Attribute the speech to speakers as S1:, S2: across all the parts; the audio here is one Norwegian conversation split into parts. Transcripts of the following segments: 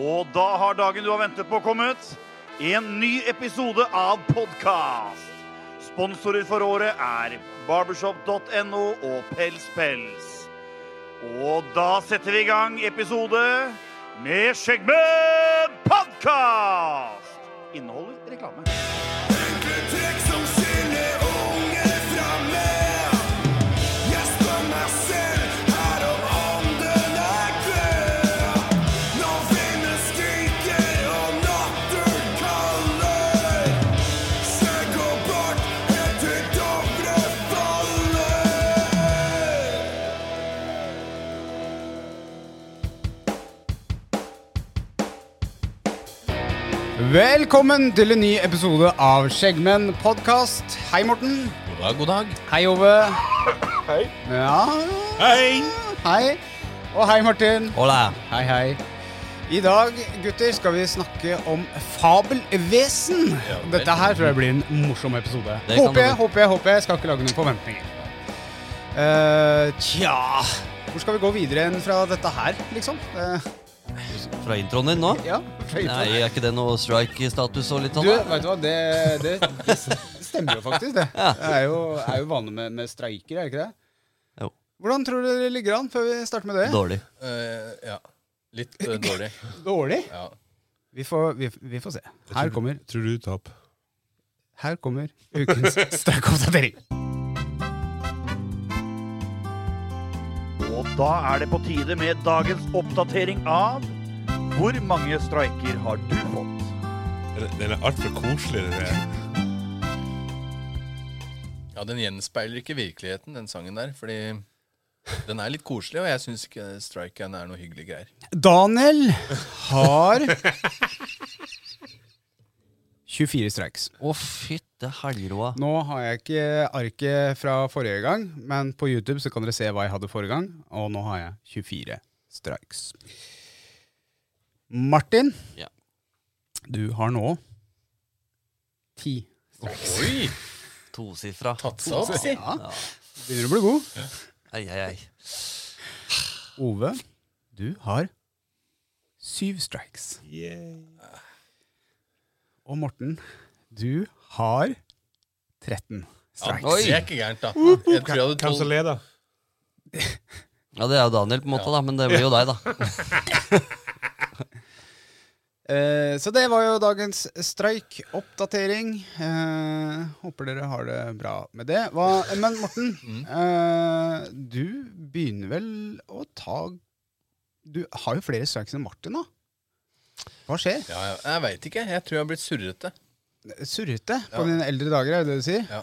S1: Og da har dagen du har ventet på, kommet. En ny episode av podkast. Sponsorer for året er barbershop.no og Pels Pels. Og da setter vi i gang episode med Skjeggmenn podkast! Inneholder reklame.
S2: Trekk som skiller unge fra meg. Jeg spør meg selv her om ånden er død. Når vinden skriker og natten kaller. Skjegg og bart helt til Dovre faller.
S3: Velkommen til en ny episode av Skjeggmenn podkast. Hei, Morten.
S4: God dag, god dag.
S3: Hei, Ove. Hei. Ja,
S4: Hei!
S3: hei. Og hei, Martin.
S4: Hola.
S3: Hei, hei. I dag, gutter, skal vi snakke om fabelvesen.
S4: Ja, vel.
S3: Dette her tror jeg blir en morsom episode.
S4: Det
S3: Håper
S4: kan
S3: jeg,
S4: det bli.
S3: håper jeg, håper jeg. Skal ikke lage noen forventninger. Eh, tja Hvor skal vi gå videre enn fra dette her, liksom? Eh,
S4: Fra introen din nå?
S3: ja, skøyter.
S4: Nei, er ikke det noe strike-status og litt sånn?
S3: Du,
S4: da?
S3: vet du hva, det, det, det stemmer jo faktisk, det. Det er jo, er jo vanlig med, med streiker, er det ikke det?
S4: Jo.
S3: Hvordan tror du det ligger an før vi starter med det?
S4: Dårlig.
S5: Eh, ja. Litt eh, dårlig.
S3: Dårlig?
S5: Ja.
S3: Vi får, vi, vi får se. Her kommer,
S6: Tror du tap?
S3: her kommer ukens streikoppdatering.
S1: Og da er det på tide med dagens oppdatering av Hvor mange streiker har du fått?
S6: Den den er altfor koselig, den der.
S5: ja, Den gjenspeiler ikke virkeligheten, den sangen der. Fordi den er litt koselig, og jeg syns ikke Strikeout er noe hyggelig greier.
S3: Daniel har 24 streiks.
S4: Å, fytte helgeroa.
S3: Nå har jeg ikke arket fra forrige gang, men på YouTube så kan dere se hva jeg hadde forrige gang, og nå har jeg 24 strikes. Martin,
S4: Ja.
S3: du har nå 10 strikes.
S5: Oi!
S4: Tosifra.
S5: Tatt seg opp. si.
S3: Ja, begynner du å bli god.
S4: Ei, ei, ei.
S3: Ove, du har 7 strikes. Og Morten, du har 13
S5: Ja,
S3: strikes.
S4: Oi.
S5: det er ikke gærent, da. Jeg tror jeg hadde
S6: Hvem som
S5: tolv.
S6: leder?
S4: Ja, det er jo Daniel på en måte, da, men det blir jo deg, da.
S3: Eh, så det var jo dagens streikoppdatering. Eh, håper dere har det bra med det. Hva, men Morten,
S4: Mm.
S3: eh, du begynner vel å ta Du har jo flere strikes enn Martin, da. Hva skjer?
S5: Ja, ja, jeg veit ikke. Jeg tror jeg har blitt surrete.
S3: Surrete på
S5: Ja.
S3: dine eldre dager, er det det du sier?
S5: Ja.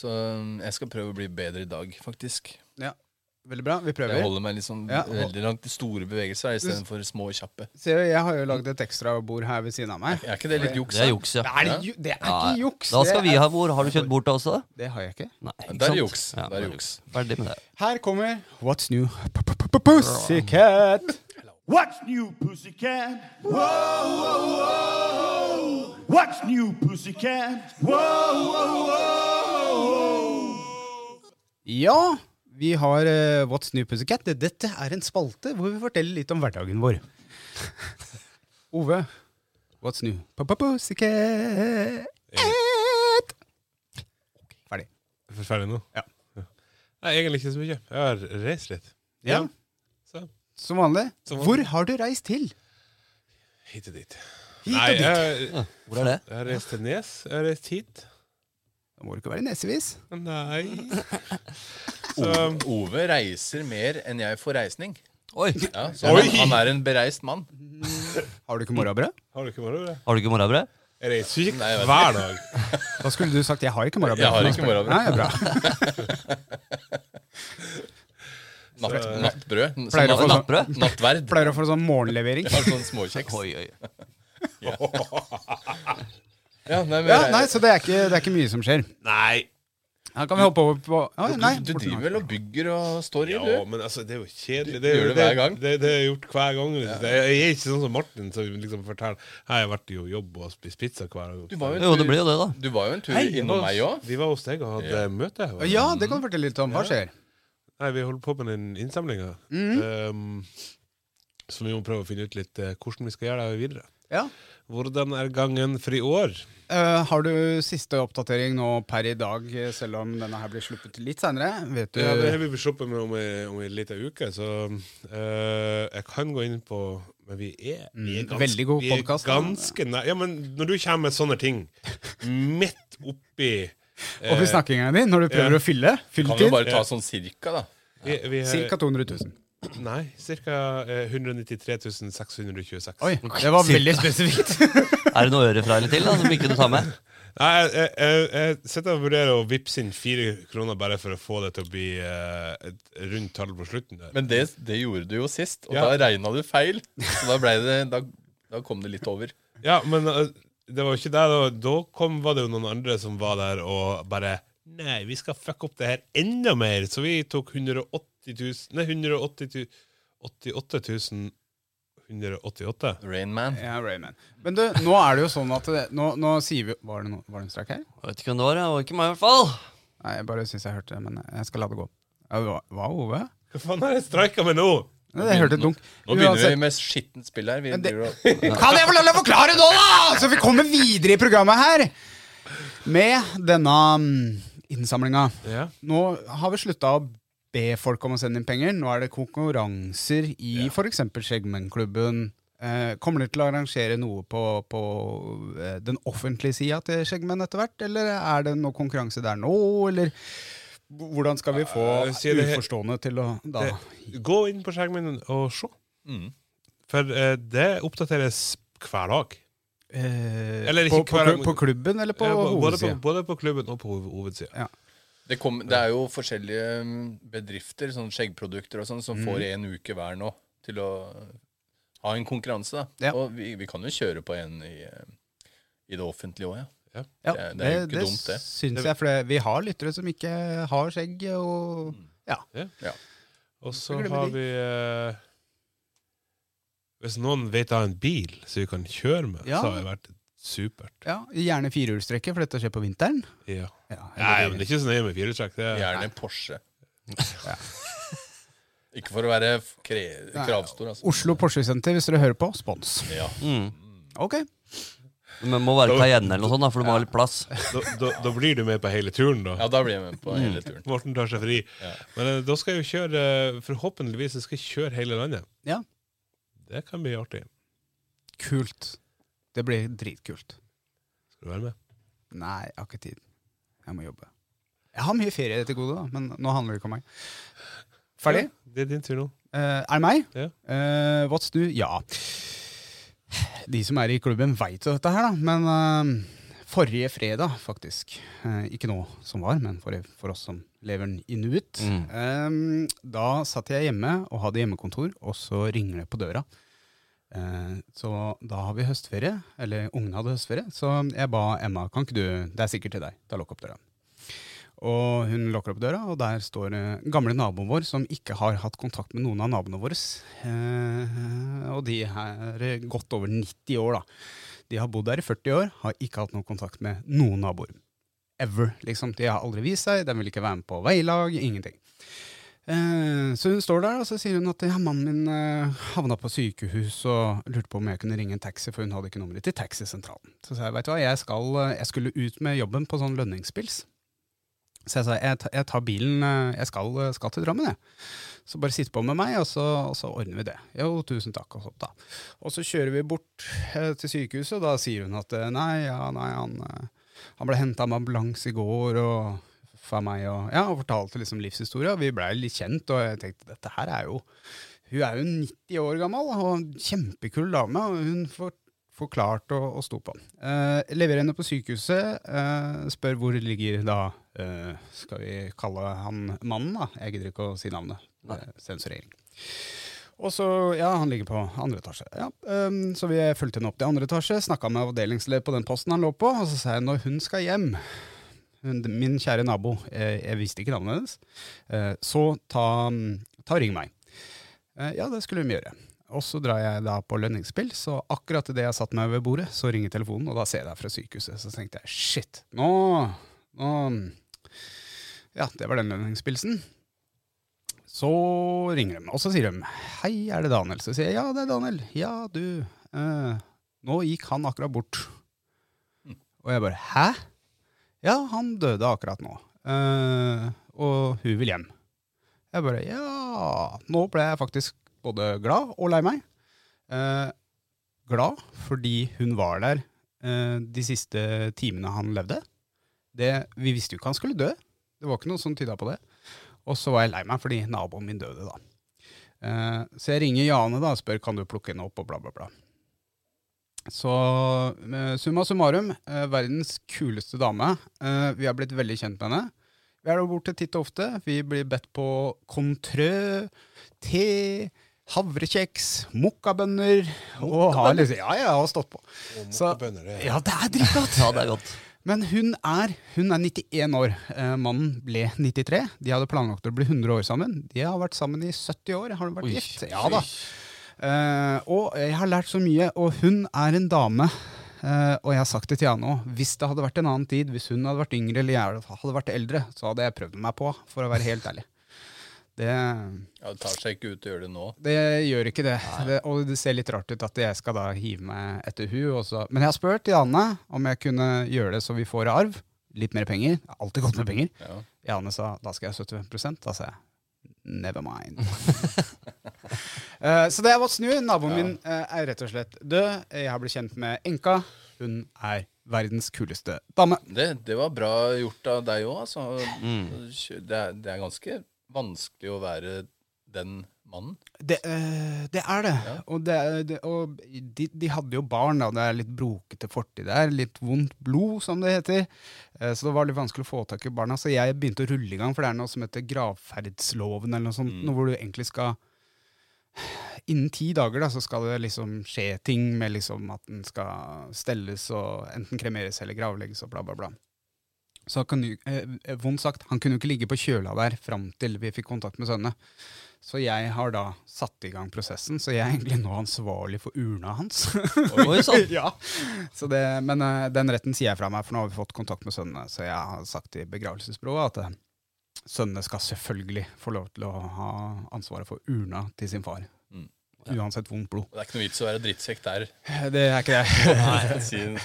S5: Så um, jeg skal prøve å bli bedre i dag, faktisk.
S3: Ja. Veldig bra. Vi
S5: Jeg
S3: prøver.
S5: holder meg liksom
S3: Ja.
S5: veldig langt til store bevegelser istedenfor små og kjappe.
S3: Ser du, jeg har jo lagd et ekstrabord her ved siden av meg.
S5: Er ikke det litt juks?
S4: Det er
S5: da?
S4: juks, ja.
S3: Det er, ju- det er
S4: Ja,
S3: ikke juks!
S4: Da skal
S3: det
S4: vi
S3: er-
S4: ha hvor. Har du kjørt bort da også?
S3: Det har jeg ikke.
S4: Nei. ikke
S5: Det
S4: sant?
S5: er juks.
S4: Ja,
S5: Det er juks.
S4: Ferdig med det.
S3: Her kommer What's New Pussycat.
S1: What's new, pussycat? Whoa, whoa, whoa. What's new, pussycat? Whoa, whoa, whoa.
S3: Ja, vi har eh, What's New Pussycat. Det- Dette er en spalte hvor vi forteller litt om hverdagen vår. Ove, What's New P- P- Pussycat? Ferdig.
S6: Er vi Ferdig nå?
S3: Ja.
S6: Nei, egentlig ikke så mye. Jeg har reist litt.
S3: Ja.
S6: Så
S3: Som vanlig.
S6: Som vanlig.
S3: Hvor har du reist til?
S6: hit og dit.
S3: Hit og
S6: Nei,
S3: dit.
S6: jeg,
S4: Hvor er det?
S6: jeg har reist til Nes. Jeg har reist hit.
S3: Det må du ikke være nesevis.
S6: Nei Så
S5: Ove, Ove reiser mer enn jeg får reisning.
S4: Oi!
S5: Ja, så
S6: Oi!
S5: han, han er en bereist mann.
S3: Har du ikke morrabrød?
S6: har du ikke morgenbrød?
S4: Har du ikke morgenbrød?
S6: Jeg reiser jo
S5: Nei, jeg
S6: ikke
S5: vet
S6: hver dag.
S3: Da skulle du sagt 'jeg har ikke morrabrød'.
S5: Jeg har
S3: for nå
S5: ikke
S3: spør-
S5: morrabrød.
S3: Nei, det er bra.
S5: Natt, nattbrød. Som
S3: Pleier å få
S5: natt-
S3: sånn-
S4: Nattbrød?
S5: Nattverd.
S3: Pleier å få sånn morgenlevering.
S5: Har sånn småkjeks.
S4: Oi, oi.
S5: Ja, nei, men,
S3: Ja, nei, Så det er ikke, det er ikke mye som skjer.
S6: Nei.
S3: Her kan vi hoppe over på Å, nei,
S5: du, du
S3: Morten har-
S5: driver vel og bygger og står i,
S6: Ja,
S5: du?
S6: men altså, det er jo kjedelig.
S5: Du
S6: Det, er
S5: gjør det
S6: jo- det,
S5: hver gang.
S6: Det, det har jeg gjort hver gang. liksom. Jeg, jeg er ikke sånn som Martin, som liksom forteller Hei, jeg har vært jo jobb og spist pizza hver dag.
S5: Du var jo
S4: Jo,
S5: en
S4: det
S5: tur,
S4: blir jo det, da.
S5: du var jo en tur
S6: Hei, jeg
S5: innom
S6: var-
S5: meg òg.
S6: Vi var hos deg og hadde møte. var det?
S3: Ja, det kan du fortelle litt om. Hva skjer?
S5: Mm.
S6: Nei, vi holder på med den innsamlinga. Um, Ehm, Så vi må prøve å finne ut litt eh, hvordan vi skal gjøre det videre.
S3: Ja.
S6: Hvordan er gangen for i år?
S3: Eh, har du siste oppdatering nå per i dag, eh, selv om denne her blir sluppet litt seinere? Vet du
S6: Ja, det har vi sluppet med om ei, om ei lita uke, så eh, jeg kan gå inn på Men vi er, vi er
S3: Mm, veldig god
S6: vi er
S3: podcast, da.
S6: Ganske nær. Ja, men når du kommer med sånne ting midt oppi eh,
S3: Oppi snakkinga di, når du prøver å
S6: ja.
S3: fylle?
S5: Kan vi jo
S3: Fylltid?
S5: bare ta sånn cirka, da?
S6: vi, vi har,
S3: Ca. 200 000.
S6: Nei, eh, ca. 193 626.
S3: Oi, det var veldig spesifikt.
S4: Er det noe ørefra eller til da, som ikke du tar med?
S6: Nei, jeg, jeg, jeg, jeg sitter og vurderer å vippse inn fire kroner bare for å få det til å bli eh, et rundt tall på slutten. der.
S5: Men det, det gjorde du jo sist, og
S6: Ja.
S5: da regna du feil. Så da, ble det, da, da kom det litt over.
S6: Ja, men eh, det var jo ikke det. Da, da kom, var det jo noen andre som var der og bare Nei, vi skal fucke opp det her enda mer! Så vi tok 180 000 Nei, 180 000 188.
S5: Rainman.
S3: Ja, Rayman. Men du, nå er det jo sånn at det, nå, nå sier vi Var det, no, var det en strekk her?
S4: Jeg vet ikke hvem det var, jeg. og ikke meg i hvert fall.
S3: Nei, jeg bare syns jeg hørte det, men jeg skal la det gå. Ja, det var- Hva, Ove?
S6: Hva faen er det jeg streika med nå?!
S3: Nei, jeg hørte et dunk.
S5: Nå begynner
S3: Uansett.
S5: vi med skittent spill her. Vi
S3: Men det-
S5: driver og-
S3: Kan jeg få lov til å forklare nå, da?! Så vi kommer videre i programmet her! Med denne mm, innsamlinga.
S6: Ja.
S3: Nå har vi slutta å be folk om å sende inn penger. Nå er det konkurranser i for f.eks. Skjeggmennklubben. Eh, kommer dere til å arrangere noe på, på eh, den offentlige sida til Skjeggmenn etter hvert? Eller er det noe konkurranse der nå, eller hvordan skal vi få
S6: Eh, sier det-
S3: uforstående til å da
S6: Gå inn på skjermen og se.
S5: Mm.
S6: For eh, det oppdateres hver dag.
S3: eh,
S6: Eller
S3: på,
S6: ikke
S3: på,
S6: hver-
S3: på klubben eller på
S6: Ja, bo- både, på,
S3: hovedsida?
S6: både på klubben og på hov- hovedsida.
S5: Det, kom, det er jo forskjellige mm, bedrifter, sånn skjeggprodukter og sånn, som får en uke hver nå til å ha en konkurranse. da.
S3: Ja.
S5: Og vi, vi kan jo kjøre på en i, eh, i det offentlige òg, ja.
S3: Ja,
S5: Det er- det er jo ikke dumt, det.
S3: syns jeg, for det, vi har lyttere som ikke har skjegg. og...
S5: Mm.
S6: Og så
S3: Glemmer
S6: har
S3: de.
S6: vi eh, Hvis noen vet av en bil som vi kan kjøre med,
S3: Ja.
S6: så har det vært supert.
S3: Ja, Gjerne firehjulstrekker, for dette skjer på vinteren.
S6: Ja.
S3: Ja,
S6: Nei, men det er ikke så nøye med firehjulstrekk. det er-
S5: Gjerne Porsche. Ikke for å være f- kre, kravstor, altså.
S3: Oslo Porsche Senter, hvis dere hører på. Spons.
S5: Ja.
S3: Ok.
S4: Men må være Cayenne eller noe sånt, da, for du må ha litt plass.
S6: Da, da, da blir du med på hele turen, da.
S5: ja, da blir jeg med på hele turen.
S6: Morten tar seg fri.
S5: Ja.
S6: Men eh, da skal jeg jo kjøre eh, Forhåpentligvis jeg skal jeg kjøre hele landet.
S3: Ja.
S6: Det kan bli artig.
S3: Kult. Det blir dritkult.
S6: Skal du være med?
S3: Nei, jeg har ikke tid. Jeg må jobbe. Jeg har mye ferie til gode, da, men nå handler det ikke om meg. Ferdig?
S6: Ja, det er din tur nå.
S3: Eh, er det meg?
S6: Ja.
S3: Eh, what's du? Ja. De som er i klubben, veit jo dette her, da. Men eh, forrige fredag, faktisk eh, Ikke nå som var, men for, for oss som lever en inuit. eh, da satt jeg hjemme og hadde hjemmekontor, og så ringer det på døra. Eh, så da har vi høstferie, eller ungene hadde høstferie, så jeg ba Emma kan ikke du, det er sikkert til deg, da lukk opp døra. Og hun lukker opp døra, og der står eh, gamle naboen vår som ikke har hatt kontakt med noen av naboene våre. Eh, og de er eh, godt over 90 år, da. De har bodd der i 40 år, har ikke hatt noen kontakt med noen naboer. Ever. liksom. De har aldri vist seg, de vil ikke være med på veilag, ingenting. Eh, så hun står der, og så sier hun at ja, mannen min eh, havna på sykehus og lurte på om jeg kunne ringe en taxi, for hun hadde ikke nummeret til taxisentralen. Så sa jeg vet du hva, jeg, skal, eh, jeg skulle ut med jobben på sånn lønningspils. Så jeg sa jeg, ta- jeg tar bilen, eh, jeg skal, skal til Drammen, jeg. Så bare sitt på med meg, og så, og så ordner vi det. Jo, tusen takk, og sånt, da. Og så kjører vi bort eh, til sykehuset, og da sier hun at eh, nei, ja, nei, han, eh, han ble henta med ambulanse i går, og for meg, og, ja, og fortalte liksom livshistoria. Vi blei litt kjent, og jeg tenkte dette her er jo Hun er jo 90 år gammel, og en kjempekul dame, og hun får forklart og, og sto på. Eh, leverer henne på sykehuset, eh, spør hvor ligger da eh, Skal vi kalle han mannen, da? Jeg gidder ikke å si navnet.
S4: Nei.
S3: Eh, Sensurering. Og så, ja, Han ligger på andre etasje. Ja, ehm, så vi fulgte henne opp til andre etasje, snakka med avdelingsleder på den posten han lå på, og så sa jeg når hun skal hjem hun, Min kjære nabo, eh, jeg visste ikke navnet hennes, eh, så ta, ta og ring meg. Eh, ja, det skulle hun gjøre. Og så drar jeg da på lønningsspill, så akkurat idet jeg satt meg ved bordet, så ringer telefonen, og da ser jeg deg fra sykehuset. Så tenkte jeg shit, nå, nå Ja, det var den lønningspilsen. Så ringer de, og så sier de 'Hei, er det Daniel?' Så sier jeg 'Ja, det er Daniel'. 'Ja, du, eh, nå gikk han akkurat bort'. Og jeg bare 'Hæ?' 'Ja, han døde akkurat nå, eh, og hun vil hjem'. Jeg bare 'Ja'. Nå ble jeg faktisk både glad og lei meg. Eh, glad fordi hun var der eh, de siste timene han levde. Det, vi visste jo ikke han skulle dø. Det var ikke noe som tyda på det. Og så var jeg lei meg fordi naboen min døde, da. Eh, så jeg ringer Jane da og spør kan du plukke henne opp, og bla, bla, bla. Så eh, summa summarum, eh, verdens kuleste dame. Eh, vi har blitt veldig kjent med henne. Vi er der borte titt og ofte. Vi blir bedt på kontrø, te, havrekjeks, mokkabønner. Og har liksom, ja, ja, har stått på. Så-
S6: mokkabønner, det er-
S3: ja, det er dritgodt!
S4: Ja, det er godt.
S3: Men hun er, hun er 91 år. Eh, mannen ble 93. De hadde planlagt å bli 100 år sammen. De har vært sammen i 70 år. Har de vært
S4: Oi,
S3: gift? Ja da. Eh, og jeg har lært så mye, og hun er en dame. Eh, og jeg har sagt det til Jane òg. Hvis det hadde vært en annen tid, hvis hun hadde vært yngre eller jeg hadde vært eldre, så hadde jeg prøvd meg på, for å være helt ærlig. Det,
S5: Ja, det tar seg ikke ut å gjøre det nå.
S3: det gjør ikke det. det. Og det ser litt rart ut at jeg skal da hive meg etter hun. og så- Men jeg har spurt Janne om jeg kunne gjøre det så vi får arv. Litt mer penger. Det er Alltid godt med penger.
S5: Ja.
S3: Janne sa da skal jeg ha 75 Da sa jeg never mind. Eh, så det var snu. Naboen min eh, er rett og slett død. Jeg har blitt kjent med enka. Hun er verdens kuleste dame.
S5: Det, det var bra gjort av deg òg, altså. Det, er, det er ganske vanskelig å være den mannen.
S3: Det, eh, det er det. Og, det, er- det, og de, de hadde jo barn, da. Det er litt brokete fortid der. Litt vondt blod, som det heter. Eh, så det var litt vanskelig å få tak i barna. Så jeg begynte å rulle i gang, for det er noe som heter gravferdsloven, eller noe sånt. Noe hvor du egentlig skal Innen ti dager da, så skal det liksom skje ting med liksom at den skal stelles og enten kremeres eller gravlegges og bla, bla, bla. Så han kan, jo- eh, vondt sagt, han kunne jo ikke ligge på kjøla der fram til vi fikk kontakt med sønnene. Så jeg har da satt i gang prosessen, så jeg er egentlig nå ansvarlig for urna hans.
S4: Oi sann.
S3: ja. så det, men eh, den retten sier jeg fra meg, for nå har vi fått kontakt med sønnene. Så jeg har sagt i begravelsesbyrået at eh, sønnene skal selvfølgelig få lov til å ha ansvaret for urna til sin far.
S5: Mm.
S3: Uansett vondt blod.
S5: Og det er ikke noe vits å være drittsekk der.
S3: Det er ikke det. sånn.
S5: Siden-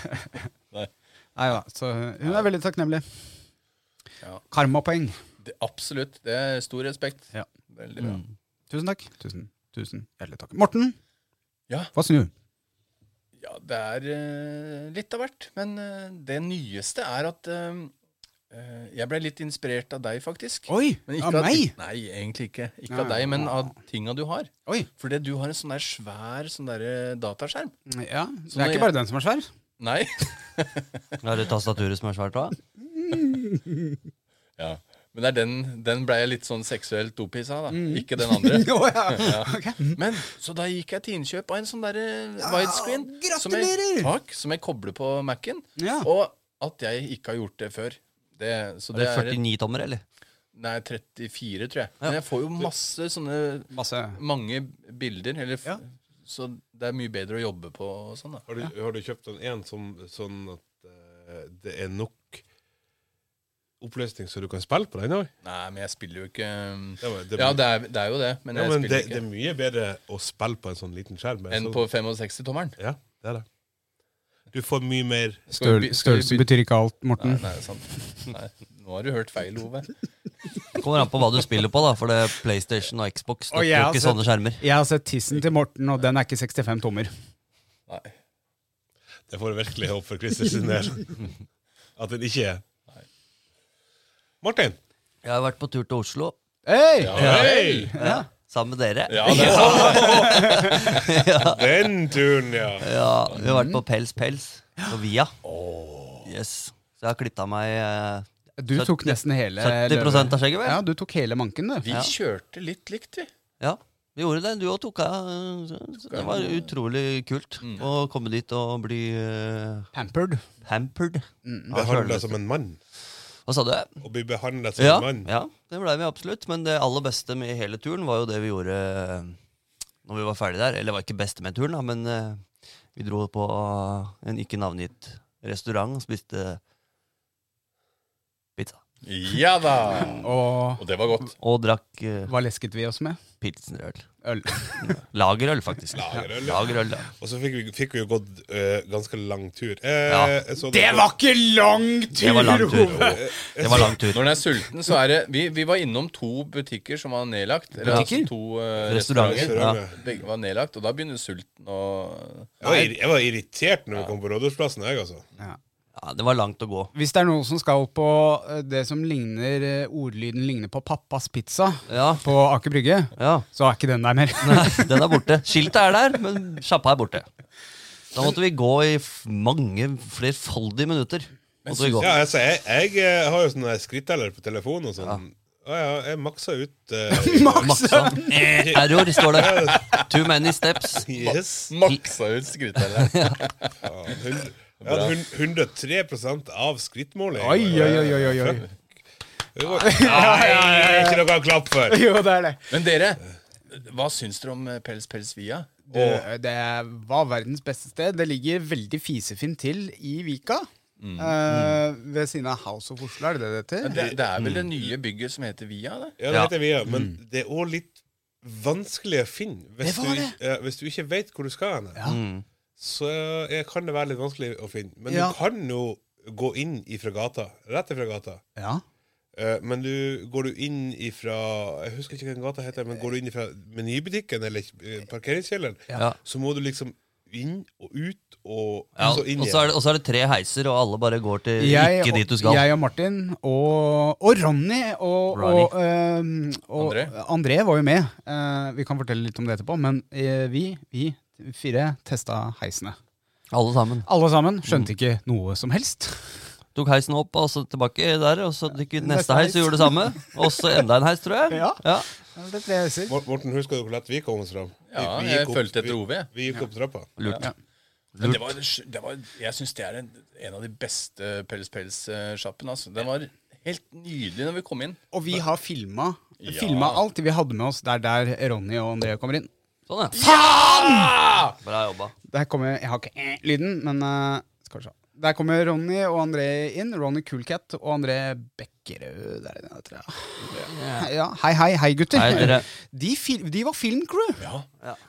S3: Nei da. Så hun er veldig takknemlig.
S5: Ja.
S3: Karmapoeng.
S5: det, absolutt. Det er stor respekt.
S3: Ja. Mm.
S5: Veldig bra.
S3: Tusen takk. Tusen, tusen hjertelig takk. Morten,
S5: Ja.
S3: hva snu?
S5: Ja, det er eh, litt av hvert. Men eh, det nyeste er at eh, eh, jeg ble litt inspirert av deg, faktisk.
S3: Oi!
S5: Men ikke
S3: Av meg?
S5: Nei, egentlig ikke. Ikke
S3: Nei.
S5: av deg, men av tinga du har.
S3: Oi.
S5: Fordi du har en sånn der svær sånn der eh, dataskjerm.
S3: Ja, så
S5: når
S3: det er
S5: jeg-
S3: ikke bare den som er svær?
S5: Nei.
S4: Har du tastaturet som er svært òg?
S5: Ja. Men det er den, den ble jeg litt sånn seksuelt oppissa av, da.
S3: Mm.
S5: Ikke den andre.
S3: Jo, ja.
S5: Men, så da gikk jeg til innkjøp av en sånn derre widescreen. som
S3: Ah,
S5: jeg-
S3: gratulerer!
S5: Takk. Som jeg kobler på Mac-en.
S3: Ja.
S5: Og at jeg ikke har gjort det før. Det, så
S4: Er
S5: det
S4: det
S5: er,
S4: 49 tommer, eller?
S5: nei, 34, tror jeg. Men jeg får jo masse sånne
S3: Masse.
S5: Mange bilder. Eller, f-
S3: Ja.
S5: Så det er mye bedre å jobbe på og sånn, da.
S6: Har du, har du kjøpt en, en som, sånn at eh, det er nok oppløsning så du kan spille på den òg?
S5: Nei, men jeg spiller jo ikke
S6: Ja, men det-
S5: Ja, det er, det er jo det, men
S6: Ja,
S5: jeg
S6: men det,
S5: spiller
S6: det er mye bedre å spille på en sånn liten skjerm.
S5: ikke. Enn
S6: sånn,
S5: på 65-tommeren.
S6: Ja, det er det. Du får mye mer
S5: Skal vi by- skal vi
S3: Størrelse
S5: by-
S3: betyr ikke alt,
S5: Nei,
S3: Morten.
S5: nei, det er sant. Nei, nå har du hørt feil, Ove.
S4: Det Kommer an på hva du spiller på, da. For det er PlayStation og Xbox
S3: Og
S4: støtter
S3: jeg
S4: jo
S3: har
S4: ikke
S3: sett-
S4: sånne skjermer.
S3: Jeg har sett tissen til Morten, og den er ikke 65 tommer.
S5: Nei.
S6: Det får jeg virkelig håpe for Christer sin del. At den ikke er. Martin!
S4: Jeg har vært på tur til Oslo
S3: Hei!
S6: Hei!
S4: ja, sammen med dere.
S5: Ja, det er sant.
S6: Den turen, ja.
S4: Ja, vi har vært på Pels Pels på Via. Yes. Så jeg har klippa meg eh,
S3: Du tok nesten hele
S4: 70 av skjegget, vel?
S3: Ja, du tok hele manken, du.
S5: Vi kjørte litt likt, vi.
S4: Ja, vi gjorde det. Du òg tok av. eh, så Det var
S5: Mm.
S4: utrolig kult å komme dit og bli eh,
S3: Pampered.
S4: pampered.
S3: Mm.
S4: av
S6: Behandla
S4: sjølveste.
S6: som en mann.
S5: liksom-
S4: Hva sa du?
S6: Å bli behandla som
S4: Ja,
S6: en mann.
S4: ja, det blei vi absolutt. Men det aller beste med hele turen var jo det vi gjorde eh, når vi var ferdig der. Eller det var ikke beste med turen, da, men eh, vi dro på en ikke navngitt restaurant og spiste pizza.
S5: Ja da!
S3: Og
S5: Og det var godt.
S4: Og drakk uh,
S3: hva lesket vi oss med?
S4: pilsnerøl.
S3: Øl.
S4: Lagerøl, faktisk.
S6: Lagerøl, ja.
S4: Lagerøl, ja.
S6: Og så fikk vi, fikk vi jo gått eh, ganske lang tur. Eh,
S4: Ja.
S6: jeg så
S3: Det
S6: dere-
S3: var ikke lang
S4: Det
S3: tur,
S4: var lang tur.
S3: Ove!
S4: Det var lang tur.
S5: Når en er sulten, så er det Vi, vi var innom to butikker som var nedlagt. Eller,
S4: Butikker?
S5: Altså, to eh,
S4: Restauranter,
S5: restauranter.
S4: ja.
S5: Begge var nedlagt, og da begynner sulten å
S6: Jeg var, irri- jeg var irritert når vi kom på Rådhusplassen, jeg, altså.
S4: Ja, det var langt å gå.
S3: Hvis det er noen som skal på eh, det som ligner eh, ordlyden ligner på pappas pizza
S4: Ja,
S3: på Aker Brygge,
S4: ja.
S3: så er ikke den der mer.
S4: Nei, den er borte. Skiltet er der, men sjappa er borte. Da måtte vi gå i f- mange flerfoldige minutter. Måtte vi gå.
S6: Ja, altså, jeg, jeg eh, har jo sånn der skritteller på telefonen og sånn. Å ja, jeg maksa ut eh,
S4: Maksa. Error, står det. Too many steps.
S6: Yes.
S5: Maksa ut skrytellet.
S6: Ja, hun- Jeg hadde hun- 103 av skrittmålet.
S3: Oi, oi, oi, oi, oi, oi.
S6: Det var- Nei, ikke noe å klappe for.
S3: Jo, det er det.
S5: Men dere, hva syns dere om eh, Pels Pels Via?
S3: Du, det var verdens beste sted. Det ligger veldig fisefint til i Vika.
S4: Mm.
S3: Eh, ved siden av House of Oslo, er det det det heter?
S5: Det, det er vel det nye bygget som heter Via? Det?
S6: Ja, det
S4: Ja.
S6: heter Via, men det er òg litt vanskelig å finne.
S3: Mm. Det
S6: Hvis,
S3: var
S6: du,
S3: det.
S6: ja, hvis du ikke vet hvor du skal hen,
S4: Mm.
S6: så eh, kan det være litt vanskelig å finne. Men
S3: Ja.
S6: du kan jo gå inn ifra gata. Rett ifra gata.
S3: Ja.
S6: Eh, Men du, går du inn ifra Jeg husker ikke hva den gata heter, men går du inn ifra menybutikken eller eh, parkeringskjelleren,
S4: Ja.
S6: så må du liksom inn og ut og,
S4: Ja,
S6: så inn
S4: og, så er det, og så er det tre heiser, og alle bare går til
S3: Jeg,
S4: ikke dit du
S3: og,
S4: skal.
S3: jeg og Martin og, og Ronny og,
S4: Ronny.
S3: og, ehm, og
S5: André.
S3: André var jo med. Eh, vi kan fortelle litt om det etterpå, men eh, vi, vi fire testa heisene.
S4: Alle sammen.
S3: Alle sammen
S4: Mm.
S3: skjønte ikke noe som helst.
S4: Tok heisen opp, og så tilbake der, og så gikk vi til
S3: Neste
S4: neste heis
S3: heis.
S4: og gjorde det samme. Og så enda en heis, tror jeg.
S3: Ja.
S4: Ja.
S3: Det er tre heiser.
S6: Mor- Morten, husker du hvor lett vi kom oss fram? Vi-
S5: Ja,
S6: vi
S5: jeg
S6: gikk
S5: fulgte etter OV.
S6: Vi, vi gikk opp trappa.
S4: Lurt.
S3: Ja.
S5: Men det var, det var, jeg syns det er en, en av de beste Pels Pels-sjappene. Altså. Den var helt nydelig når vi kom inn.
S3: Og vi har filma,
S5: Ja.
S3: filma alt vi hadde med oss. Det er der Ronny og André kommer inn.
S4: Sånn, ja. Faen! Bra jobba.
S3: Der kommer, Jeg har ikke eh, lyden, men eh, skal vi se. Der kommer Ronny og André inn. Ronny Coolcat og André Bekkerød. Der inne, tror jeg. Ja, hei, hei, hei, gutter.
S4: Hei, dere.
S3: De, fil de var filmcrew. Ja,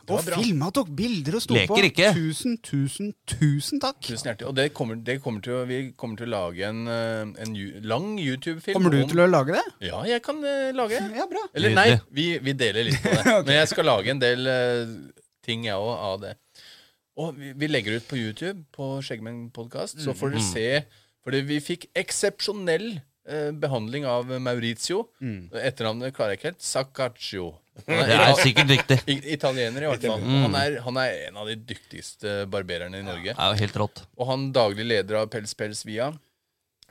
S3: og filma, tok bilder og sto
S4: Leker
S3: på.
S4: ikke.
S3: Tusen, tusen, tusen takk.
S5: Tusen hjertelig. Og det kommer, det kommer til, å- vi kommer til å lage en, eh, en ju- lang YouTube-film.
S3: Kommer du til å lage det?
S5: Ja, jeg kan eh, lage.
S3: Ja, bra.
S5: Eller nei,
S4: Nydelig.
S5: vi, vi deler litt på det. Men jeg skal lage en del eh, ting, jeg òg, av det. Og vi, vi legger ut på YouTube, på Skjeggmenn podkast, så får dere se. Fordi vi fikk eksepsjonell eh, behandling av Maurizio.
S3: Mm.
S5: Etternavnet klarer jeg ikke helt. Saccaccio. Han
S4: Det er sikkert riktig.
S5: i- Italiener, i hvert fall. Han, er, han er en av de dyktigste barbererne i
S4: Det
S5: Norge.
S4: er jo helt rått.
S5: Og han daglig leder av Pels Pels Via.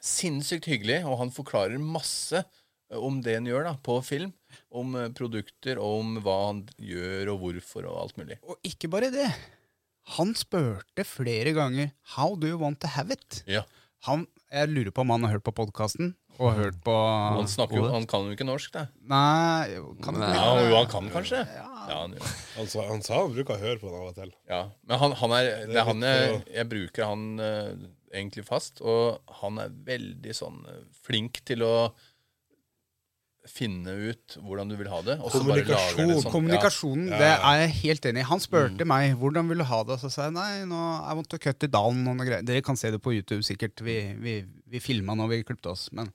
S5: Sinnssykt hyggelig, og han forklarer masse eh, om det han gjør da, på film. Om eh, produkter, og om hva han gjør, og hvorfor, og alt mulig.
S3: Og ikke bare det. Han spurte flere ganger How do you want to have it?
S5: Ja,
S3: Han, jeg lurer på om han har hørt på podkasten og hørt på
S5: Han snakker jo, han kan jo ikke norsk, da.
S3: Nei, jo, kan det
S5: Ja,
S3: bli?
S5: jo, han kan kanskje. Ja, han, gjør.
S6: Han sa, Altså, han sa han bruker å høre på den av og til.
S5: ja. Men han, han er, det er han jeg,
S6: litt,
S5: jeg bruker han eh, egentlig fast, og han er veldig sånn eh, flink til å finne ut hvordan du vil ha det. og så bare lager han en sånn-
S6: Kommunikasjon,
S5: ja. Mm.
S3: Kommunikasjonen, det er jeg helt enig i. Han spurte meg hvordan vil du ha det, og så sa jeg nei, nå, I want to cut it down. Og noe greier. Dere kan se det på YouTube sikkert. Vi, vi, vi filma når vi klipte oss. Men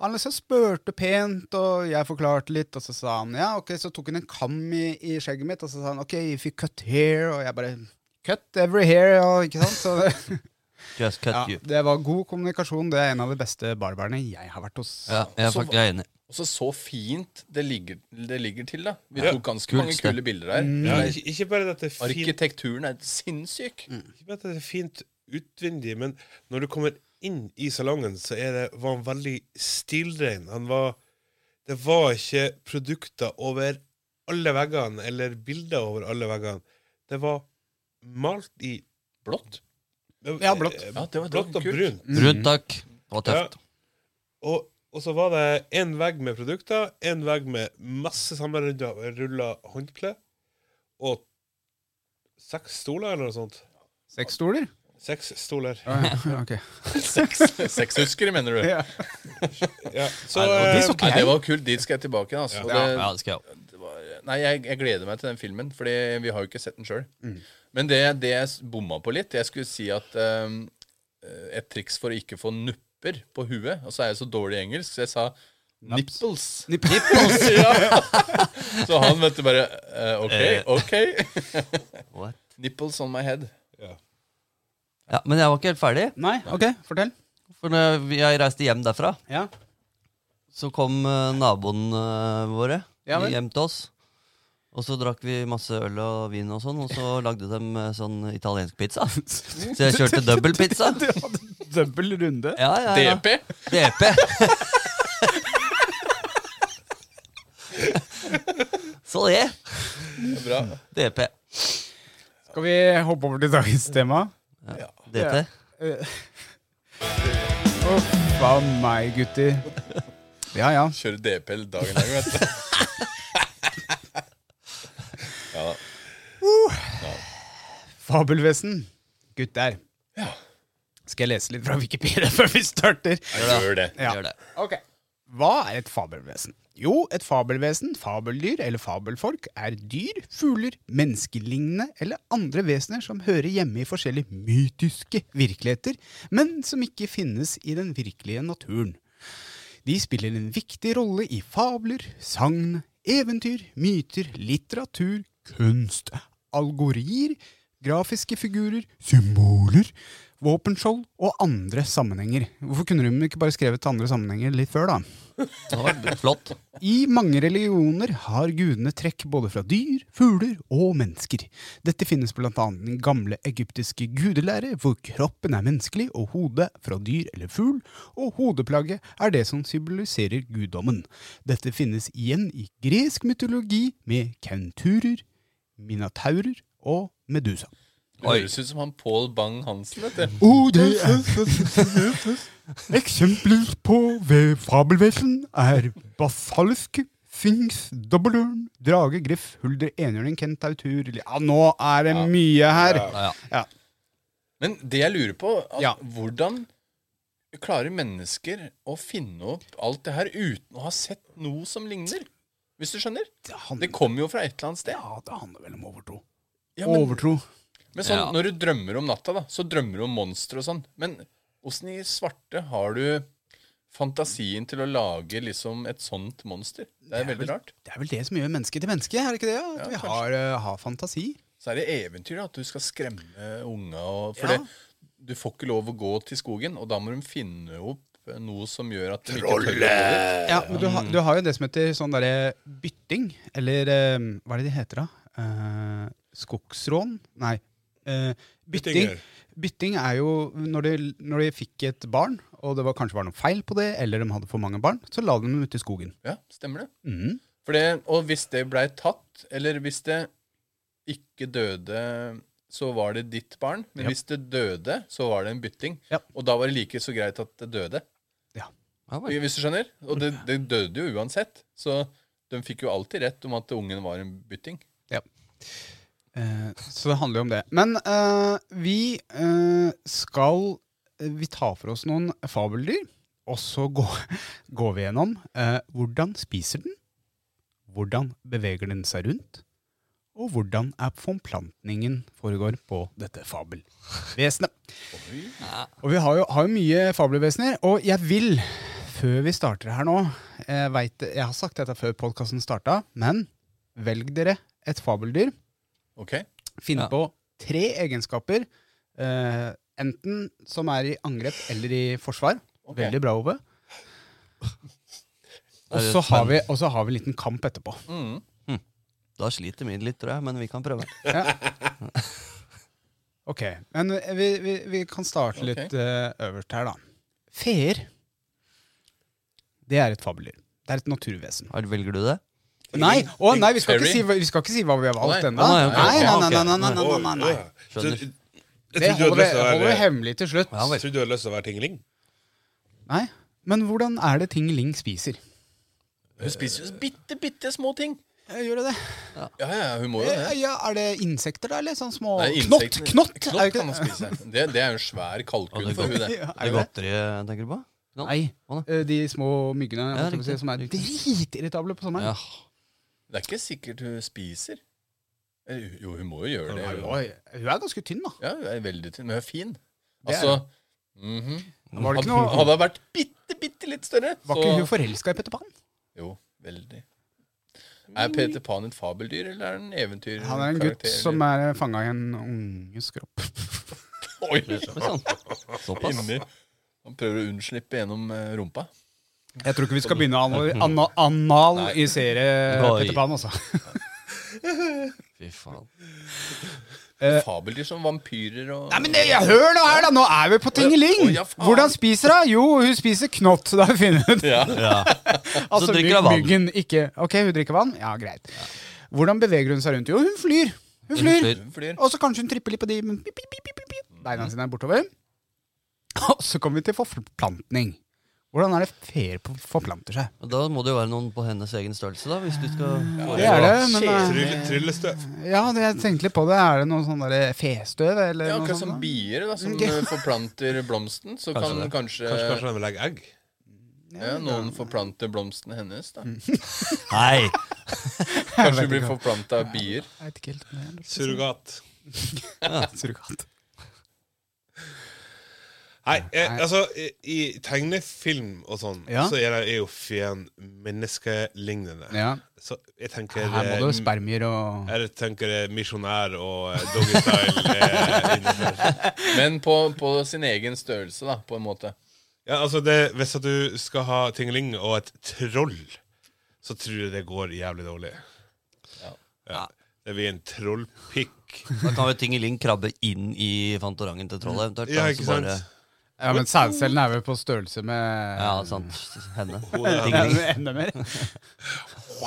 S3: han liksom spurte pent, og jeg forklarte litt, og så sa han ja, ok, så tok han en kam i, i skjegget mitt, og så sa han ok, if you cut here, og jeg bare Cut every hair, og ikke sant? Så det, ja,
S4: Just cut you.
S3: det var god kommunikasjon. Det er en av de beste barberne jeg har vært hos.
S4: Ja, jeg er,
S5: Så-
S4: fakt- jeg er enig.
S5: Og så så fint det ligger, det ligger til, da. Vi
S6: Ja. Mm.
S5: tok ganske
S4: Kult
S5: mange
S4: sted.
S5: kule bilder her.
S6: Ja, ikke, ikke bare at det er fint
S5: Arkitekturen er sinnssyk.
S6: Ikke bare at det er fint utvendig, men når du kommer inn i salongen, så er det, var han veldig stilrein. Han var Det var ikke produkter over alle veggene, eller bilder over alle veggene. Det var malt i eh,
S5: Blått.
S3: Ja, blått.
S5: Ja, det var- det
S6: blått
S5: var
S6: og
S5: kult.
S6: brunt.
S4: Rundt takk. Det var tøft.
S6: Og, og så var det en vegg med produkter, en vegg med masse sammenrulla håndkle, og seks stoler eller noe sånt.
S3: Seks stoler?
S6: Seks stoler.
S3: Ok.
S5: Seks, sekshuskere, mener du?
S3: Ja.
S6: Ja, så
S4: Nei, det var-
S6: eh,
S3: de så ikke
S5: Nei,
S3: jeg.
S5: det var kult. Dit skal jeg tilbake. igjen, Altså. Og
S4: Ja,
S5: det-
S4: ja, det skal jeg også.
S5: det var, nei, jeg, jeg gleder meg til den filmen, Fordi vi har jo ikke sett den sjøl. Men det, det jeg s- bomma på litt Jeg skulle si at ehm, eh, et triks for å ikke få nupper på huet Og så er jeg så dårlig i engelsk, så jeg sa nipples.
S3: Nipples.
S5: ja. Så han vet du bare eh,
S4: Eh.
S5: OK, OK.
S4: What?
S5: nipples on my head.
S4: Ja, men jeg var ikke helt ferdig.
S3: Nei, ok, fortell.
S4: For når jeg reiste hjem derfra,
S3: Ja.
S4: så kom eh, naboene eh, våre
S3: Ja vel.
S4: hjem til oss. Og så drakk vi masse øl og vin og sånn, og så lagde de eh, sånn italiensk pizza. Så jeg kjørte dobbel pizza.
S3: Du hadde dobbel runde.
S4: Ja, ja, ja.
S5: DP.
S4: DP. Så det.
S5: Bra.
S4: DP.
S3: Skal vi hoppe over til dagens tema?
S4: DT.
S3: Hva meg, gutter? Ja, ja.
S5: Kjøre DP hele dagen lang, vet du. Ja da.
S3: Fabelvesen. Gutter. Skal jeg lese litt fra Wikipedia før vi starter?
S5: Jeg gjør det.
S3: Ja.
S4: Gjør det.
S3: Ok. Hva er et fabelvesen? Jo, et fabelvesen, fabeldyr eller fabelfolk er dyr, fugler, menneskelignende eller andre vesener som hører hjemme i forskjellige mytiske virkeligheter, men som ikke finnes i den virkelige naturen. De spiller en viktig rolle i fabler, sagn, eventyr, myter, litteratur, kunst, algorier, grafiske figurer, symboler, våpenskjold og andre sammenhenger. Hvorfor kunne de ikke bare skrevet andre sammenhenger litt før, da?
S4: Det var flott.
S3: I mange religioner har gudene trekk både fra dyr, fugler og mennesker. Dette finnes blant annet i den gamle egyptiske gudelære, hvor kroppen er menneskelig og hodet fra dyr eller fugl, og hodeplagget er det som symboliserer guddommen. Dette finnes igjen i gresk mytologi med kenturer, minataurer og medusa.
S5: Det høres ut som han Pål Bang-Hansen, vet du.
S3: Og det er Eksempler på ved fabelvesen er basalsk, sphinx, dobbeltørn, drage, griff, hulder, enhjørning, kentautur Ja, nå er det mye her!
S4: Ja, ja.
S3: Ja.
S5: Men det jeg lurer på, at
S3: Ja.
S5: hvordan klarer mennesker å finne opp alt det her uten å ha sett noe som ligner? Hvis du skjønner?
S3: Det, handler,
S5: Det kommer jo fra et eller annet sted.
S3: ja, det handler vel om overtro.
S5: Ja, men,
S3: overtro.
S5: men sånn,
S4: Ja.
S5: Når du drømmer om natta, da, så drømmer du om monstre og sånn. Men åssen i svarte har du fantasien til å lage liksom et sånt monster? Det er veldig rart.
S3: Det er vel det som gjør menneske til menneske, er det ikke det? At vi har, eh, har fantasi.
S5: Så er det eventyr da, at du skal skremme unga. og- For
S3: Ja.
S5: det, du får ikke lov å gå til skogen, og da må de finne opp noe som gjør at de ikke tør å gå dit.
S3: Ja, men du, har- du har jo det som heter sånn derre bytting, eller eh, hva er det de heter da? Eh, skogsrån? Nei. eh, bytting.
S6: Byttinger.
S3: Bytting er jo når de, når de fikk et barn, og det var kanskje var noe feil på det, eller de hadde for mange barn, så la de dem ute i skogen.
S5: Ja, stemmer det.
S3: Mhm.
S5: For det, og hvis det blei tatt, eller hvis det ikke døde, så var det ditt barn. Men
S3: Ja.
S5: hvis det døde, så var det en bytting.
S3: Ja.
S5: Og da var det like så greit at det døde.
S4: Ja, vel.
S5: Hvis du skjønner? Og det, det døde jo uansett. Så de fikk jo alltid rett om at ungen var en bytting.
S3: Eh, så det handler jo om det. Men eh, vi eh, skal eh, Vi tar for oss noen fabeldyr, og så gå- går vi gjennom eh, hvordan spiser den, hvordan beveger den seg rundt, og hvordan er forplantningen foregår på dette fabelvesenet. Og vi har jo, har jo mye fabelvesener, og jeg vil, før vi starter her nå Jeg, vet, jeg har sagt dette før podkasten starta, men velg dere et fabeldyr.
S5: Ok?
S3: Finn
S4: Ja.
S3: på tre egenskaper, eh, enten som er i angrep eller i forsvar.
S5: Ok.
S3: Veldig bra, Ove. Og
S4: Er det
S3: så har,
S4: spennende?
S3: vi- og så har vi en liten kamp etterpå.
S5: Mm.
S4: Da sliter min litt, tror jeg, men vi kan prøve.
S3: Ok, Men eh, vi, vi, vi kan starte
S5: Ok.
S3: litt eh, øverst her, da. Feer. Det er et fabeldyr. Det er et naturvesen.
S4: Har- Velger du det?
S3: Nei, å, nei vi, skal ikke
S5: Fairy?
S3: si, hva- vi skal ikke si hva vi har valgt
S5: Nei.
S3: ennå.
S4: Å, nei, ok.
S3: Nei, nei, nei,
S4: Ja, ok.
S3: nei, nei, nei, nei, nei.
S6: Så,
S4: Skjønner.
S6: jeg
S3: Det
S6: trodde du
S3: holder
S6: hadde lyst
S3: vi-
S6: til å
S3: holder vi
S6: være
S3: hemmelig til slutt.
S4: Ja,
S6: Jeg
S4: vel.
S6: trodde du hadde lyst til å være tingling.
S3: Nei, Men hvordan er det ting Ling spiser?
S5: Hun spiser jo bitte, bitte små ting.
S3: Jeg gjør jo det.
S5: Ja, ja, hun må jo
S3: Eh,
S5: det.
S3: Ja, er det insekter, da? Eller sånn små
S5: Nei,
S3: Knott!
S5: insekter-
S3: Knott! er
S5: Knott
S3: jo ikke
S5: kan man spise. Det, det er jo en svær kalkun
S4: det
S5: for
S4: går.
S5: hun, det.
S3: Ja, er
S4: Det
S3: det det?
S4: godteriet tenker du på? Knall?
S3: Nei.
S4: Hva da?
S3: eh, De små myggene
S4: Ja,
S3: holdt jeg på å si,
S4: riktig.
S3: som er dritirritable på sommeren.
S4: Ja.
S5: Det er ikke sikkert hun spiser. Eh, Jo, hun må jo gjøre det.
S3: Oi,
S5: Hun,
S3: oi, Hun er ganske tynn, da.
S5: ja, hun er veldig tynn, men hun er fin.
S3: Det er
S5: Altså mhm.
S3: Var det ikke
S5: Hadde-
S3: noe
S5: Hadde hun vært bitte, bitte litt større,
S3: Var ikke hun forelska i Petter Pan?
S5: Jo, veldig. Er Peter Pan et fabeldyr, eller er han en eventyrkarakter?
S3: Han er en gutt som er fanga i en unges kropp.
S5: Oi,
S4: Men sånn. Såpass.
S5: inni. Han prøver å unnslippe gjennom eh, rumpa.
S3: Jeg tror ikke vi skal begynne å anal- ana- analysere
S4: Oi.
S3: Petter Pan, altså.
S4: Fy faen.
S5: Fabeldyr som vampyrer og
S3: Eh. Nei, men det- ja, hør nå her, da! Nå er vi på tingeling!
S5: Å, ja, faen.
S3: Hvordan spiser hun? Jo, hun spiser knott. Det har vi funnet ut.
S5: Ja.
S4: Ja.
S3: Altså,
S4: drikker hun vann.
S3: myggen ikke Ok, hun drikker vann? Ja, greit. Hvordan beveger hun seg rundt? Jo, hun flyr. Hun flyr.
S4: flyr.
S5: Hun flyr.
S3: Og så kanskje hun tripper litt på de men pip, pip, pip, pip, pip. Beina sine er bortover. Og så kommer vi til forplantning. Hvordan er det feer på- forplanter seg?
S4: Men Da må det jo være noen på hennes egen størrelse, da. Hvis du skal
S3: Det er det, men eh,
S6: Trylle, tryllestøv.
S3: Ja, det jeg tenkte litt på det. Er det noe sånn derre festøv, eller
S5: Ja,
S3: noe
S5: akkurat
S3: sånt?
S5: som
S3: da?
S5: bier da, som
S3: Ja.
S5: eh, forplanter blomsten. Så
S4: Kanskje
S5: kan
S4: det.
S5: kanskje,
S6: Kanskje, kanskje de legger egg?
S5: Ja, noen forplante blomstene hennes. da
S4: Nei!
S3: Jeg Mm.
S5: Kanskje
S3: vet
S5: du blir
S3: ikke.
S5: forplanta av bier.
S3: Jeg vet ikke helt hva det er.
S6: Surrogat.
S3: Surrogat.
S6: Nei, eh, altså, i, i tegnefilm og sånn,
S3: Ja.
S6: så er, det, er jo fjern menneskelignende.
S3: Ja.
S6: Så jeg tenker
S3: Her må
S6: eh,
S3: du spermier og
S6: Jeg tenker eh, misjonær og eh, doggystyle. eh, innenfor.
S5: Men på, på sin egen størrelse, da, på en måte.
S6: ja, altså det, hvis at du skal ha tingeling og et troll, så tror jeg det går jævlig dårlig.
S5: Ja.
S6: Ja. Det blir en trollpikk.
S4: Da kan jo Tingeling krabbe inn i fantorangen til trollet, eventuelt.
S6: Ja,
S4: da,
S6: ikke
S4: så bare-
S6: sant?
S3: Ja, men sædcellen er vel på størrelse med
S4: Ja, sant. Henne.
S3: Ja,
S4: Tingeling.
S3: men Enda mer.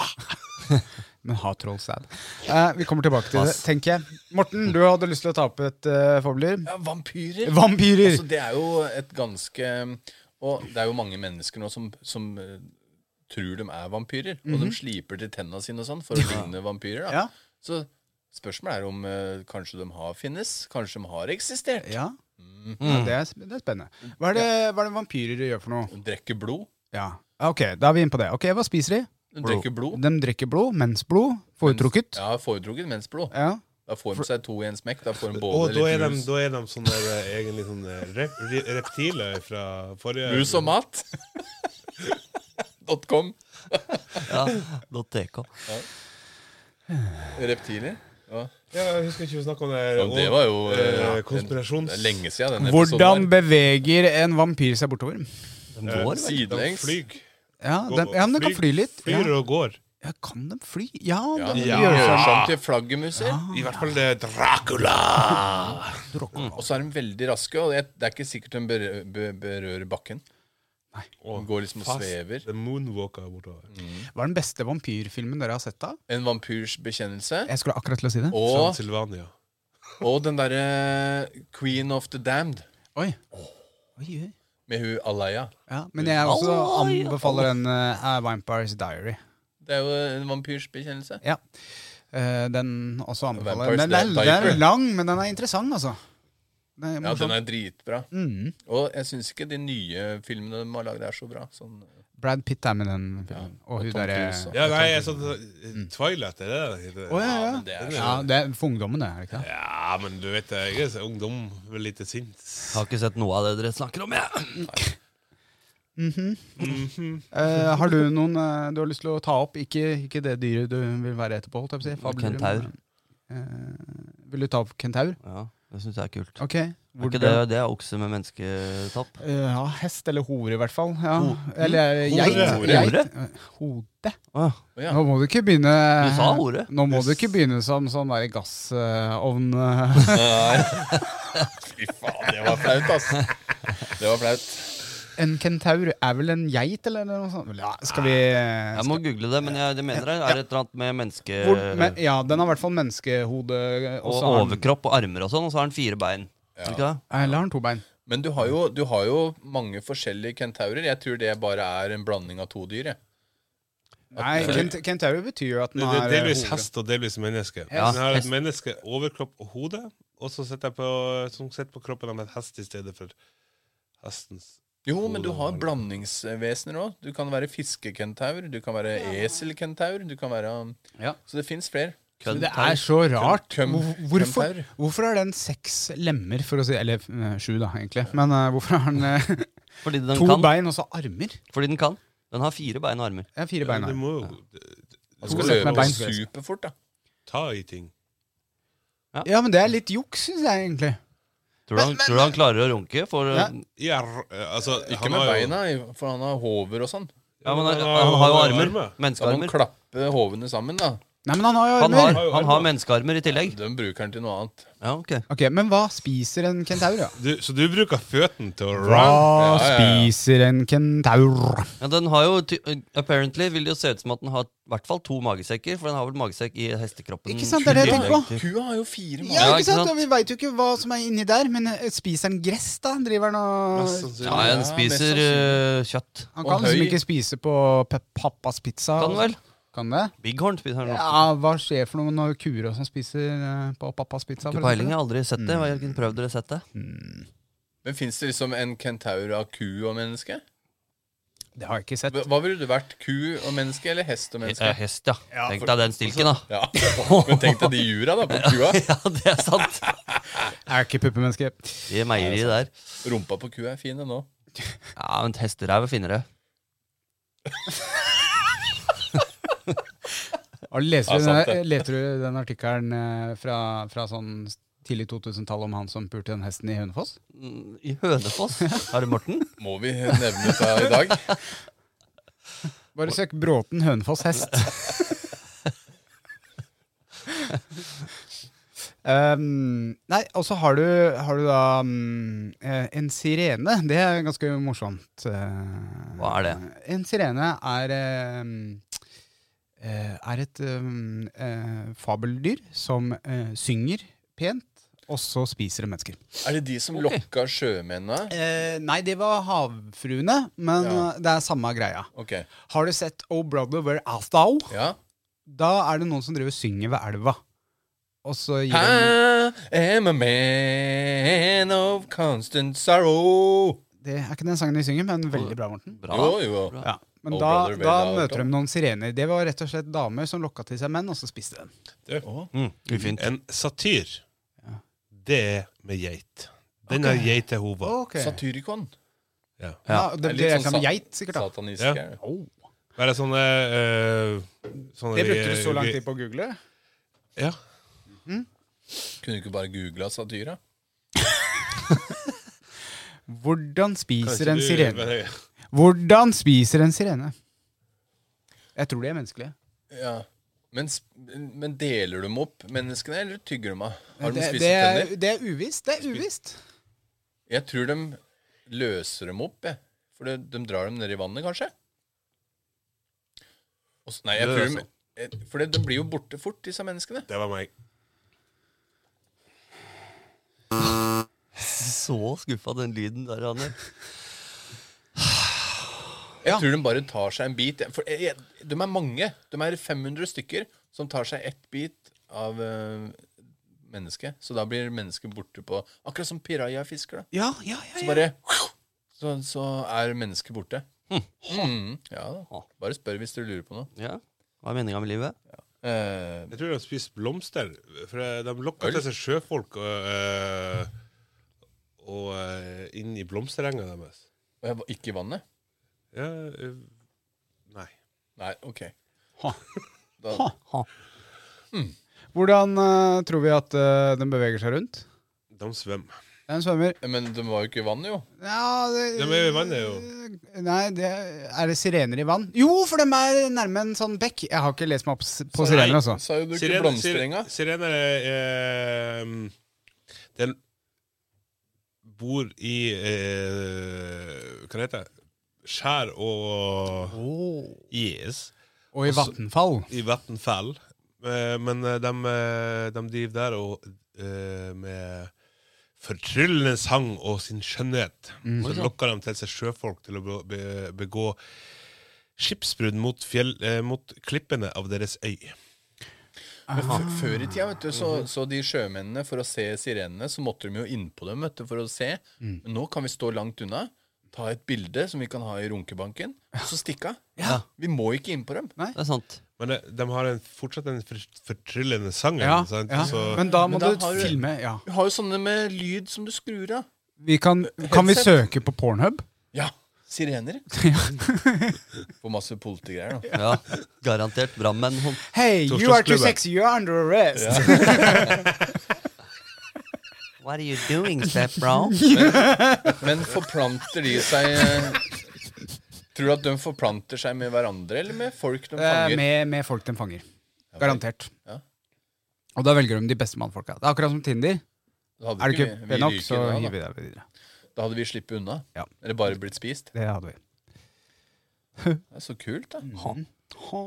S3: Men ha troll sad. Eh, vi kommer tilbake til det,
S4: Pass.
S3: tenker jeg. Morten, du hadde lyst til å ta opp et uh, fobler.
S5: Ja, vampyrer!
S3: Vampyrer!
S5: Altså, det er jo et ganske Og det er jo mange mennesker nå som, som eh, tror de er vampyrer. Og de sliper til tenna sine og sånn for å ligne vampyrer. da
S3: Mhm. Ja.
S5: Så spørsmålet er om eh, kanskje de har finnes. Kanskje de har eksistert.
S3: Ja. ja det, er, sp- det er spennende. Hva er det, hva er det vampyrer gjør for noe?
S5: De drikker blod.
S3: Ja, Ah, Ok, da er vi inne på det. Ok, Hva spiser de?
S5: De drikker blod.
S3: De drikker blod. Mensblod. Foretrukket.
S5: Ja, foretrukket mensblod.
S3: Ja.
S5: Da får de seg to i en smekk. Da får de
S6: Og
S5: både
S6: da er,
S5: litt rus,
S6: de, da er de sånne der, eh, egentlig sånne rep, re- reptiler fra forrige
S5: rus og mat. .com.
S4: Ja, .tk.
S5: Reptiler. Ja.
S6: Ja, jeg husker ikke vi snakka om det.
S5: Ja, det var jo eh,
S6: eh,
S5: en-
S6: konspirasjons-
S5: Det er lenge siden den
S3: Hvordan
S5: episoden var.
S3: beveger en vampyr seg bortover?
S4: Den går, vel?
S6: De
S5: Sidelengs.
S6: flyg.
S3: Ja, de, ja men de kan fly litt.
S6: Flyr
S3: Ja.
S6: og går.
S3: Ja, kan de fly? Ja,
S5: Ja,
S3: de
S5: ja.
S3: gjør
S5: Gjør
S3: sånn.
S5: sånn til flaggermuser.
S6: I hvert fall det er Dracula.
S5: Og så er de veldig raske, og det det er ikke sikkert de berører, berører bakken.
S6: Og
S5: Går liksom og svever.
S6: The Moonwalker bortover.
S3: Hva er den beste vampyrfilmen dere har sett? da?
S5: En vampyrs bekjennelse.
S3: Jeg skulle akkurat til å si det.
S5: Og,
S6: Transylvania.
S5: og den derre Queen of the Damned
S3: Oi. Oi, oi.
S5: med hun Alaya.
S3: Ja, men jeg også anbefaler den eh, A Vampire's Diary.
S5: Det er jo en vampyrs bekjennelse.
S3: Ja. Eh, den også anbefaler
S5: Vampire's
S3: jeg. Den, er- den
S5: Diary.
S3: er lang, men den er interessant, altså. Den er Mm.
S5: Ja,
S3: morsom.
S5: den er dritbra. Og jeg syns ikke de nye filmene de har lagd, er så bra. Sånn,
S3: Brad Pitt er med den filmen.
S5: og
S3: og hun
S5: Tom
S3: derre
S5: Cruise og-
S6: Ja, nei, jeg sånn Twilight, er det det heter?
S3: Å, ja,
S5: men det
S3: ja.
S5: er
S3: ja, det er for ungdommene, er det ikke det?
S6: Ja, men du vet det, jeg er så ungdom, vel lite sint.
S4: Har ikke sett noe av det dere snakker om, jeg.
S3: Eh, har du noen eh, du har lyst til å ta opp? Ikke, ikke det dyret du vil være etterpå, holdt jeg på å si. Fabler, men,
S4: Kentaur.
S3: eh, vil du ta opp kentaur?
S4: Ja, det syns jeg er kult.
S3: Ok.
S4: Er ikke det, det er okse med mennesketopp.
S3: Eh, Ja, hest eller hore i hvert fall. Ja. Eller eh, geit.
S5: Hore.
S3: Geit.
S4: Hore?
S3: Eh, Hode.
S4: Å,
S5: Ja.
S3: Nå må du ikke begynne
S4: Du sa
S3: Eh.
S4: hore.
S3: Nå må du ikke begynne som sånn der gassovn. eh.
S5: Fy faen, det var flaut, ass. Det var flaut.
S3: En kentaur er vel en geit, eller noe sånt? Ja, skal vi
S4: Jeg må google det, men jeg, det mener jeg er et eller annet med menneske...
S3: hvor, men, Ja, den har i hvert fall menneskehode.
S4: Og
S3: så har den-
S4: overkropp og armer og sånn, og så har han fire bein. Er det Ikke det?
S3: Eller har den to bein?
S5: Men du har, jo, du har jo mange forskjellige kentaurer. Jeg tror det bare er en blanding av to dyr. jeg.
S3: Nei, Kent, Kentauri betyr jo at den
S6: Det
S3: har
S6: er delvis
S3: hode.
S6: hest og delvis menneske.
S4: Ja,
S6: Den har et
S4: hest.
S6: menneske, overkropp og hode, og så sitter jeg på, som sitter på kroppen av et hest i stedet for hestens
S5: Jo, men du har blandingsvesener òg. Du kan være fiskekentaur, du kan være eselkentaur, du kan være um,
S3: Ja.
S5: Så det fins flere.
S3: Men Det er så rart.
S5: Køm-
S3: Hvor- Hvorfor,
S5: kømtaur.
S3: hvorfor har den seks lemmer, for å si Eller eh, sju, da, egentlig. Men eh, hvorfor har den eh,
S4: Fordi den
S3: to
S4: kan.
S3: bein og så armer?
S4: Fordi den kan. Den har fire bein og armer.
S3: Ja, fire
S6: Men
S3: bein. her.
S6: Du må jo
S5: Man
S4: Altså,
S3: To
S5: skal
S3: sett med
S5: løpe
S3: bein.
S5: superfort, da.
S6: ta i ting.
S3: Ja, men det er litt juks, syns jeg egentlig.
S4: Tror du han, tror du han klarer å runke? For,
S3: Ja.
S4: ja.
S6: Ja, r- eh, altså,
S5: Ikke
S6: han
S5: med
S6: har jo-
S5: beina, for han har hover og sånn.
S4: men han,
S6: Han
S4: han har jo armer.
S5: Da må han
S4: Menneskearmer.
S5: klappe hovene sammen, da.
S3: Nei, men han har jo
S4: Han har,
S3: armer!
S4: han har menneskearmer i tillegg.
S5: De bruker han til noe annet.
S4: Ja, ok.
S3: Ok, Men hva spiser en kentaur, da?
S6: Du, så du bruker føttene til å run?
S3: Hva
S5: Ja, ja, ja.
S3: spiser en kentaur?
S4: Ja, den har jo, ty- apparently vil det jo se ut som at den har i hvert fall to magesekker, for den har vel magesekk i hestekroppen.
S3: Ikke sant, det er det jeg tenker på.
S5: Kua har jo fire
S3: Ja,
S4: Ja,
S3: ikke
S4: ikke
S3: sant?
S4: sant?
S3: Og vi veit jo ikke hva som er inni der, men eh, spiser han gress, da? Driver han
S6: Mest
S5: Altså,
S3: og
S6: sannsynlig.
S4: Ja, den spiser eh, kjøtt.
S3: Han
S5: Og
S3: kan liksom
S5: høy.
S3: ikke spise på pe- pappas pizza.
S4: Kan den vel?
S3: Kan det?
S4: Bighorn spiser den.
S3: Ja, hva skjer for noe når kuer og sånn spiser eh, på pappas pizza?
S4: Ikke
S3: for eksempel?
S4: peiling, jeg har aldri sett det. Jeg har ikke prøvd eller sett det.
S5: Men fins det liksom en kentaur av ku og menneske?
S3: Det har jeg ikke sett.
S5: Hva hva ville du vært? Ku og menneske, eller hest og
S4: Ja,
S5: menneske?
S4: hest, ja. Tenk deg den stilken, da.
S5: Ja, Men tenk deg de jura, da, på kua.
S4: Ja, det er sant.
S3: Jeg er ikke puppemenneske.
S4: Det meieriet der.
S5: Rumpa på kua er fin, den òg.
S4: Ja, men hesteræve finner det.
S3: Og Leser, du
S5: Ja, sant
S3: den- leter du den artikkelen eh, fra, fra sånn tidlig 2000-tall om han som pulte den hesten i Hønefoss?
S4: Mm, I Hønefoss. Har du Morten?
S5: Må vi nevne det i dag?
S3: Bare søk Bråten Hønefoss hest. um, nei, og så har, du- har du da mm, eh, en sirene. Det er ganske morsomt. eh.
S4: Hva er det?
S3: En sirene er eh, eh, er et um, eh, fabeldyr som eh, synger pent, og så spiser det mennesker.
S5: Er det de som lokka sjømennene?
S3: Eh, nei, det var havfruene, men
S5: Ja.
S3: eh, det er samme greia.
S5: Ok,
S3: Har du sett Oh Brother Where Art Thou?
S5: ja.
S3: Da er det noen som driver og synger ved elva. Og så gir de
S5: I am a man of constant sorrow.
S3: Det er ikke den sangen de synger, men veldig bra, Morten.
S4: Bra.
S5: Jo, jo.
S4: Bra.
S3: Ja. Men
S5: Oh
S3: da,
S5: Brother Where
S3: da
S5: Thou Art
S3: møter de noen sirener. Det var rett og slett damer som lokka til seg menn, og så spiste de.
S4: Mm, ufint.
S6: En satyr, det er med geit. Den har geitehova.
S5: Satyricon.
S6: Ja.
S3: Ja,
S4: Ja.
S3: det
S5: Er litt
S3: det er
S5: sånn
S3: som
S5: sa-
S3: geit, sikkert. da
S5: Satanisk.
S6: Ja.
S5: er det.
S6: Bare sånne, eh, sånne
S3: Det brukte du så lang tid på å google?
S6: Ja.
S5: Kunne du ikke bare googla satyra?
S3: Hvordan spiser
S6: Kanskje
S3: en
S6: du-
S3: sirene?
S6: bare-
S3: Hvordan spiser en sirene? Jeg tror de er menneskelige.
S5: Ja. Men, sp- men deler du dem opp, menneskene, eller tygger de av? Har de
S3: Det,
S5: spist
S3: det, er,
S5: tenner?
S3: det er uvisst. Det er uvisst.
S5: Jeg tror de løser dem opp, jeg. For de, de drar dem ned i vannet, kanskje? Og s- nei, jeg
S6: Det
S5: tror
S6: er
S5: de jeg- For de blir jo borte fort, disse menneskene.
S6: Det var meg.
S4: Så skuffa den lyden der, Anne.
S5: Jeg tror de bare tar seg en bit. jeg. For eh, jeg, jeg, de er mange. De er 500 stykker som tar seg ett bit av eh, mennesket. Så da blir mennesket borte på Akkurat som pirajafisker, da.
S3: Ja, ja, ja,
S5: Så bare så, så er mennesket borte.
S3: Hm.
S5: Mm, ja da. Bare spør hvis dere lurer på noe.
S4: Ja. Hva er meninga med livet?
S5: Eh,
S6: Jeg tror de spiser blomster. For eh, de lokker
S5: Øl?
S6: til seg sjøfolk og, eh, og eh, inn i blomsterenga deres.
S5: og jeg var ikke i vannet?
S6: Ja, eh, nei.
S5: Nei, OK.
S3: Ha.
S5: Da,
S3: Ha.
S6: Hmm.
S3: Hvordan eh, tror vi at eh, den beveger seg rundt?
S6: De svømmer.
S3: Den svømmer.
S5: men de var jo ikke i vannet, jo.
S3: Ja, det,
S6: De er jo i vannet, jo.
S3: Nei, det, er det sirener i vann? Jo, for de er nærme en sånn bekk. Jeg har ikke lest meg opp s- på
S6: Så nei,
S3: sirener, altså.
S5: Sa jo du ikke
S6: Sirene-
S5: blomsterenga?
S6: sir- Sirener er eh, Den bor i eh, Hva heter det? Skjær og
S3: Oh.
S6: is
S3: Og i vatnfall.
S6: i Vattenfell. Eh, Men eh, de, eh, de driver der og eh, med fortryllende sang
S3: Mm.
S6: og sin skjønnhet. Så lokker de til seg sjøfolk til å be- be- begå skipsbrudd mot, fjell, eh, mot klippene av deres øy.
S5: Men f- Før i tida, vet du, så,
S3: Mhm.
S5: så de sjømennene, for å se sirenene, så måtte de jo innpå dem vet du, for å se.
S3: Mm.
S5: Men nå kan vi stå langt unna, ta et bilde som vi kan ha i runkebanken, og så stikke av.
S4: Ja.
S5: Vi må ikke innpå dem.
S4: Det er sant.
S6: Men det, de har en, fortsatt den for, fortryllende sangen.
S3: Ja,
S6: sant?
S3: ja.
S6: Så,
S3: Men da må
S5: Men da
S3: du
S5: har du-
S3: filme. Ja.
S5: Vi har jo sånne med lyd som du skrur av.
S3: Vi kan, kan vi
S5: Headset.
S3: søke på Pornhub?
S5: Ja, sirener. Får masse politigreier, da.
S4: Ja, garantert brannmenn. hun-
S3: Hey, you are too
S6: Torsdagsklubben.
S3: sexy, you are under arrest!
S4: What are you doing, stepbro?
S5: Men forplanter de seg eh, Tror du at de forplanter seg med hverandre, eller med folk de
S3: Eh,
S5: fanger?
S3: Med, med folk de fanger. Garantert.
S5: Ja.
S3: Og da velger de de beste mannfolka. Det er akkurat som Tinder.
S5: Da hadde
S3: Er du
S5: ikke
S3: ikke
S5: vi- vi
S3: bra nok,
S5: ryker
S3: så
S5: da, da.
S3: hiver vi deg videre.
S5: Da hadde vi sluppet unna.
S3: Ja.
S5: Eller bare blitt spist.
S3: Det hadde vi.
S5: Det er så kult, da.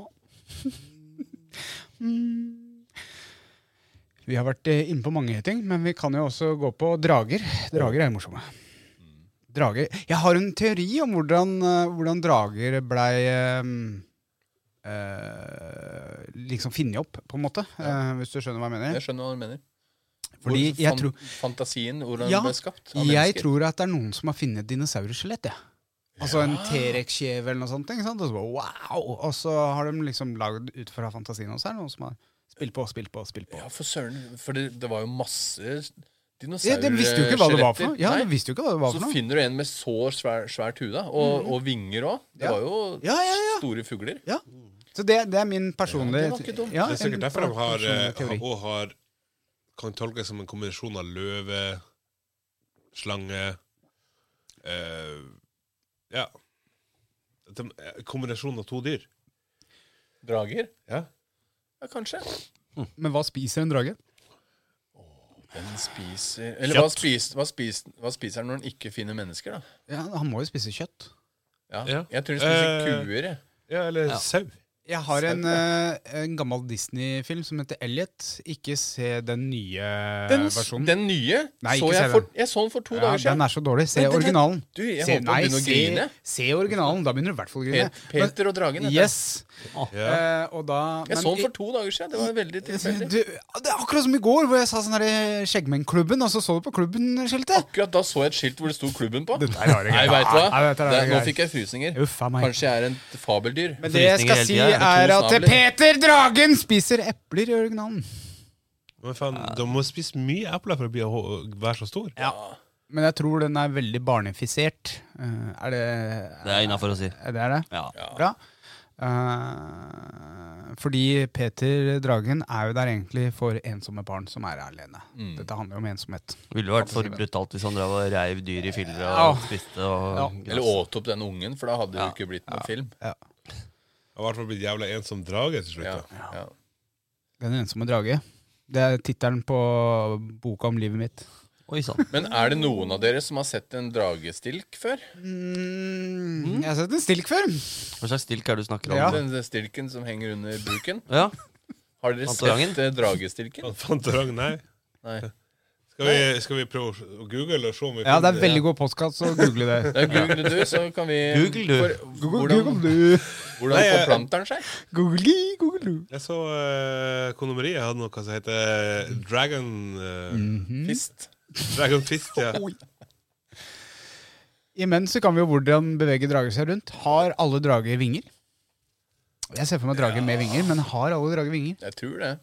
S3: Mm. Vi har vært eh, inne på mange ting, men vi kan jo også gå på drager. Drager er morsomme. Drager. Jeg har en teori om hvordan, eh, hvordan drager blei eh, eh, liksom funnet opp, på en måte. eh, hvis du skjønner hva jeg mener.
S5: Jeg skjønner hva du mener.
S3: Fordi
S5: Hvor
S3: jeg
S5: fan-
S3: tror,
S5: Fantasien, hvordan
S3: Ja,
S5: den ble skapt. av
S3: jeg
S5: mennesker.
S3: tror at det er noen som har funnet et dinosaurskjelett. jeg. Altså en T-rex-kjeve eller noe sånt. Ikke sant? Og, så bare, wow! og så har de liksom lagd ut fra fantasien, og så er det noen som har spilt på, spilt på, spilt på.
S5: Ja, for søren. For det, det var jo masse
S3: Ja,
S5: dinosaurer
S3: de visste jo ikke hva det var for noe. Ja,
S5: Nei.
S3: de visste jo ikke hva det var
S5: Så
S3: for noe. Mhm.
S5: finner du en med så svær, svært hue, da. Og, og vinger òg. Det
S3: Ja.
S5: var jo
S3: Ja, ja, ja.
S5: store fugler.
S3: Ja. Så det, det er min personlige
S5: Ja, det var ikke dumt.
S3: ja,
S6: det er
S3: en
S6: sikkert derfor de har,
S3: personlig
S6: eh,
S3: teori.
S6: og har kan tolkes som en kombinasjon av løve, slange eh, Ja. At de- eh, Kombinasjon av to dyr.
S5: Drager?
S6: Ja.
S5: Ja, kanskje.
S3: Men hva spiser en drage?
S5: Den spiser Eller hva spiser, hva, spiser, hva spiser den når den ikke finner mennesker, da?
S3: Ja, han må jo spise kjøtt.
S5: Ja.
S6: Ja.
S5: Jeg tror den spiser
S6: Eh,
S5: kuer, jeg.
S6: Ja, eller
S4: Ja.
S6: sau.
S3: Jeg har en, eh, en gammel Disney-film som heter Elliot. Ikke se den nye
S5: Den,
S3: Eh, versjonen.
S5: den nye
S3: Nei,
S5: så
S3: ikke
S5: jeg,
S3: se
S5: for,
S3: den.
S5: jeg så den for to
S3: ja,
S5: dager siden.
S3: den er så dårlig. Se
S5: Men den er-
S3: originalen.
S5: Du, jeg
S3: se,
S5: holdt på å begynne å
S3: se,
S5: grine.
S3: se originalen. Da begynner du i hvert fall å grine.
S5: Pet, Peter og dragen.
S3: Men,
S5: heter
S3: yes.
S6: Ja.
S3: Eh, og da men
S5: Jeg så
S3: i-
S5: den for to dager siden. Det var veldig tilfeldig.
S3: du, Det er akkurat som i går, hvor jeg sa sånn her eh, Skjeggmennklubben, og så så du på klubben-skiltet.
S5: Akkurat da så jeg et skilt hvor det sto klubben på.
S3: Dette er rare
S5: Ah. Nei,
S3: greier.
S5: vet du hva?
S3: Nei, dette er
S5: det,
S3: rare
S5: nå
S3: greier.
S5: fikk jeg frysninger.
S3: Uff a meg.
S5: Kanskje jeg er et fabeldyr.
S3: Men det jeg skal
S4: Frysninger hele
S3: si,
S4: tida, er
S3: er
S5: det to
S3: at eh,
S5: snabler?
S3: Peter Dragen spiser epler i originalen.
S6: Men faen, de må spise mye epler for å bli, å være så stor.
S3: Ja. Men jeg tror den er veldig barnefisert. Eh, er det
S4: Det er innafor å si.
S3: er det er det?
S4: Ja.
S3: Bra. Eh, fordi Peter Dragen er jo der egentlig for ensomme barn som er alene. Dette handler jo om ensomhet.
S4: Ville vært for brutalt hvis han drev og reiv dyr i filler
S3: Ja.
S4: og spiste og
S5: Eller åt opp den ungen, for da hadde det jo ikke blitt noen film.
S6: Jeg har i hvert fall blitt jævla ensom drage til slutt.
S5: Ja,
S6: da.
S5: ja.
S3: Den ensomme drage. Det er tittelen på boka om livet mitt.
S4: Oi sann.
S5: Men er det noen av dere som har sett en dragestilk før?
S3: Mm, jeg har sett en stilk før.
S4: Hva slags stilk er det du snakker om?
S3: Ja.
S5: Den den stilken som henger under buken?
S4: Ja.
S5: Har dere
S4: Fantorangen?
S5: sett eh, dragestilken?
S6: Fan, Fantorang, nei.
S5: Nei.
S6: Skal vi, skal vi prøve å s- å google og se om vi
S3: Ja, det er
S6: finner
S3: veldig god postkast, så google det.
S5: Da Google du, så kan vi
S4: Google du.
S5: hvordan,
S3: du.
S5: hvordan forplanter den seg?
S3: Google de, google du.
S6: Jeg så eh, kondomeriet hadde noe som heter Dragon eh,
S3: Mm.
S5: Fist.
S6: Dragon Fist. Ja.
S3: Imens så kan vi jo hvordan bevege drager seg rundt. Har alle drager vinger? Jeg ser for meg drager med vinger, men har alle drager vinger?
S5: Jeg tror det.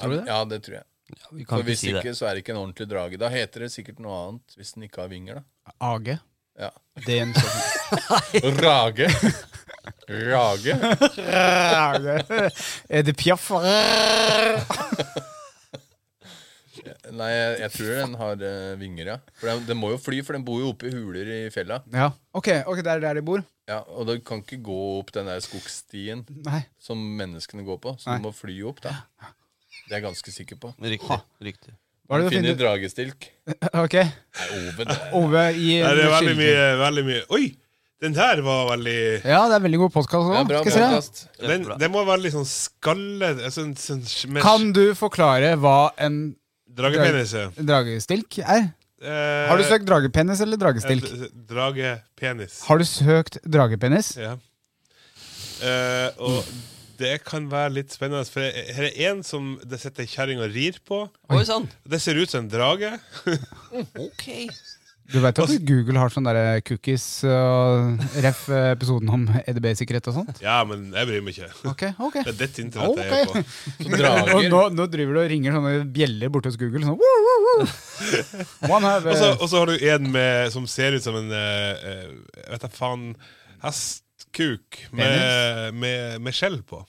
S3: Tror du det?
S5: Ja, det tror jeg.
S4: Ja, vi kan
S5: For
S4: ikke
S5: hvis
S4: si det.
S5: ikke, så er det ikke en ordentlig drage. Da heter det sikkert noe annet hvis den ikke har vinger, da.
S3: AG.
S5: Ja.
S3: Det er en sånn
S5: Rage. Rage.
S3: Er det piaff?
S5: Nei, jeg, jeg tror den har eh, vinger, ja. For den, den må jo fly, for den bor jo oppe i huler i fjella.
S3: Ja. Ok, ok, det er der de bor?
S5: Ja, og du kan ikke gå opp den der skogsstien
S3: Nei.
S5: som menneskene går på, så
S3: Nei.
S5: du må fly opp, da. Det er jeg ganske sikker på.
S4: Riktig. riktig.
S3: Hva er
S5: Du
S3: det du
S5: finner
S3: finner?
S5: dragestilk.
S3: Ok,
S5: Nei, Ove, det er
S3: Ove i
S6: Nei, det er veldig mye, veldig mye Oi! Den der var veldig
S3: Ja, det er veldig god postkast
S5: det er
S3: òg.
S5: bra
S3: Skal jeg se.
S5: podcast.
S6: den,
S4: Kjempebra.
S6: den må være litt sånn skallet altså, en, sånn sj- med
S3: Kan du forklare hva en
S6: sj- Dragepenis. ja.
S3: dragestilk er?
S6: Eh,
S3: Har du søkt dragepenis eller dragestilk?
S6: en d- Dragepenis.
S3: Har du søkt dragepenis?
S6: Ja. Eh, og det kan være litt spennende, for her er en som det sitter ei kjerring og rir på.
S4: Oi sann.
S6: Det ser ut som en drage.
S4: Ok.
S3: Du vet at
S6: Altså-
S3: Google har sånne der eh, cookies og ref. eh, episoden om EDB-sikkerhet og sånt?
S6: Ja, men jeg bryr meg ikke.
S3: Ok, ok.
S6: Det er ditt internett jeg
S3: Ok.
S6: er på.
S3: Og
S5: Drager.
S3: nå, nå driver du og ringer sånne bjeller borte hos Google. Sånn, woo, woo, woo. One have,
S6: Og så,
S3: eh,
S6: og så har du en med, som ser ut som en eh, eh, jeg vet da faen hestkuk med, med, med skjell på.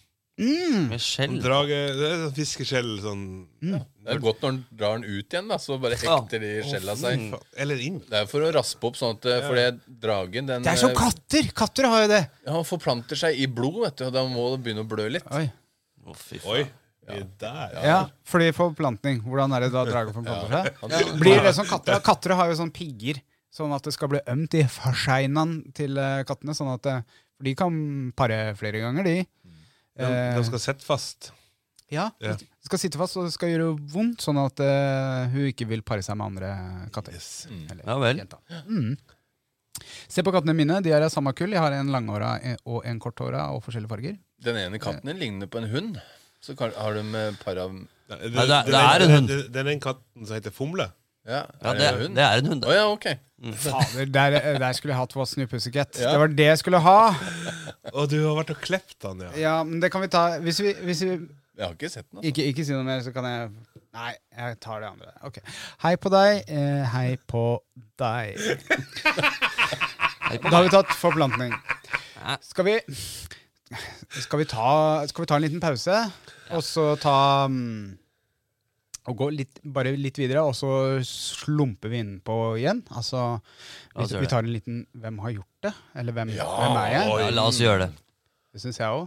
S4: Med skjell.
S6: Drage, det er sånn Fiskeskjell sånn
S5: Det er godt når den drar den ut igjen, da, så bare hekter de skjella seg.
S6: Faen, Eller inn.
S5: Det er for å raspe opp sånn at eh, Fordi dragen, den
S3: Det er som
S5: eh,
S3: katter! Katter har jo det.
S5: Ja, han forplanter seg i blod, vet du, og da må det begynne å blø litt.
S3: Oi.
S4: Å, fy faen.
S6: Oi. Ja. Der, ja.
S3: Ja, fordi forplantning. Hvordan er det da drager forplanter seg?
S5: Han, ja.
S3: Blir det som katter? Katter har jo sånn pigger, sånn at det skal bli ømt i fascinaen til eh, kattene. Sånn at eh, for de kan pare flere ganger, de. Eh,
S6: De, de skal sitte fast.
S3: Ja,
S6: Ja.
S3: Det skal sitte fast, og det skal gjøre vondt, sånn at eh, hun ikke vil pare seg med andre katter. Eller
S4: Ja vel.
S3: jenta. Mm. Se på kattene mine. De er av samme kull. Jeg har en langhåra eh, og en korthåra og forskjellige farger.
S5: Den ene katten din ligner på en hund. Så kan, har de eh, par av
S6: Nei,
S4: Nei, det er- det er
S6: den-
S4: en hund.
S6: Den, den ene katten som heter Fomle.
S5: Ja,
S4: Ja,
S5: er
S4: det,
S5: det, en hund?
S4: det er en hund.
S5: Å ja, ok.
S3: Fader, der, eh, der skulle jeg hatt What's New Pussycat.
S5: Ja.
S3: Det var det jeg skulle ha!
S6: Og du har vært og klept han, ja.
S3: Ja, men det kan vi ta Hvis vi, hvis vi
S5: Jeg har ikke sett den. Altså.
S3: ikke, ikke si noe mer, så kan jeg Nei, jeg tar det andre. Ok. Hei på deg. Eh, hei på deg.
S4: Hei på
S3: Da har vi tatt forplantning.
S4: Ja.
S3: Skal vi Skal vi ta, skal vi ta en liten pause, og så ta mm, Og gå litt, bare litt videre, og så slumper vi innpå igjen? Altså
S4: La
S3: hvis
S4: oss gjøre
S3: Vi
S4: det.
S3: tar en liten 'Hvem har gjort det?' Eller 'Hvem, hvem er jeg?'
S4: Ja, la oss gjøre det.
S3: Det syns jeg òg.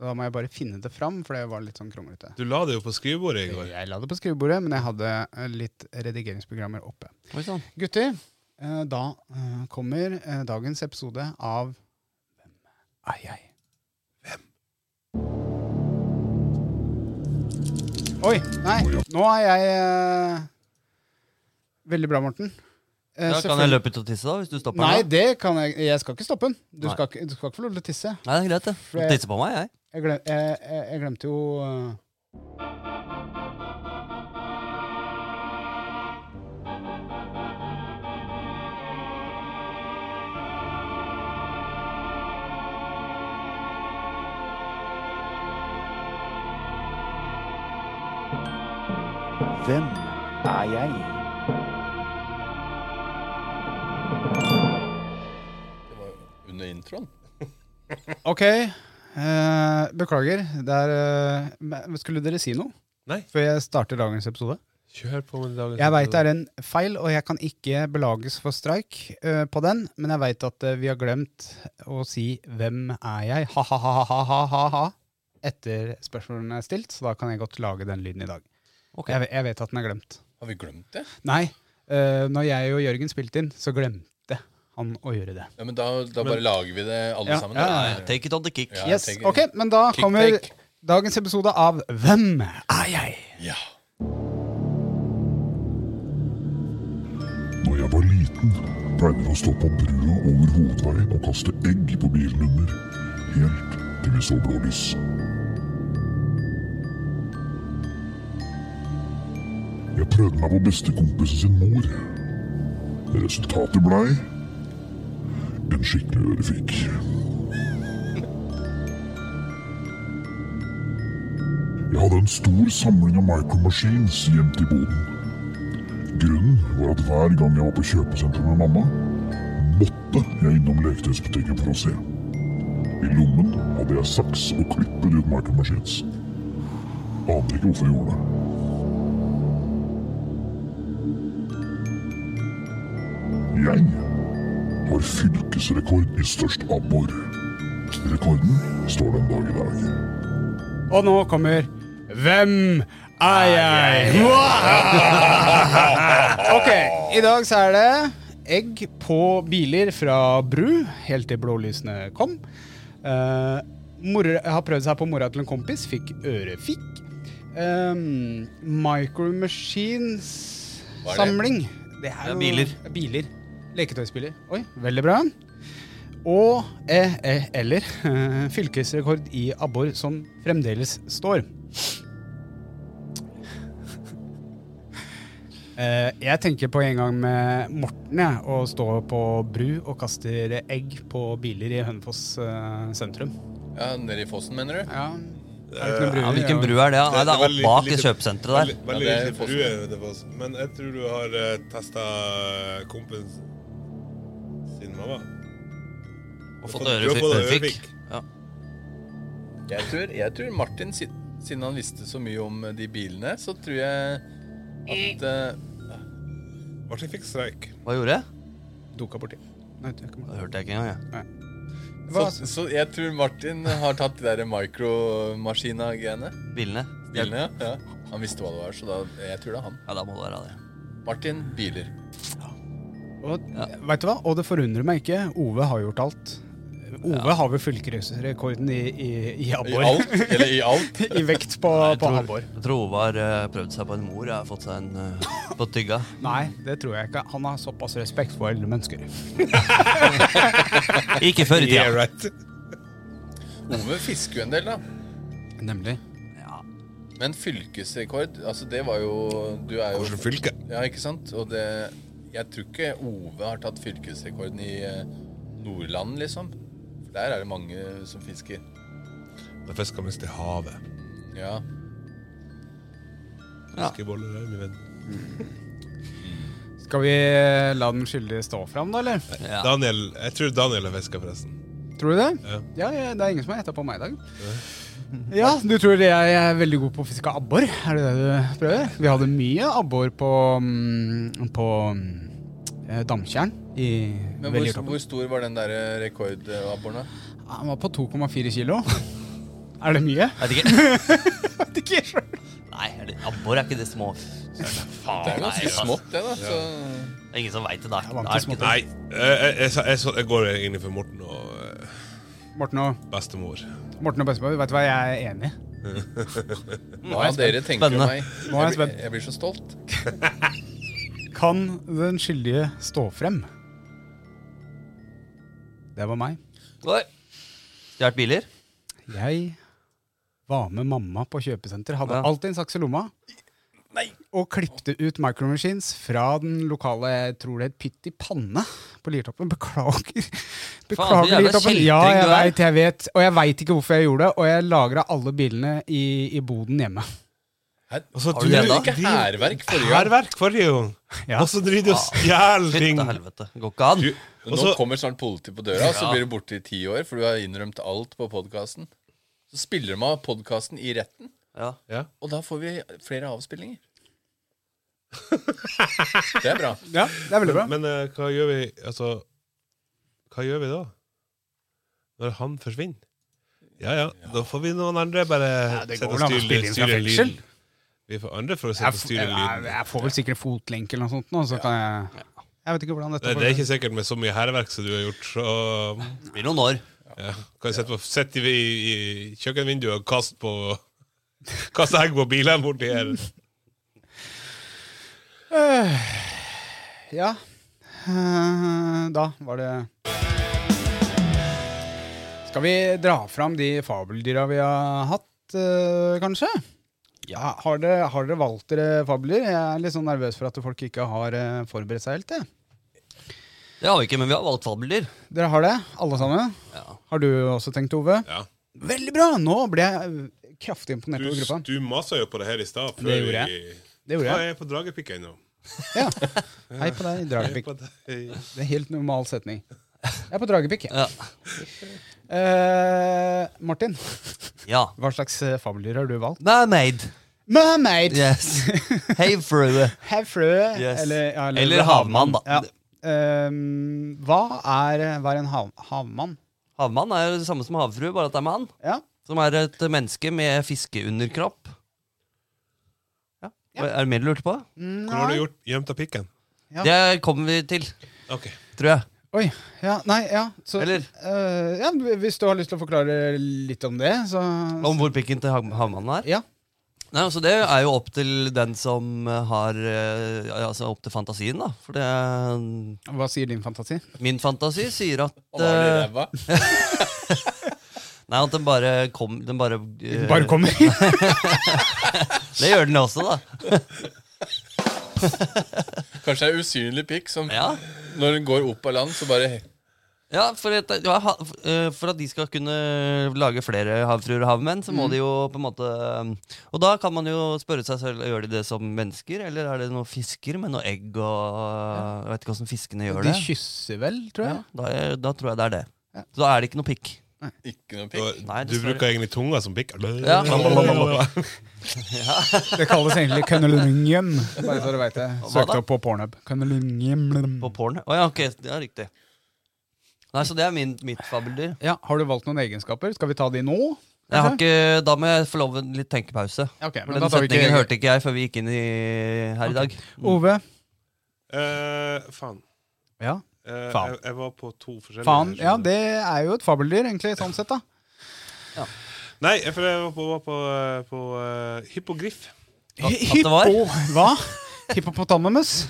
S3: Da må jeg bare finne det fram, for det var litt sånn kronglete.
S6: Du la det jo på skrivebordet i går.
S3: Jeg la det på skrivebordet, men jeg hadde eh, litt redigeringsprogrammer oppe.
S4: Oi sann.
S3: Gutter, eh, da eh, kommer eh, dagens episode av Hvem er jeg? Hvem? Oi, nei, nå er jeg eh, Veldig bra, Morten. Eh,
S4: Ja, kan jeg
S3: selvfølgelig-
S4: løpe ut og tisse, da? Hvis du stopper
S3: Nei,
S4: meg? da?
S3: det kan jeg Jeg skal ikke stoppe den. Du,
S4: Nei.
S3: skal ikke, du skal ikke få lov til å tisse.
S4: Nei, det er greit, det. Du tisser på meg, jeg.
S3: Jeg, glem, jeg, jeg, jeg glemte jo eh,
S1: Hvem er jeg?
S5: Det var under introen.
S3: Ok, eh, beklager. Det er, eh, men skulle dere si noe
S6: Nei.
S3: før jeg starter dagens episode?
S6: Kjør på med dagen.
S3: Jeg veit det er en feil, og jeg kan ikke belages for streik eh, på den, men jeg veit at eh, vi har glemt å si 'Hvem er jeg?' ha-ha-ha-ha-ha-ha etter spørsmålene er stilt, så da kan jeg godt lage den lyden i dag.
S4: Ok.
S3: Jeg, ve- jeg vet at den er glemt.
S5: Har vi glemt det?
S3: Nei, eh, når jeg og Jørgen spilte inn, så glemte han å gjøre det.
S5: Ja, men Da, da bare lager vi det alle
S3: Ja,
S5: sammen.
S3: ja,
S5: da.
S4: Nei, Take it on the kick.
S5: Ja,
S3: Yes,
S5: take it.
S3: ok, men da
S5: Kick
S3: kommer
S5: take.
S3: dagens episode av Hvem er jeg?
S5: Ja.
S7: Da jeg var liten, pleide vi å stå på brua over hovedveien og kaste egg på bilnummer, helt til vi så blålys. Jeg prøvde meg på bestekompisen sin mor. Resultatet blei en skikkelig ørefik. Jeg hadde en stor samling av micromaskines gjemt i boden. Grunnen var at hver gang jeg var på kjøpesenteret med mamma, måtte jeg innom leketøysbutikken for å se. I lommen hadde jeg saks og klippet ut Michael Machines. Aner ikke hvorfor jeg gjorde det. Jeg har fylkesrekord i størst abbor. Rekorden står den dag i dag.
S3: Og nå kommer Hvem
S5: Ah,
S3: er jeg? ok, i dag så er det egg på biler fra bru, helt til blålysene kom. Eh, mor har prøvd seg på mora til en kompis, fikk ørefikk. Um, Micro Machines
S5: Hva er det?
S3: samling. Det er
S4: er
S3: jo-
S4: biler.
S3: Biler. Leketøysbiler. Oi, veldig bra. Og eh, eh, eller eh, fylkesrekord i abbor som fremdeles står. Eh, jeg tenker på en gang med Morten jeg, og står på bru og kaster egg på biler i Hønefoss eh, sentrum.
S5: Ja, Nede i fossen, mener du?
S3: Ja, det er ikke noen
S4: Eh, Ja,
S3: bruer,
S4: hvilken
S3: ja.
S4: bru er det? da? Nei, Ah, det er opp
S6: veldig
S4: bak i
S6: lite-
S4: kjøpesenteret der.
S6: Veldig, veldig
S5: Ja, det er
S6: lite brue, det var, men jeg tror du har eh, uh, testa kompen sin mamma.
S4: Og fått
S6: fått- du har
S4: ørefi-
S6: fått
S4: ørefikk.
S6: ørefikk.
S4: Ja.
S5: Jeg tror, jeg tror Martin, si- siden han visste så mye om eh, de bilene, så tror jeg at eh,
S6: Martin fikk streik.
S4: Hva gjorde jeg?
S3: Duka borti. Nei, det er ikke meg.
S4: Det hørte jeg ikke engang. jeg.
S5: så,
S3: Hva-
S5: så jeg tror Martin har tatt de der mikromaskina-greiene.
S4: Bilene.
S5: Bilene, ja. Han visste hva det var, så da, jeg tror det er han.
S4: Ja, da må det være det.
S5: Martin, biler.
S3: Og,
S4: Ja.
S3: Vet du hva? Og det forundrer meg ikke. Ove har gjort alt. Ove
S4: Ja.
S3: har vel fylkesrekorden i, i, i
S5: I
S3: abbor.
S5: alt, eller i alt.
S3: I vekt på,
S4: Jeg
S3: på
S4: tror,
S3: abbor.
S4: jeg tror Ove har eh, prøvd seg på en mor. Jeg har fått seg en eh, på tygga.
S3: Nei, det tror jeg ikke. Han har såpass respekt for eldre mennesker.
S4: Ikke før i tida.
S6: Yeah, right.
S5: Ove fisker jo en del, da.
S3: Nemlig.
S4: Ja.
S5: Men fylkesrekord, altså det var jo Du er jo
S6: Oslo fylke.
S5: Ja, ikke sant? Og det Jeg tror ikke Ove har tatt fylkesrekorden i eh, Nordland, liksom. For der er det mange som fisker.
S6: Da fisker mest i havet.
S5: Ja.
S4: Ja.
S6: Fiskeboller er min venn.
S3: Skal vi eh, la den skyldige stå fram, da, eller?
S4: Ja.
S6: Daniel, jeg tror Daniel har fiska, forresten.
S3: Tror du det?
S6: Ja.
S3: Ja, ja, det er ingen som har gjetta på meg i dag. Ja, du tror jeg er veldig god på å fiske abbor? Er det det du prøver? Vi hadde mye abbor på, mm, på mm, eh, Damtjern i
S5: Men hvor,
S3: Veliertoppen.
S5: hvor stor var den der eh, rekordabboren, da?
S3: Ja, Han var på 2,4 kilo. Er det mye?
S4: Vet ikke.
S3: Vet ikke sjøl.
S4: Nei, er det- abbor er ikke det små.
S5: Det er
S4: nei,
S5: ganske
S4: ass.
S5: smått, det, da. Så
S4: Det er ingen som veit det. da.
S3: Jeg vant
S4: Da er
S3: til
S4: det ikke
S3: smått.
S4: det.
S6: Nei, jeg, jeg, jeg, sa- jeg, sa- jeg går egentlig for Morten og eh,
S3: Morten og,
S6: bestemor.
S3: Morten og bestemor, vet du hva, jeg er enig.
S4: Mm.
S5: hva dere tenker om
S4: Spennende.
S5: meg?
S3: Nå er jeg
S5: Jeg, blir-
S3: spent.
S5: jeg blir så stolt.
S3: Kan den skyldige stå frem? Det var meg.
S4: Oi. Stjålet biler?
S3: Jeg var med mamma på kjøpesenter, hadde
S4: Ja.
S3: alltid en saks i lomma. Og klipte ut micromachines fra den lokale jeg tror det het Pytt i panne på Liertoppen. Beklager.
S4: Faen, du
S3: Beklager,
S4: jævla
S3: Liertoppen.
S4: kjeltring
S3: Ja, jeg
S4: du er.
S3: veit, jeg vet. Og jeg veit ikke hvorfor jeg gjorde det. Og jeg lagra alle bilene i, i boden hjemme.
S5: Her,
S6: Altså,
S4: du det
S5: det
S4: da?
S5: ikke hærverk forrige gang?
S6: Hærverk forrige gang.
S3: Ja.
S6: Og så driver du og
S4: Ah.
S6: stjeler
S4: Fytte
S6: ting.
S4: helvete. Går ikke an.
S6: Du,
S5: Men
S6: og
S5: Nå
S6: så-
S5: kommer snart politiet på døra, så blir du borte i ti år, for du har innrømt alt på podkasten. Så spiller de av podkasten i retten,
S4: Ja.
S6: ja.
S5: og da får vi flere avspillinger. Det er bra.
S3: Ja, det er veldig bra.
S6: Men eh, hva gjør vi Altså, hva gjør vi da? Når han forsvinner? Ja, ja, da får vi noen andre bare
S3: Ja, det
S6: sette
S3: går
S6: og
S3: vel an å
S6: styre-
S3: spille inn fra
S6: styre
S3: fengsel.
S6: lyden. Vi får andre for
S3: Jeg,
S6: å sette og
S3: f-
S6: styre
S3: jeg,
S6: lyden.
S3: jeg får vel sikkert fotlenke eller noe sånt nå, så kan jeg Jeg vet ikke hvordan dette
S6: Nei, det er ikke sikkert med så mye hærverk som du har gjort, så
S4: Det blir noen år.
S6: ja. Kan sitte på- sitte i, i kjøkkenvinduet og kaste på Kaste egg på bilene borti her.
S3: Ja. Eh, Da var det Skal vi dra fram de fabeldyra vi har hatt, eh, kanskje? Ja, Har dere, har dere valgt dere fabler? Jeg er litt sånn nervøs for at folk ikke har eh, forberedt seg helt. jeg.
S4: Det har vi ikke, men vi har valgt fabeldyr.
S3: Dere har det, alle sammen?
S4: Ja.
S3: Har du også tenkt, Ove?
S6: Ja.
S3: Veldig bra! Nå ble jeg eh, kraftig imponert
S6: Du,
S3: over gruppa.
S6: du masa jo på det her i stad. før
S3: Det gjorde
S6: vi-
S3: Det gjorde
S6: Ja,
S3: jeg.
S6: jeg er på dragepikk ennå.
S3: Ja. Hei på deg,
S6: Jeg er
S3: Dragepikk.
S6: på det-
S3: Det er helt normal setning. Jeg er på dragepikk, jeg.
S4: Ja.
S3: Eh, Martin,
S4: ja.
S3: hva slags eh, fabeldyr har du valgt?
S4: Mermaid.
S3: Mermaid!
S4: Yes. Havfrue.
S3: Havfrue.
S4: Yes.
S3: Eller, ja,
S4: Eller havmann, da.
S3: Ja. Ehm, hva, er, hva er en hav, havmann?
S4: Havmann er jo det samme som havfrue, bare at det er med han.
S3: Ja.
S4: Som er et menneske med fiskeunderkropp. Ja. Er det mer du lurte på?
S6: Hvor har du gjort gjemt av pikken?
S3: Ja.
S4: Det kommer vi til,
S6: Ok.
S4: tror jeg.
S3: Oi. Ja, nei, ja. Så,
S4: Eller?
S3: eh, ja, hvis du har lyst til å forklare litt om det, så
S4: Om hvor pikken til hav- havmannen er.
S3: Ja.
S4: Nei, altså Det er jo opp til den som har eh, Altså opp til fantasien, da. For det er
S3: Hva sier din fantasi?
S4: Min fantasi sier at
S5: Å, var det
S4: eh,
S5: ræva?
S4: Nei, at den bare kom Den bare, eh,
S3: Bare kommer.
S4: Det gjør den også, da.
S5: Kanskje det er usynlig pikk som
S4: Ja,
S5: når den går opp av land, så bare
S4: ja for, at, ja, ha- eh, for at de skal kunne lage flere havfruer og havmenn, så må
S3: Mm.
S4: de jo på en måte eh, Og da kan man jo spørre seg selv Gjør de det som mennesker, eller er det noen fisker med noe egg og Jeg vet ikke hvordan fiskene gjør
S3: De
S4: det.
S3: kysser vel, tror
S4: Ja,
S3: jeg.
S4: da, er, da tror jeg det er det.
S3: Ja.
S4: Så da er det ikke noe pikk.
S5: Ikke noe pikk.
S6: Og
S4: Nei,
S6: du
S4: dessverre.
S6: bruker egentlig tunga som pikk.
S4: Ja.
S3: Det kalles egentlig kønnelungen. Bare så du veit det.
S4: Hva da?
S3: Søkte opp på pornhub. Kønnelungen.
S4: På porn? Å ja, ok, det er riktig. Nei, Så det er min, mitt fabeldyr.
S3: Ja, har du valgt noen egenskaper? Skal vi ta de nå?
S4: Jeg har ikke, da må jeg få lov en litt tenkepause.
S3: Ja, ok,
S4: For
S3: men
S4: den
S3: da tar vi
S4: setningen
S3: ikke- Oh,
S4: hørte ikke jeg før vi gikk inn i, her i dag.
S3: Ove?
S6: Eh, faen.
S3: Ja.
S6: Eh,
S3: Faen.
S6: Jeg, jeg var på to forskjellige.
S3: Faen.
S6: skjønner
S3: Ja,
S6: du.
S3: det er jo et fabeldyr, egentlig, sånn sett, da.
S6: Nei, for jeg var på, var på, eh, på eh, hypogriff.
S4: At, at det var?
S3: Hippo- Hva? Hippopotamus?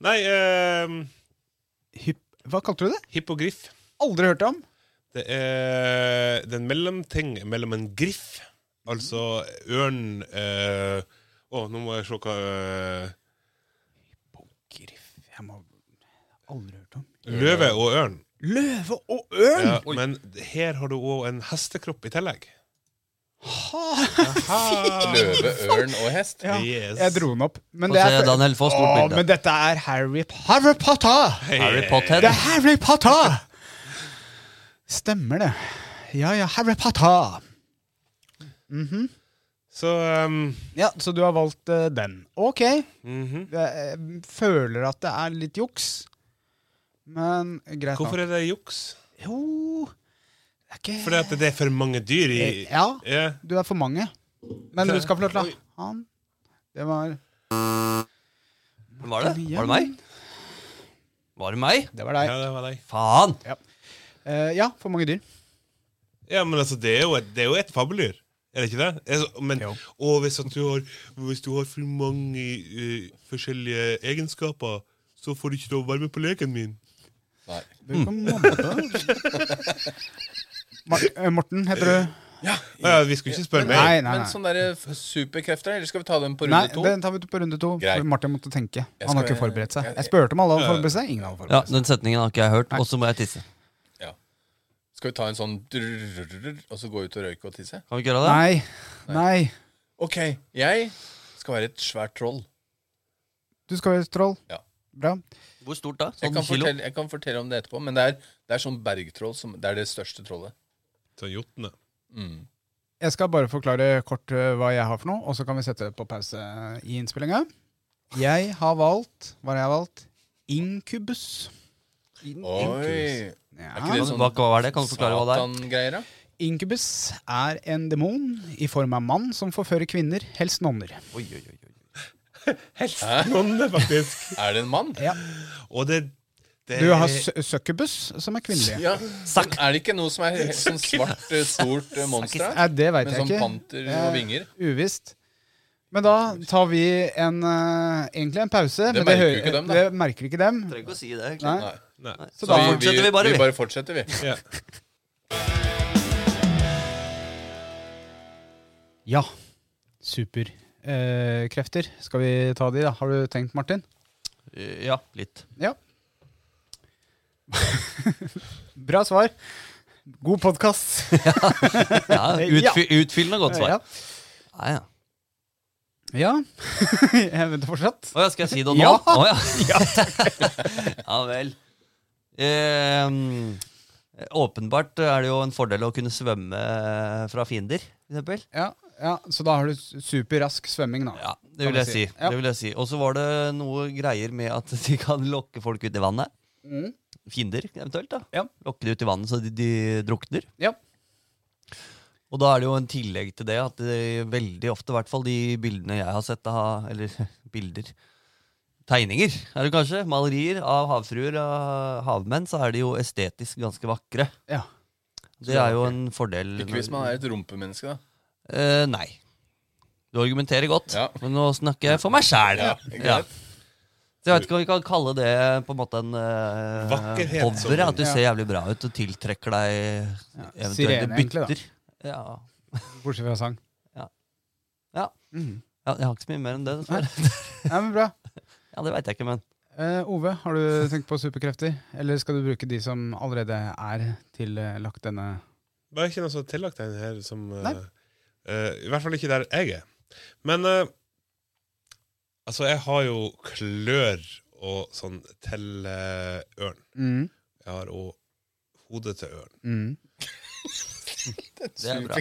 S6: Nei, eh,
S3: Hypp... Hva kalte du det?
S6: hypogriff.
S3: Aldri hørt om.
S6: Det er det er en mellomting mellom en griff, altså ørn eh, Å, nå må jeg se hva eh,
S3: Griff Jeg må Aldri hørt om.
S6: Løve og ørn.
S3: Løve og ørn?
S6: Ja, men her har du òg en hestekropp i tillegg.
S5: Løve, ørn og hest.
S3: Ja.
S6: Yes.
S3: Jeg dro den opp. Men,
S4: Få
S3: det
S4: se
S3: er,
S4: Daniel få
S3: Åh,
S4: stort
S3: men
S4: bilde.
S3: dette er Harry, Harry Potter!
S4: Harry
S3: Det
S4: Potter.
S3: er Harry Potter! Stemmer det. Ja, ja, Harry Potter.
S6: Så ehm,
S3: Ja, Så du har valgt eh, den. Ok.
S6: mhm.
S3: Jeg føler at det er litt juks, men greit
S6: Hvorfor
S3: nok.
S6: er det juks?
S3: Jo det er ikke
S6: Fordi at det er for mange dyr i
S3: Eh, Ja,
S6: Ja.
S3: du er for mange. Men du skal få lov til å
S6: Oi.
S3: ha han. Det var
S4: Var det? Var det meg? Var det meg?
S3: Det var deg.
S6: ja, det var deg.
S4: Faen!
S3: Eh, ja, for mange dyr.
S6: Ja, men altså, det er jo et, det er jo et fabeldyr. Er det ikke det? Er så- Men,
S3: Jo.
S6: og hvis, at du har, hvis du har for mange eh, forskjellige egenskaper, så får du ikke lov å være med på leken min.
S5: Nei.
S3: Du kan mobbe. Mar eh, Morten, heter du?
S6: Ja, vi skulle ikke spørre
S5: Men-
S6: mer.
S3: Nei, nei, nei.
S5: Men sånne der superkrefter, eller skal vi ta dem på
S3: Nei,
S5: runde to?
S3: den tar vi på runde to.
S5: Greit.
S3: For Martin måtte tenke.
S5: Jeg
S3: Han har
S5: skal-
S3: ikke forberedt seg.
S5: jeg-
S3: Jeg spurte om alle hadde forberedt seg. Ingen hadde
S4: Ja,
S3: forberedt seg.
S4: Den setningen har ikke jeg hørt, og så må jeg tisse.
S5: Skal vi ta en sånn drrrrrrr, og så gå ut og røyke og tisse?
S4: Kan vi ikke gjøre det?
S3: Nei. Nei.
S5: Ok, jeg skal være et svært troll.
S3: Du skal være troll.
S5: Ja.
S3: Bra.
S4: Hvor stort da?
S5: Jeg
S4: Sånn
S5: kan,
S4: kilo?
S5: fortelle, jeg kan fortelle om det etterpå, men det er, det er sånn bergtroll. Som, det er det største trollet.
S6: Sånn jotne.
S5: Mm.
S3: Jeg skal bare forklare kort eh, hva jeg har for noe, og så kan vi sette det på pause eh, i innspillinga. Jeg har valgt Hva har jeg valgt? Inkubus.
S5: Oi!
S3: Ja.
S5: det sånn
S4: Hva, hva er det? Kan du forklare hva det er?
S5: Satan-greier, da?
S3: Inkubus er en demon i form av mann som forfører kvinner, helst nonner.
S4: Oi, oi, oi, oi.
S6: Helst
S3: Sånn
S6: nonne, faktisk.
S5: Er det en mann?
S3: Ja.
S6: Og det, det
S3: Du har
S6: er-
S3: sø- succubus, som er kvinnelig.
S5: Ja. Men er det ikke noe som er helt sånn svart, eh, stort eh, monster? da?
S3: Nei, det veit
S5: Med
S3: jeg
S5: sånn
S3: ikke.
S5: panter og vinger?
S3: Uvisst. Men da tar vi en, eh, egentlig en pause. men
S5: merker
S3: hører-
S5: jo ikke dem, da.
S3: Det merker ikke dem.
S4: Trenger ikke å si det, egentlig.
S3: Nei.
S5: Nei.
S6: Nei.
S3: Så,
S5: Så
S3: da,
S5: vi,
S4: fortsetter vi bare, vi.
S5: vi bare fortsetter, vi.
S6: Ja.
S3: Ja. Superkrefter. Skal vi ta de, da? Har du tenkt, Martin?
S4: Ja, litt.
S3: Ja. Bra svar. God podkast.
S4: Ja,
S3: Ja.
S4: utfy, utfyllende godt svar.
S3: Ja.
S4: Nei, ja.
S3: ja. Jeg venter fortsatt.
S4: Å ja, skal jeg si det nå?
S3: Ja.
S4: Å ja. ja vel. Ehm, åpenbart er det jo en fordel å kunne svømme fra fiender, for eksempel.
S3: Ja, ja, Så da har du superrask svømming, da.
S4: Ja, det vil
S3: Kan
S4: jeg
S3: vi
S4: si.
S3: si. Ja.
S4: Det vil jeg si. Og så var det noe greier med at de kan lokke folk ut i vannet.
S3: Mm.
S4: Fiender, eventuelt. da.
S3: Ja.
S4: Lokke de ut i vannet så de, de drukner.
S3: Ja.
S4: Og da er det jo en tillegg til det at det veldig ofte, i hvert fall de bildene jeg har sett av Eller bilder Tegninger, er det kanskje? Malerier av havfruer og havmenn, så er de jo estetisk ganske vakre.
S3: Ja.
S4: Det er jo en fordel.
S5: Ikke hvis man er et rumpemenneske, da.
S4: Eh, nei. Du argumenterer godt,
S5: Ja.
S4: men nå snakker jeg for meg sjæl.
S5: Ja, greit.
S4: Så jeg vet ikke om vi kan kalle det på en måte en eh,
S6: Vakkerhet,
S4: hover.
S6: sånn.
S4: At du ser jævlig bra ut og tiltrekker deg eventuelle
S3: sirene, egentlig, da.
S4: bytter. Ja.
S3: Bortsett fra sang.
S4: Ja.
S3: Mhm.
S4: ja, Jeg har ikke så mye mer enn det. dessverre.
S3: Ja, men bra.
S4: Ja, det veit jeg ikke, men
S3: Eh, Ove, har du tenkt på superkrefter? Eller skal du bruke de som allerede er tillagt denne
S6: Bare ikke noe som er tillagt den her som eh,
S3: Nei.
S6: eh, I hvert fall ikke der jeg er. Men eh, altså, jeg har jo klør og sånn til eh, ørn.
S3: mm.
S6: Jeg har òg hodet til ørn.
S3: Mm.
S4: det er bra.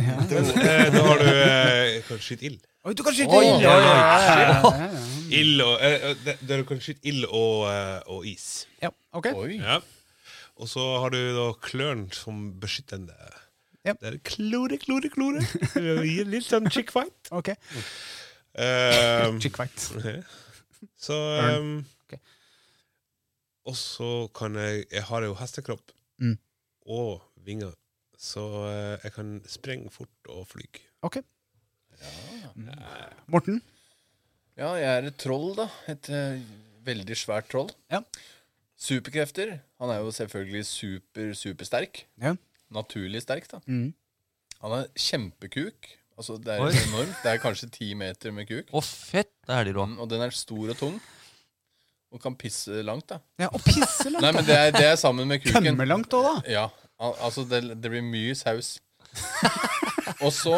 S6: Men eh, da har du eh, kan skyte ild.
S3: Oi, du kan skyte
S4: Oi,
S3: ild!
S4: oi, oi.
S6: Ild og eh, eh, det- det- Du kan skyte ild og, eh, og is.
S3: Ja, ok.
S5: Oi.
S6: Ja. Og så har du da klørne som beskyttende.
S3: Ja.
S6: Det er klore, klore, klore. Det gir Litt sånn chick fight.
S3: ok.
S6: Eh,
S4: ehm,
S3: Chick white.
S6: Så
S3: Ørn.
S6: ehm,
S3: Ok.
S6: Og så kan jeg Jeg har jo hestekropp
S3: Mm.
S6: og vinger, så eh, jeg kan sprenge fort og fly.
S3: Ok. Morten?
S5: Ja, jeg er et troll, da. Et eh, veldig svært troll.
S3: Ja.
S5: Superkrefter. Han er jo selvfølgelig super, supersterk.
S3: Ja.
S5: Naturlig sterk, da.
S3: Mm.
S5: Han er kjempekuk. Altså, det er
S4: Oi.
S5: enormt. Det er kanskje ti meter med kuk.
S4: Å, fett! Det er de rå.
S5: Mm, Og den er stor og tung. Og kan pisse langt, da.
S3: Ja, og pisse langt!
S5: Nei, men det er, det er sammen med kuken.
S3: Tømme langt òg, da!
S5: Ja, al altså det, det blir mye saus. og så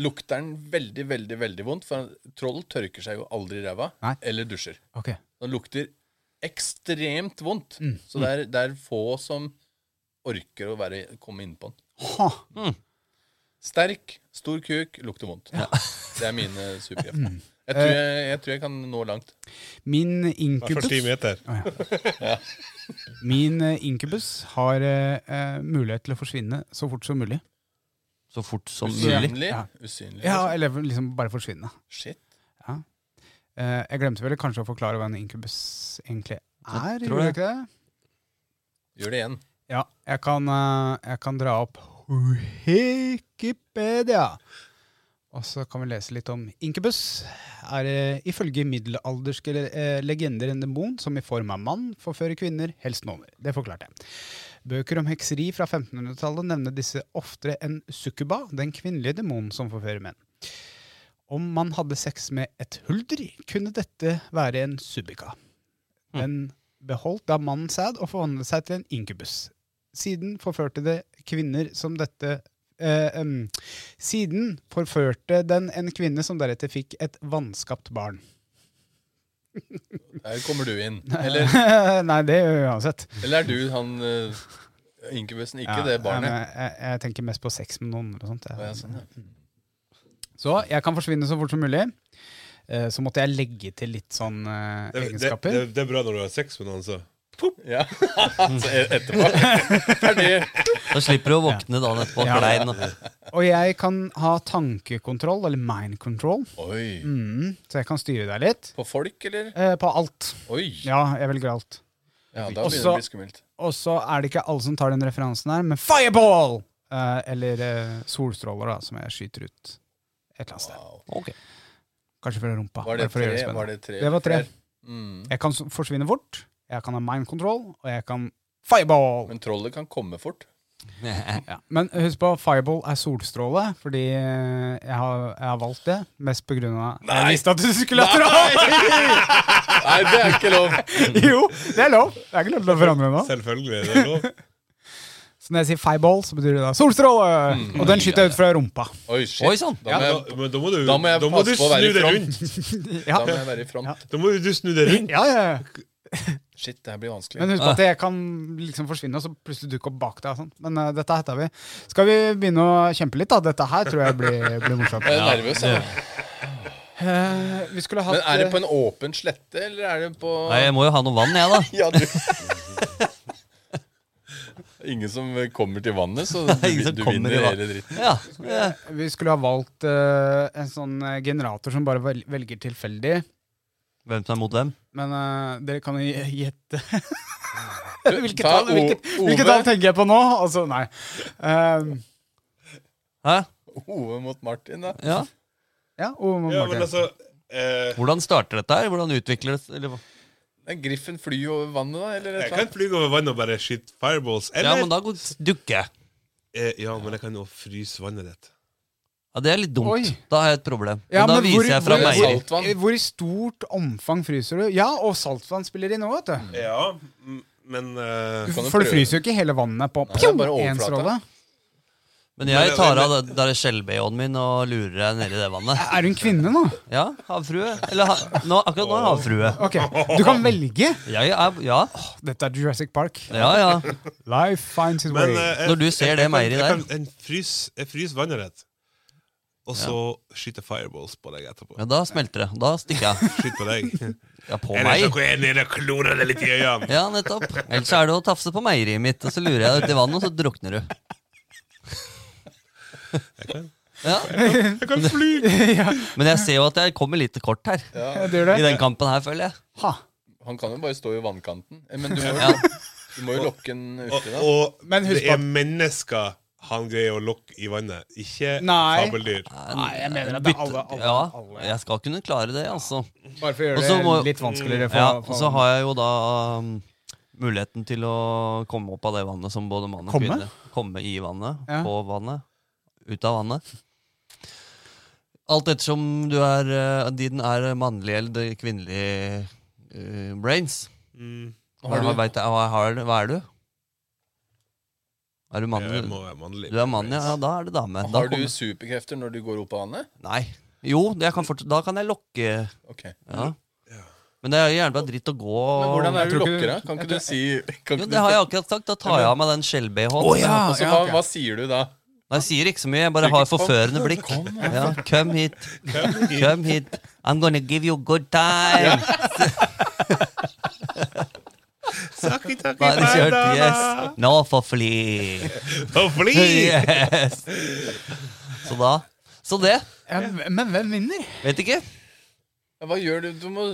S5: lukter den veldig, veldig veldig vondt, for troll tørker seg jo aldri i ræva
S3: Nei.
S5: eller dusjer.
S3: Ok.
S5: Den lukter ekstremt vondt,
S3: Mm.
S5: så det er, det er få som orker å være, komme innpå den.
S3: Ha.
S5: Sterk, stor kuk, lukter vondt. Det er mine superkrefter.
S3: Mm.
S5: Jeg,
S3: Eh,
S5: tror jeg, jeg tror jeg kan nå langt.
S3: Min
S6: Hvert fall ti
S3: inkubus
S6: meter.
S3: Å, ja. Min eh, inkubus har eh, eh, mulighet til å forsvinne så fort som mulig.
S4: Så fort som
S5: Mm.
S4: mulig.
S5: Usynlig.
S3: Ja.
S5: Usynlig.
S3: Ja, Eller liksom bare forsvinne.
S5: Shit.
S3: Eh, jeg glemte vel kanskje å forklare hva en inkubus egentlig er.
S4: tror
S3: Gjorde jeg
S4: det.
S3: ikke det?
S5: Gjør det igjen.
S3: Ja, jeg kan, eh, jeg kan dra opp Wikipedia. Og så kan vi lese litt om inkubus. Er eh, ifølge middelalderske eh, legender en demon som i form av mann forfører kvinner, helst nover. Det forklarte jeg. Bøker om hekseri fra 1500-tallet nevner disse oftere enn sukkuba, den kvinnelige demonen som forfører menn. Om man hadde sex med et hulder, kunne dette være en subika. Den beholdt da mannen sæd og forvandlet seg til en inkubus. Siden forførte det kvinner som dette eh, em, Siden forførte den en kvinne som deretter fikk et vanskapt barn.
S5: Der kommer du inn. Eller
S3: Nei, det gjør jeg uansett.
S5: Eller er du han uh, inkubusen? Ikke
S3: Ja,
S5: det
S3: ja,
S5: barnet.
S3: men jeg, jeg tenker mest på sex med noen. Eller sånt.
S5: Å, ja, sånn, ja.
S3: Så jeg kan forsvinne så fort som mulig. Eh, Så måtte jeg legge til litt sånn eh,
S6: Det, det,
S3: egenskaper.
S6: det, det er bra når du har sex med noen, så.
S5: Ja. Så e- etterpå. Ferdig.
S4: Da slipper du å våkne dagen etterpå.
S3: Ja.
S4: Klein. og-
S3: Og jeg kan ha tankekontroll, eller mind control.
S5: Oi.
S3: Mm, så jeg kan styre deg litt.
S5: På folk, eller?
S3: Eh, på alt.
S5: Oi.
S3: Ja,
S5: Ja,
S3: jeg velger alt.
S5: da begynner det
S3: Også-
S5: å bli skummelt.
S3: Og så er det ikke alle som tar den referansen her, men fireball! Eh, eller eh, solstråler, da, som jeg skyter ut et eller annet sted.
S5: Wow.
S3: Kanskje fra rumpa.
S5: Var det
S3: bare for å
S5: tre?
S3: gjøre det spennende.
S5: Var det tre?
S3: Det var tre.
S5: Flere? Mm.
S3: Jeg kan s- forsvinne fort, jeg kan ha mind control, og jeg kan fireball!
S5: Men trollet kan komme fort.
S3: Ja. Men husk på, fireball er solstråle, fordi eh, jeg har, jeg har valgt det. Mest på grunn av Jeg
S5: Nei.
S3: visste at du skulle ha troll!
S5: Nei, det er ikke lov!
S3: jo, det er lov. Det er ikke lov til å forandre nå.
S6: Selvfølgelig. Det er lov.
S3: Så når jeg sier fireball, så betyr det da solstråle!
S5: Hmm.
S3: og den skyter jeg ut fra rumpa.
S5: Oi, shit.
S4: Oi
S3: sånn.
S4: sann!
S5: Da må
S6: Da,
S5: jeg, Da
S6: men da må du,
S5: må jeg
S6: du
S5: passe på å være i
S6: snu deg
S5: front.
S6: rundt.
S5: da må jeg være i front.
S6: Da må du snu deg rundt.
S3: Ja, ja, ja.
S5: Shit, det her blir vanskelig.
S3: Men husk på at jeg kan liksom forsvinne, og så plutselig dukke opp bak deg. og Sånn. Men eh, dette heter vi. Skal vi begynne å kjempe litt, da? Dette her tror jeg blir, blir morsomt.
S5: Jeg er nervøs. jeg.
S3: Eh, vi skulle hatt
S5: Men er det
S3: eh,
S5: på en åpen slette, eller er det på
S4: Nei, jeg må jo ha noe vann, jeg, da.
S5: Ja, du. Ingen som kommer til vannet, så du,
S4: ingen som
S5: du
S4: kommer i
S5: vinner
S4: vann.
S5: hele dritten.
S4: Ja, ja.
S3: Vi skulle ha valgt eh, en sånn eh, generator som bare vel- velger tilfeldig.
S4: Hvem som er mot hvem?
S3: Men eh, dere kan jo gjette.
S5: Du,
S3: Hvilket
S5: ta
S3: tall, hvilket,
S5: O-
S3: hvilket
S5: Ove.
S3: tall tenker jeg på nå? Altså, nei. Eh,
S4: Hæ?
S5: Ove mot Martin, da.
S4: Ja.
S3: Ja, og
S6: Ja,
S3: Martin.
S6: men altså eh,
S4: Hvordan starter dette her? Hvordan utvikler det eller, hva?
S5: Men Griffen flyr jo over vannet, da? Eller
S6: Jeg
S5: et eller
S6: kan
S5: annet?
S6: fly over vann og bare skyte fireballs.
S4: Ja,
S6: Eller
S4: men da går- dukker jeg.
S6: eh, ja, men jeg kan jo fryse vannet ditt.
S4: Ja, det er litt dumt.
S3: Oi.
S4: Da har jeg et problem.
S3: Ja,
S4: men da
S3: men
S4: viser
S3: hvor-
S4: jeg fra
S5: hvor-
S4: meg.
S5: hvor-
S3: Hvor,
S5: Saltvann.
S3: hvor i stort omfang fryser du? Ja, og saltvann spiller inn òg, vet du.
S6: Ja, m- men eh,
S5: kan jo
S3: For du
S5: prøve.
S3: fryser jo ikke hele vannet på
S5: det er bare
S3: pjo, en stråle.
S5: overflata.
S4: Men jeg
S6: Men-
S4: tar
S6: men-
S4: av det- der skjellbehåen min og lurer deg nedi det vannet.
S3: Er du en kvinne nå?
S4: Ja, havfrue. Eller ha, nå, akkurat nå er jeg havfrue.
S3: Ok, Du kan velge.
S4: Jeg er Ja,
S3: Dette er Jurassic Park.
S4: ja. ja.
S3: Life finds its
S6: men
S3: way.
S6: eh,
S4: Når du ser
S6: jeg-
S4: det
S6: jeg kan-
S4: meieriet
S6: jeg
S4: der.
S6: kan- Jeg fryser jeg fryser vannet ditt, og så skyter fireballs på deg etterpå.
S4: Men da smelter det. Da stikker jeg.
S6: Skyt på deg.
S4: Ja, på
S6: Eller så
S4: meg.
S6: går jeg ned og klorer deg litt i øynene.
S4: Ja, nettopp. Ellers er det å tafse på meieriet mitt, og så lurer jeg deg uti vannet, og så drukner du. Ja,
S6: Jeg kan fly!
S4: Men jeg ser jo at jeg kommer litt kort her.
S3: Ja, det gjør
S4: I
S3: det.
S4: den kampen her, føler jeg.
S3: Ha.
S5: Han kan jo bare stå i vannkanten. Eh, Men du må,
S4: Ja.
S5: du må jo lokke den
S6: Og,
S5: uti, da.
S6: og
S3: Men husk
S6: det
S3: på
S6: er
S3: at-
S6: mennesker han greier å lokke i vannet, ikke
S3: Nei.
S6: fabeldyr.
S3: Nei, jeg mener at det er
S4: Bytte-
S3: alle, alle,
S4: Ja,
S3: alle.
S4: jeg skal kunne klare det, altså.
S3: Bare for å
S4: Og
S3: gjøre
S4: så
S3: det
S4: må-
S3: litt vanskeligere. For,
S4: Ja, og
S3: for,
S4: så har jeg jo da um, muligheten til å komme opp av det vannet som både mann og
S3: Komme?
S4: kvinne. Komme i vannet,
S3: Ja.
S4: på vannet, ut av vannet. Alt ettersom du er eh, Din er mannlig eller kvinnelig eh, brains. Hva,
S5: Mm. Har du-
S4: vet jeg, hva, har, hva er du? Er du mann?
S6: Jeg må være mannlig.
S4: Du er mann, ja. ja, Da er det dame. Da
S5: Har du
S4: kommer-
S5: superkrefter når du går opp av vannet?
S4: Nei. Jo, jeg kan fortsatt, da kan jeg lokke
S5: Ok.
S4: ja. Men det er jo gjerne bare dritt å gå
S5: Men hvordan er
S3: Jeg
S5: det du
S3: tror ikke-
S5: lokker, da? Kan ikke du si kan
S4: Jo,
S5: ikke du-
S4: det har jeg akkurat sagt. Da tar jeg av meg den skjell-BH-en.
S3: Å, ja.
S5: Og så hva,
S3: ok.
S5: hva sier du da?
S4: Nei, Jeg sier ikke så mye, jeg bare har forførende blikk. Ja, come hit. Come hit. I'm gonna give you good time.
S6: Takk, takk,
S4: Bare kjørt, yes. Nå for fly.
S6: Og fly!
S4: Yes. Så da. Så det.
S3: ja, men hvem vinner?
S4: Vet ikke.
S5: Ja, Hva gjør du? Du må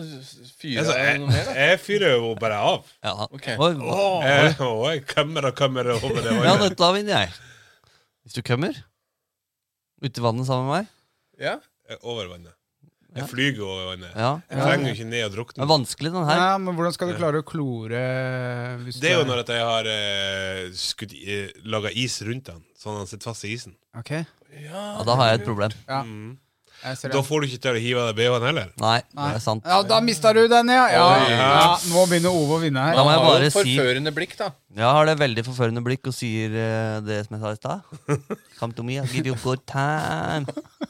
S5: fyre
S6: Altså,
S5: av noe
S6: jeg,
S5: mer, da.
S6: jeg fyrer jo bare av.
S4: Ja.
S5: Ok.
S4: Oi,
S6: Jeg, og jeg kommer og kommer over det
S4: ja,
S6: vannet.
S4: det, da vinner jeg. Hvis du kommer uti vannet sammen med meg.
S5: Ja?
S6: Jeg er Over vannet. Jeg flyger over vannet.
S4: Ja.
S6: Jeg trenger jo ikke ned og
S4: Det
S6: drukne.
S4: er vanskelig, den her.
S3: Ja, men hvordan skal du klare å klore eh, hvis
S6: Det er
S3: du
S6: jo når at jeg har eh, skutt i- laga is rundt den, sånn at den sitter fast i isen.
S3: Ok,
S4: Ja, da har jeg et problem.
S3: jeg ser
S6: Da
S3: det.
S6: får du ikke til å hive av deg BH-en heller.
S4: Nei, det er sant.
S3: Ja, da mista du den, ja. ja.
S5: Oi.
S3: ja. Nå begynner Ove å vinne her.
S4: Da må jeg
S5: Har jo
S4: bare
S5: et
S4: si
S5: forførende blikk, da.
S4: Jeg har det veldig forførende blikk og sier eh, det som jeg sa i stad. Come to me, I'll give you a good time.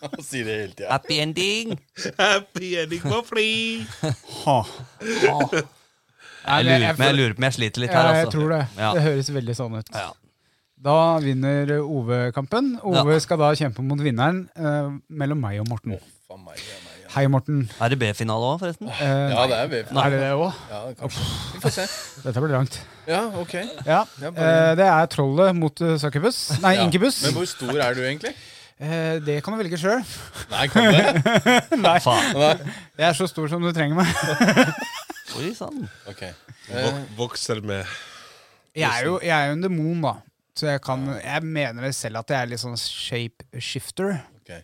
S5: Og sier det hele tida.
S4: Happy ending.
S6: Happy ending på fly!
S3: Ha. Nei, men
S4: Jeg lurer på jeg,
S3: føler-
S4: lurer på om jeg sliter
S3: Ja,
S4: litt her,
S3: jeg
S4: altså.
S3: tror det.
S4: Ja.
S3: Det høres veldig sånn ut.
S4: Ja.
S3: Da vinner Ove kampen. Ove
S4: Ja.
S3: skal da kjempe mot vinneren eh, mellom meg og Morten.
S5: Faen meg, ja, meg, ja.
S3: Hei, Morten.
S4: Er det B-finale òg, forresten?
S3: Eh,
S5: ja, det er VF.
S3: Er det det òg?
S5: Ja, kanskje. Vi får se.
S3: Dette blir langt.
S5: Ja, ok.
S3: Ja.
S5: Ja, bare-
S3: eh, det er trollet mot uh, Succubus. Nei,
S5: Ja.
S3: Inkubus.
S5: Men hvor stor er du egentlig?
S3: Eh, det kan du velge sjøl.
S5: Nei, kan du det?
S4: Faen.
S3: Jeg er så stor som du trenger meg.
S4: Oi sann.
S5: Ok. Eh,
S6: Vok vokser med
S3: Jeg er jo, jeg er jo en demon, da. Så jeg, kan, jeg mener det selv at jeg er litt sånn shapeshifter.
S5: ok.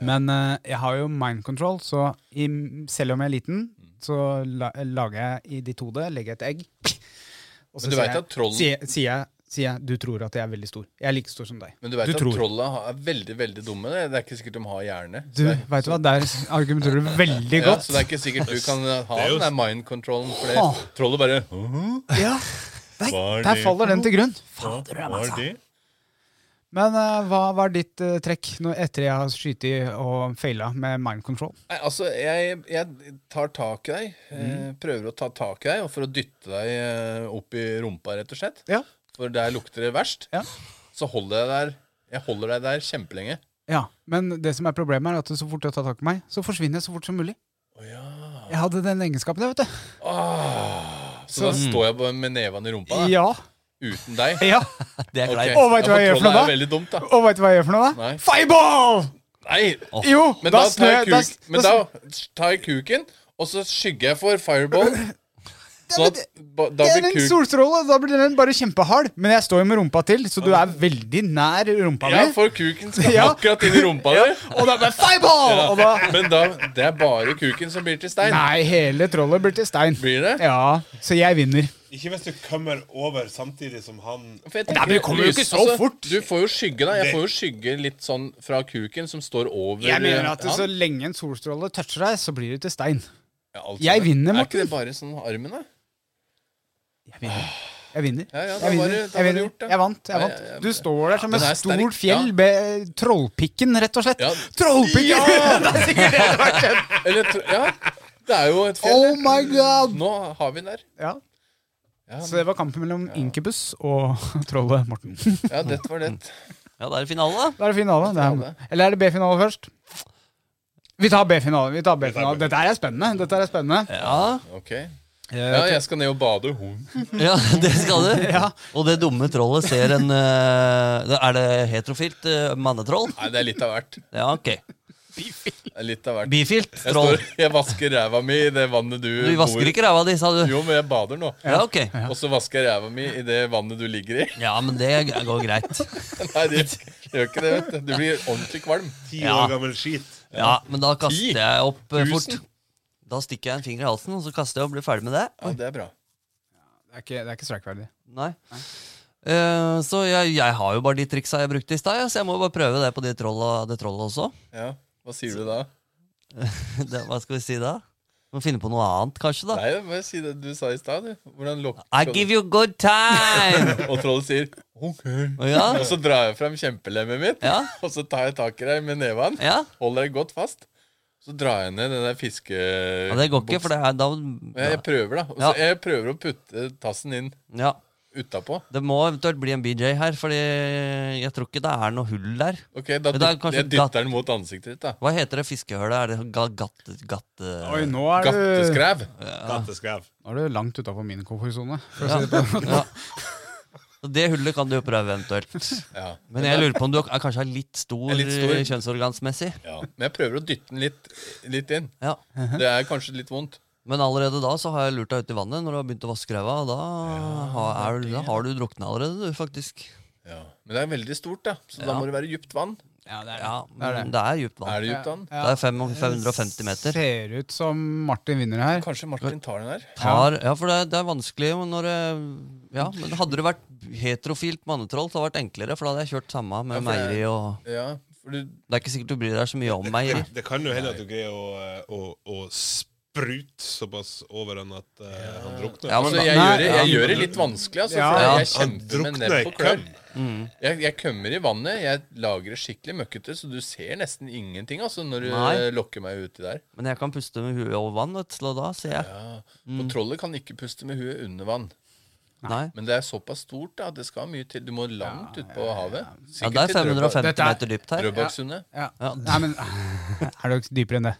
S3: Men eh, jeg har jo mind control, så i, selv om jeg er liten, så la, lager jeg i ditt hode, legger jeg et egg. Og
S5: Men du
S3: sier
S5: vet
S3: jeg-
S5: at trollen-
S3: sier, sier, jeg, sier jeg du tror at jeg er veldig stor. Jeg er like stor som deg.
S5: Men du veit
S3: Du
S5: at
S3: tror.
S5: trolla ha- er veldig veldig dumme? Det Det er ikke sikkert de har hjerne.
S3: Du, vet du hva, Der argumenterer du veldig
S5: Ja,
S3: godt.
S5: så det er ikke sikkert du kan ha
S6: er jo-
S5: den der mind controlen. For det,
S3: Åh.
S5: trollet bare «Hå?
S3: Ja.
S5: Hva
S3: Der,
S5: er
S3: der
S5: det
S3: faller den til grunn.
S5: Hva
S6: altså.
S5: er det?
S3: Men eh, hva var ditt eh, trekk nå etter jeg har skutt og faila med mind control?
S5: Nei, altså, jeg, jeg tar tak i deg.
S3: Mm.
S5: eh, Prøver å ta tak i deg, og for å dytte deg eh, opp i rumpa, rett og slett.
S3: Ja.
S5: For der lukter det verst.
S3: Ja.
S5: Så holder jeg der Jeg holder deg der kjempelenge.
S3: Ja, Men det som er problemet er at så fort jeg tar tak i meg, så forsvinner jeg så fort som mulig. Jeg hadde den egenskapen, jeg, vet du.
S5: Så, da står jeg bare med nevene i rumpa da,
S3: Ja.
S5: uten deg.
S3: ja.
S4: Det er
S5: Ok.
S4: greit.
S3: Å, vet du hva jeg
S5: Ja,
S3: gjør for noe
S5: trollet
S3: da?
S5: er veldig dumt, da.
S3: Og veit du hva jeg gjør for noe, da?
S5: Nei.
S3: Fireball!
S5: Nei,
S3: Jo,
S5: men da, tar
S3: snø-
S5: jeg kuk, men da tar jeg kuken, og så skygger jeg for fireball. Sånn at ba- da
S3: Det er
S5: blir
S3: en
S5: kuk
S3: solstråle, da blir den bare kjempehard. Men jeg står jo med rumpa til, så du er veldig nær rumpa
S5: Ja,
S3: mi.
S5: for kuken skal
S3: Ja.
S5: akkurat inn i rumpa di.
S3: Og da blir fireball! Og da
S5: Men da, det er bare kuken som blir til stein.
S3: Nei, hele trollet blir til stein.
S5: Blir det?
S3: Ja, så jeg vinner.
S6: Ikke hvis du kommer over samtidig som han
S5: For jeg altså,
S3: Nei, men du kommer jo ikke så fort.
S5: Du får jo skygge, da. Jeg får jo skygge litt sånn fra kuken som står over
S3: Jeg mener at
S5: eh,
S3: så
S5: han.
S3: lenge en solstråle toucher deg, så blir du til stein.
S5: Ja, alt
S3: Jeg
S5: sånn.
S3: vinner,
S5: Er ikke
S3: Morten.
S5: det bare sånn armen, da?
S3: Jeg vinner.
S5: Ja, ja, da
S3: jeg, vinner.
S5: var det- da
S3: jeg,
S5: var det
S3: vinner.
S5: gjort, da.
S3: jeg vant. jeg
S5: Ja,
S3: vant
S5: ja, ja,
S3: Du står der som
S5: ja,
S3: et
S5: den er sterk,
S3: stort fjell med trollpikken, rett og slett.
S5: Ja.
S3: Trollpikken!
S5: Ja!
S3: det er sikkert det det har vært kjent.
S5: Eller tro- Ja, det er jo et fjell.
S3: Oh my god!
S5: Nå har vi den der.
S3: Ja.
S5: Ja,
S3: Så det var kampen mellom Incubus og trollet Morten. Da
S5: ja dette var det.
S4: Ja, da er det finale, da.
S3: er det finale. Det
S5: Finale.
S3: er, eller er det B-finale først? Vi tar B-finale. vi tar B-finale Dette her er spennende. Dette her er spennende
S4: Ja,
S5: Ok. Ja, jeg skal ned og bade. Hun.
S4: ja det skal du. Og det dumme trollet ser en eh, Er det heterofilt eh, mannetroll?
S5: Nei, det er litt av hvert.
S4: Ja, ok.
S5: Det er litt av hvert.
S4: Bifilt
S5: Jeg,
S4: troll.
S5: står, jeg vasker ræva mi i det vannet du
S4: Du vasker ikke ræva di, sa du?
S5: Jo, men jeg bader nå.
S4: Ja, ok.
S5: Og så vasker jeg ræva mi i det vannet du ligger i.
S4: Ja, men det går greit.
S5: Nei, det det gjør ikke det, vet du. Du blir ordentlig kvalm.
S6: Ti
S4: Ja.
S6: år gammel skit.
S4: Ja, men da kaster jeg opp eh, fort.
S5: Tusen.
S4: Da stikker jeg en finger i halsen, og så kaster jeg og blir ferdig med det.
S5: Ja, det er bra.
S3: Det er ikke, det er ikke streikverdig.
S4: Nei. Eh, så jeg, jeg har jo bare de triksa jeg brukte i stad, ja, så jeg må bare prøve det på de trolla, det trollet også.
S5: Ja, Hva sier du da?
S4: Det, hva skal vi si da? Må finne på noe annet, kanskje, da.
S5: Nei, bare si det du sa i stad, du. Hvordan lokker
S4: I give you good time!
S5: Og trollet sier OK.
S4: Å, ja.
S5: Og så drar jeg fram kjempelemmet mitt,
S4: Ja.
S5: og så tar jeg tak i deg med neven.
S4: ja.
S5: Holder deg godt fast. Så drar jeg ned den der fiske...
S4: ja, det går ikke, for det er da
S5: Jeg jeg prøver, da. Og så
S4: Ja.
S5: jeg prøver å putte tassen inn
S4: Ja.
S5: utapå.
S4: Det må eventuelt bli en BJ her, Fordi jeg tror ikke det er noe hull der.
S5: Ok, da
S4: Men det er
S5: dyt-
S4: kanskje
S5: jeg
S4: gatt-
S5: dytter den mot ansiktet ditt, da.
S4: Hva heter det fiskehølet? Er det ga- gatt... gatt
S3: Oi, nå er du
S5: Gatteskrev.
S6: Katteskrev.
S3: Nå er du langt utafor min komfortsone. for å
S4: Ja.
S3: si det på den måten.
S4: Ja. Så Det hullet kan du jo prøve eventuelt.
S5: Ja.
S4: Men jeg lurer på om du er kanskje er litt stor,
S5: Er litt stor.
S4: eh, kjønnsorgansmessig.
S5: ja. Men jeg prøver å dytte den litt, litt inn.
S4: Ja.
S5: Det er kanskje litt vondt.
S4: Men allerede da så har jeg lurt deg ut i vannet når du har begynt å vaske ræva. og Da, har- er, du- da har du drukna allerede, du, faktisk.
S5: Ja. Men det er veldig stort, da. Så da må det være djupt vann.
S4: Ja, men det er djupt vann.
S5: Er det djupt vann?
S4: Det er fem- 550 meter.
S3: Ser ut som Martin vinner her.
S5: Kanskje Martin tar den her?
S4: Har, ja, for det, er- det er vanskelig jo når eh, Ja, men hadde det vært heterofilt mannetroll, så hadde det vært enklere, for da hadde jeg kjørt samme med
S5: Ja, for det-
S4: Meiri og
S5: Ja, for du
S4: Det er ikke sikkert du bryr deg så mye om Meiri.
S6: Det kan jo hende at du greier å, eh, å, å sprute såpass over han at eh, han drukner.
S4: Ja, men
S5: Altså,
S4: da-
S5: jeg,
S3: Nei,
S5: gjør, det- jeg
S6: ja.
S5: gjør det litt vanskelig, altså.
S3: Ja.
S5: For
S4: Ja.
S5: jeg
S6: han
S5: kjemper med
S6: drukner
S5: nebb
S6: i
S5: og klør.
S6: køm.
S5: Jeg, jeg kømmer i vannet, jeg lager det skikkelig møkkete, så du ser nesten ingenting altså, når du
S4: Nei.
S5: eh, lokker meg uti der.
S4: Men jeg kan puste med huet over vann, vet du, og da ser jeg. Mm.
S5: Og trollet kan ikke puste med huet under vann.
S4: Nei.
S5: Men det er såpass stort da, at det skal mye til. Du må langt ut på havet.
S4: Ja, det er 550
S3: Dette er-
S4: meter dypt her.
S5: Drøbaksundet.
S3: Ja.
S4: Ja.
S3: Nei, men er det dypere enn det?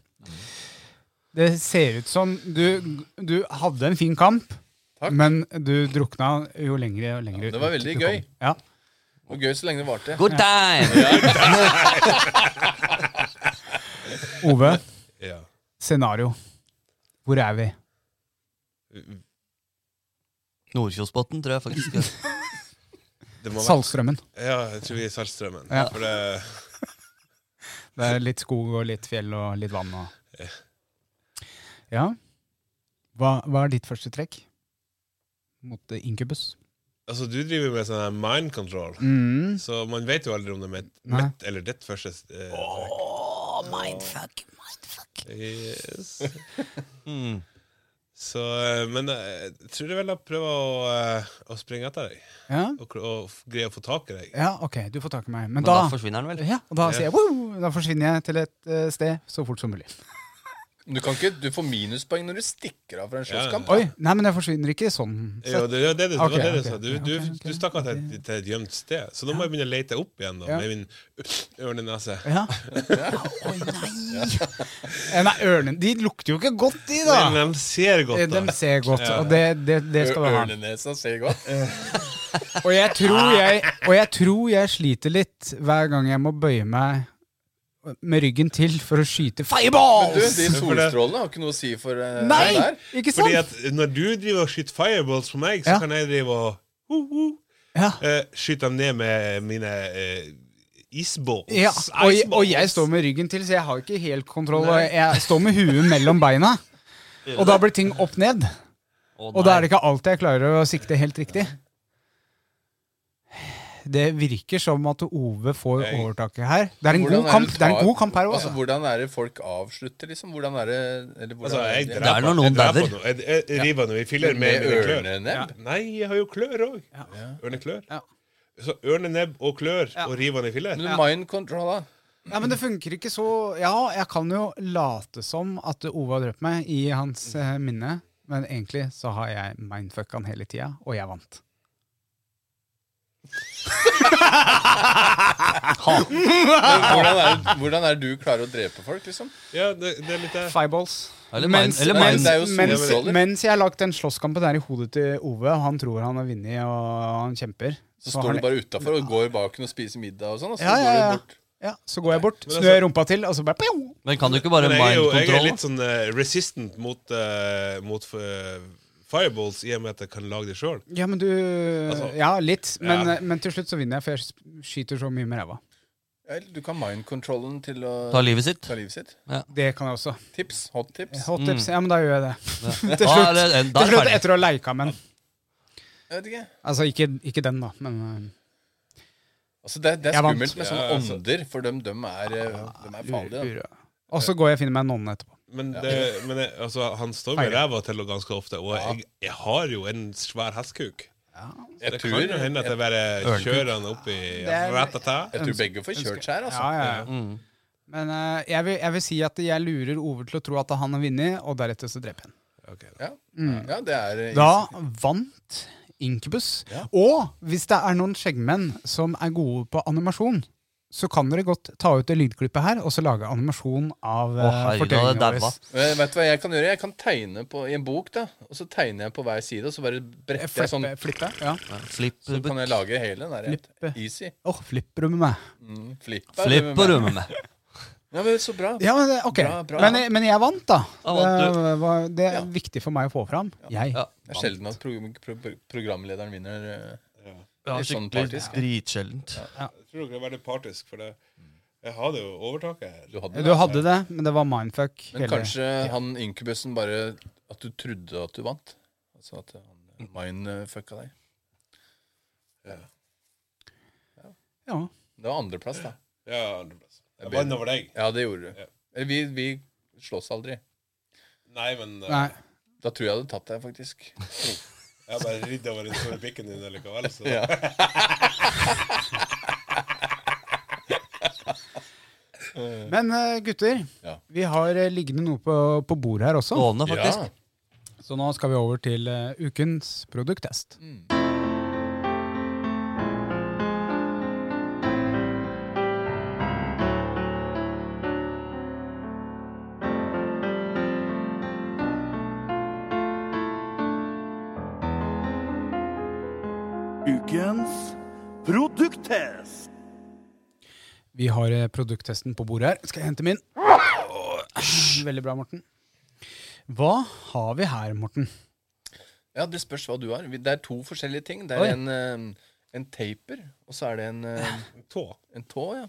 S3: Det ser ut som du, du hadde en fin kamp,
S5: Takk.
S3: men du drukna jo lengre og lengre
S5: Ja,
S3: ut.
S5: det var
S3: ut
S5: veldig
S3: du kom.
S5: gøy.
S3: Ja.
S5: Og gøy så lenge det varte.
S4: Good time!
S3: Ove,
S6: Ja.
S3: scenario. Hvor er vi?
S4: Nordkjosbotn, tror jeg faktisk.
S6: Det må være.
S3: Saltstrømmen.
S6: Ja, jeg tror vi er Saltstraumen.
S3: Ja.
S6: For det,
S3: Det er litt skog og litt fjell og litt vann og Ja. Hva, hva er ditt første trekk mot eh, Incubus?
S6: altså, du driver med sånn her mind control,
S3: Mm.
S6: så man vet jo aldri om det er mitt,
S3: Nei.
S6: mitt eller ditt første eh,
S4: mindfuck, mindfuck.
S6: yes.
S4: Mm.
S6: Så, eh, men eh, jeg tror jeg vel jeg prøver å, eh, å springe etter deg,
S3: Ja?
S6: og, kl- og f- greie å få tak i deg.
S3: ja, ok, du får tak i meg. Men,
S4: Men
S3: da,
S4: da forsvinner den vel?
S3: ja, og da sier jeg wow, Da forsvinner jeg til et eh, sted så fort som mulig.
S5: Du, kan ikke, du får minuspoeng når du stikker av fra en slåsskamp.
S3: Oi, Nei, men jeg forsvinner ikke sånn.
S6: Ja,
S3: Så,
S6: det, ja, det, det,
S3: Ok,
S6: det var det du
S3: ok.
S6: sa. Du, du,
S3: Ok, ok.
S6: du stakk av til, et- til et gjemt sted, så da må jeg begynne å lete opp igjen da,
S3: Ja.
S6: med min ørnenese.
S3: ja. Oi, nei! Eh, Nei, ørnene De lukter jo ikke godt, de, da.
S6: Men de ser godt,
S3: Eh,
S6: da.
S3: De ser godt, og det, det, det skal du ha.
S5: Ørnenesa ser godt.
S3: Og jeg, tror jeg, og jeg tror jeg sliter litt hver gang jeg må bøye meg med ryggen til for å skyte fireballs!
S5: Du, de
S6: for det-
S5: solstrålene har ikke noe å si for eh,
S3: Nei!
S5: der.
S3: Ikke sant?
S6: Fordi at når du driver og skyter fireballs på meg, så
S3: sånn. Ja.
S6: kan jeg drive og ho, ho,
S3: ja.
S6: eh, skyte dem ned med mine eh, isballs.
S3: Ja, og, jeg- og
S6: Iceballs.
S3: jeg står med ryggen til, så jeg har ikke helt kontroll. Og jeg står med huet mellom beina, og da blir ting opp ned. Og da er det ikke alltid jeg klarer å sikte helt riktig. Det virker som at Ove får overtaket her. Det er en,
S5: Hvordan
S3: god
S5: er
S3: kamp, det er
S5: tar-
S3: en god kamp her òg.
S5: Altså, hvordan er det folk avslutter, liksom? Hvordan er det eller hvordan
S6: Altså, jeg
S5: er det?
S4: drar-
S6: dreper
S4: når
S6: han, jeg
S4: noen
S6: dreper
S4: dauer.
S6: han, Jeg, jeg river han i filler med,
S5: Med
S6: mine klør.
S5: ørnenebb?
S6: Nei, jeg har jo klør òg. Ørneklør.
S3: Ja.
S6: Så ørnenebb og klør
S3: Ja.
S6: og river han i filler.
S5: Men du, mind control, da.
S3: Ja, men det funker ikke så Ja, jeg kan jo late som at Ove har drept meg i hans eh, minne, men egentlig så har jeg mindfucka han hele tida, og jeg vant.
S5: Men Hvordan er, det, hvordan er det du klarer å drepe folk, liksom?
S6: Ja, det, det er litt det.
S3: Fireballs.
S4: Eller
S3: mens,
S4: mind- eller
S3: mens,
S5: mind- Det er jo
S3: mens,
S5: solstråler.
S3: mens jeg har lagt den slåsskampen der i hodet til Ove, og han tror han har vunnet, og han kjemper,
S5: Så
S3: så,
S5: står
S3: han,
S5: du bare utafor og går baken og spiser middag og sånn, og så
S3: Ja, ja,
S5: går
S3: ja.
S5: du bort.
S3: ja, så går jeg bort,
S6: Men altså-
S3: snur rumpa til, og så bare pjo!
S4: Men kan du ikke bare
S6: Men jeg er jo jeg er
S4: mind-kontroll?
S6: litt sånn eh, resistant mot, eh, mot eh, fireballs, i og med at jeg kan lage det sjøl.
S3: Ja, men du
S5: Altså,
S3: Ja, litt, men,
S6: ja.
S3: men til slutt så vinner jeg, for jeg skyter så mye med ræva.
S5: Ja, eller du kan mind controllen til å
S4: Ta livet sitt?
S5: ta livet sitt.
S3: Det kan jeg også.
S5: Tips. Hot tips.
S3: Hot tips. Ja, men da gjør jeg det. slutt.
S4: Til Mm. Da er
S3: Til
S4: det, da er det
S3: slutt,
S4: ferdig.
S3: etter å ha leika med den.
S5: Jeg vet ikke.
S3: Altså, ikke, ikke den, da, men eh,
S5: Altså, det, det er
S3: Jeg vant.
S5: skummelt med sånne
S6: Ja, altså.
S5: ånder, for dem, dem er, eh, dem er farlige. da.
S3: ura. Og så går jeg og finner meg en nonne etterpå.
S6: Men, det, men jeg, altså, han står med
S3: Feil.
S6: ræva til og ganske ofte, og jeg, jeg har jo en svær hestkuk.
S5: Jeg
S6: Det kan
S5: tror,
S6: jo hende at jeg bare kjører han opp i
S3: er-
S6: ratata.
S5: jeg tror begge får kjørt seg her, altså.
S3: Ja, ja, ja.
S4: Mm.
S3: Men eh, jeg, vil, jeg vil si at jeg lurer Ove til å tro at han har vunnet, og deretter så dreper jeg ham.
S6: Ok, da.
S5: Ja, ja det er eh,
S3: Mm. Da vant Inkubus. Og hvis det er noen skjeggmenn som er gode på animasjon, så kan dere godt ta ut det lydklippet her og så lage animasjon av
S4: Å,
S3: uh,
S4: herregud, da
S3: fortellingen
S4: er
S3: vår.
S4: det daua.
S5: Men Eh, Vet du hva jeg kan gjøre? Jeg kan tegne på, i en bok, da. Og så tegner jeg på hver side, og så bare bretter jeg sånn.
S3: Flippe, flippe, ja.
S4: Flipp,
S5: Så kan jeg lage hele den der.
S3: Flippe.
S5: Easy.
S3: Åh, flipper du med meg?
S5: Mm, flipp er det
S4: flipp
S5: med
S4: og
S5: meg.
S4: rømme med.
S5: Ja, men så bra.
S3: Ja, men det- ok.
S5: Bra, bra.
S3: Men, jeg- men jeg vant, da.
S4: Da vant
S3: det, var, det er
S5: Ja.
S3: viktig for meg å få fram. Jeg.
S4: Ja.
S5: Det er sjelden at pro pro pro programlederen vinner. eh.
S4: Ja,
S5: Litt sånn
S4: skikkelig
S5: partisk, ja.
S4: dritsjeldent.
S6: Jeg tror dere er veldig partisk, for det. jeg har det jo overtaket her.
S5: Du hadde
S3: Du
S5: det.
S3: hadde det, men det var mindfuck.
S5: Men kanskje han inkubusen bare At du trodde at du vant. Altså at han mindfucka deg.
S3: Ja.
S5: Det var andreplass, da.
S6: Ja, andreplass. Jeg vant over deg.
S5: Ja, det gjorde du. Eller Vi, vi slåss aldri.
S6: Nei, men eh,
S3: Nei.
S5: Da tror jeg jeg hadde tatt deg, faktisk.
S6: jeg bare ridde over den store pikken din likevel. Så.
S5: Ja.
S3: Men eh, gutter,
S5: Ja.
S3: vi har eh, liggende noe på, på bordet her også.
S4: Gående,
S5: Ja.
S4: faktisk.
S3: Så nå skal vi over til eh, ukens produkttest.
S5: Mm.
S1: Ukens produkttest.
S3: Vi har eh, produkttesten på bordet her. Skal jeg hente min? Veldig bra, Morten. Hva har vi her, Morten?
S5: ja, det spørs hva du har. Vi- Det er to forskjellige ting. Det
S3: Oi.
S5: er en, eh, en taper, og så er det en, eh,
S6: Tå.
S5: en tå, ja.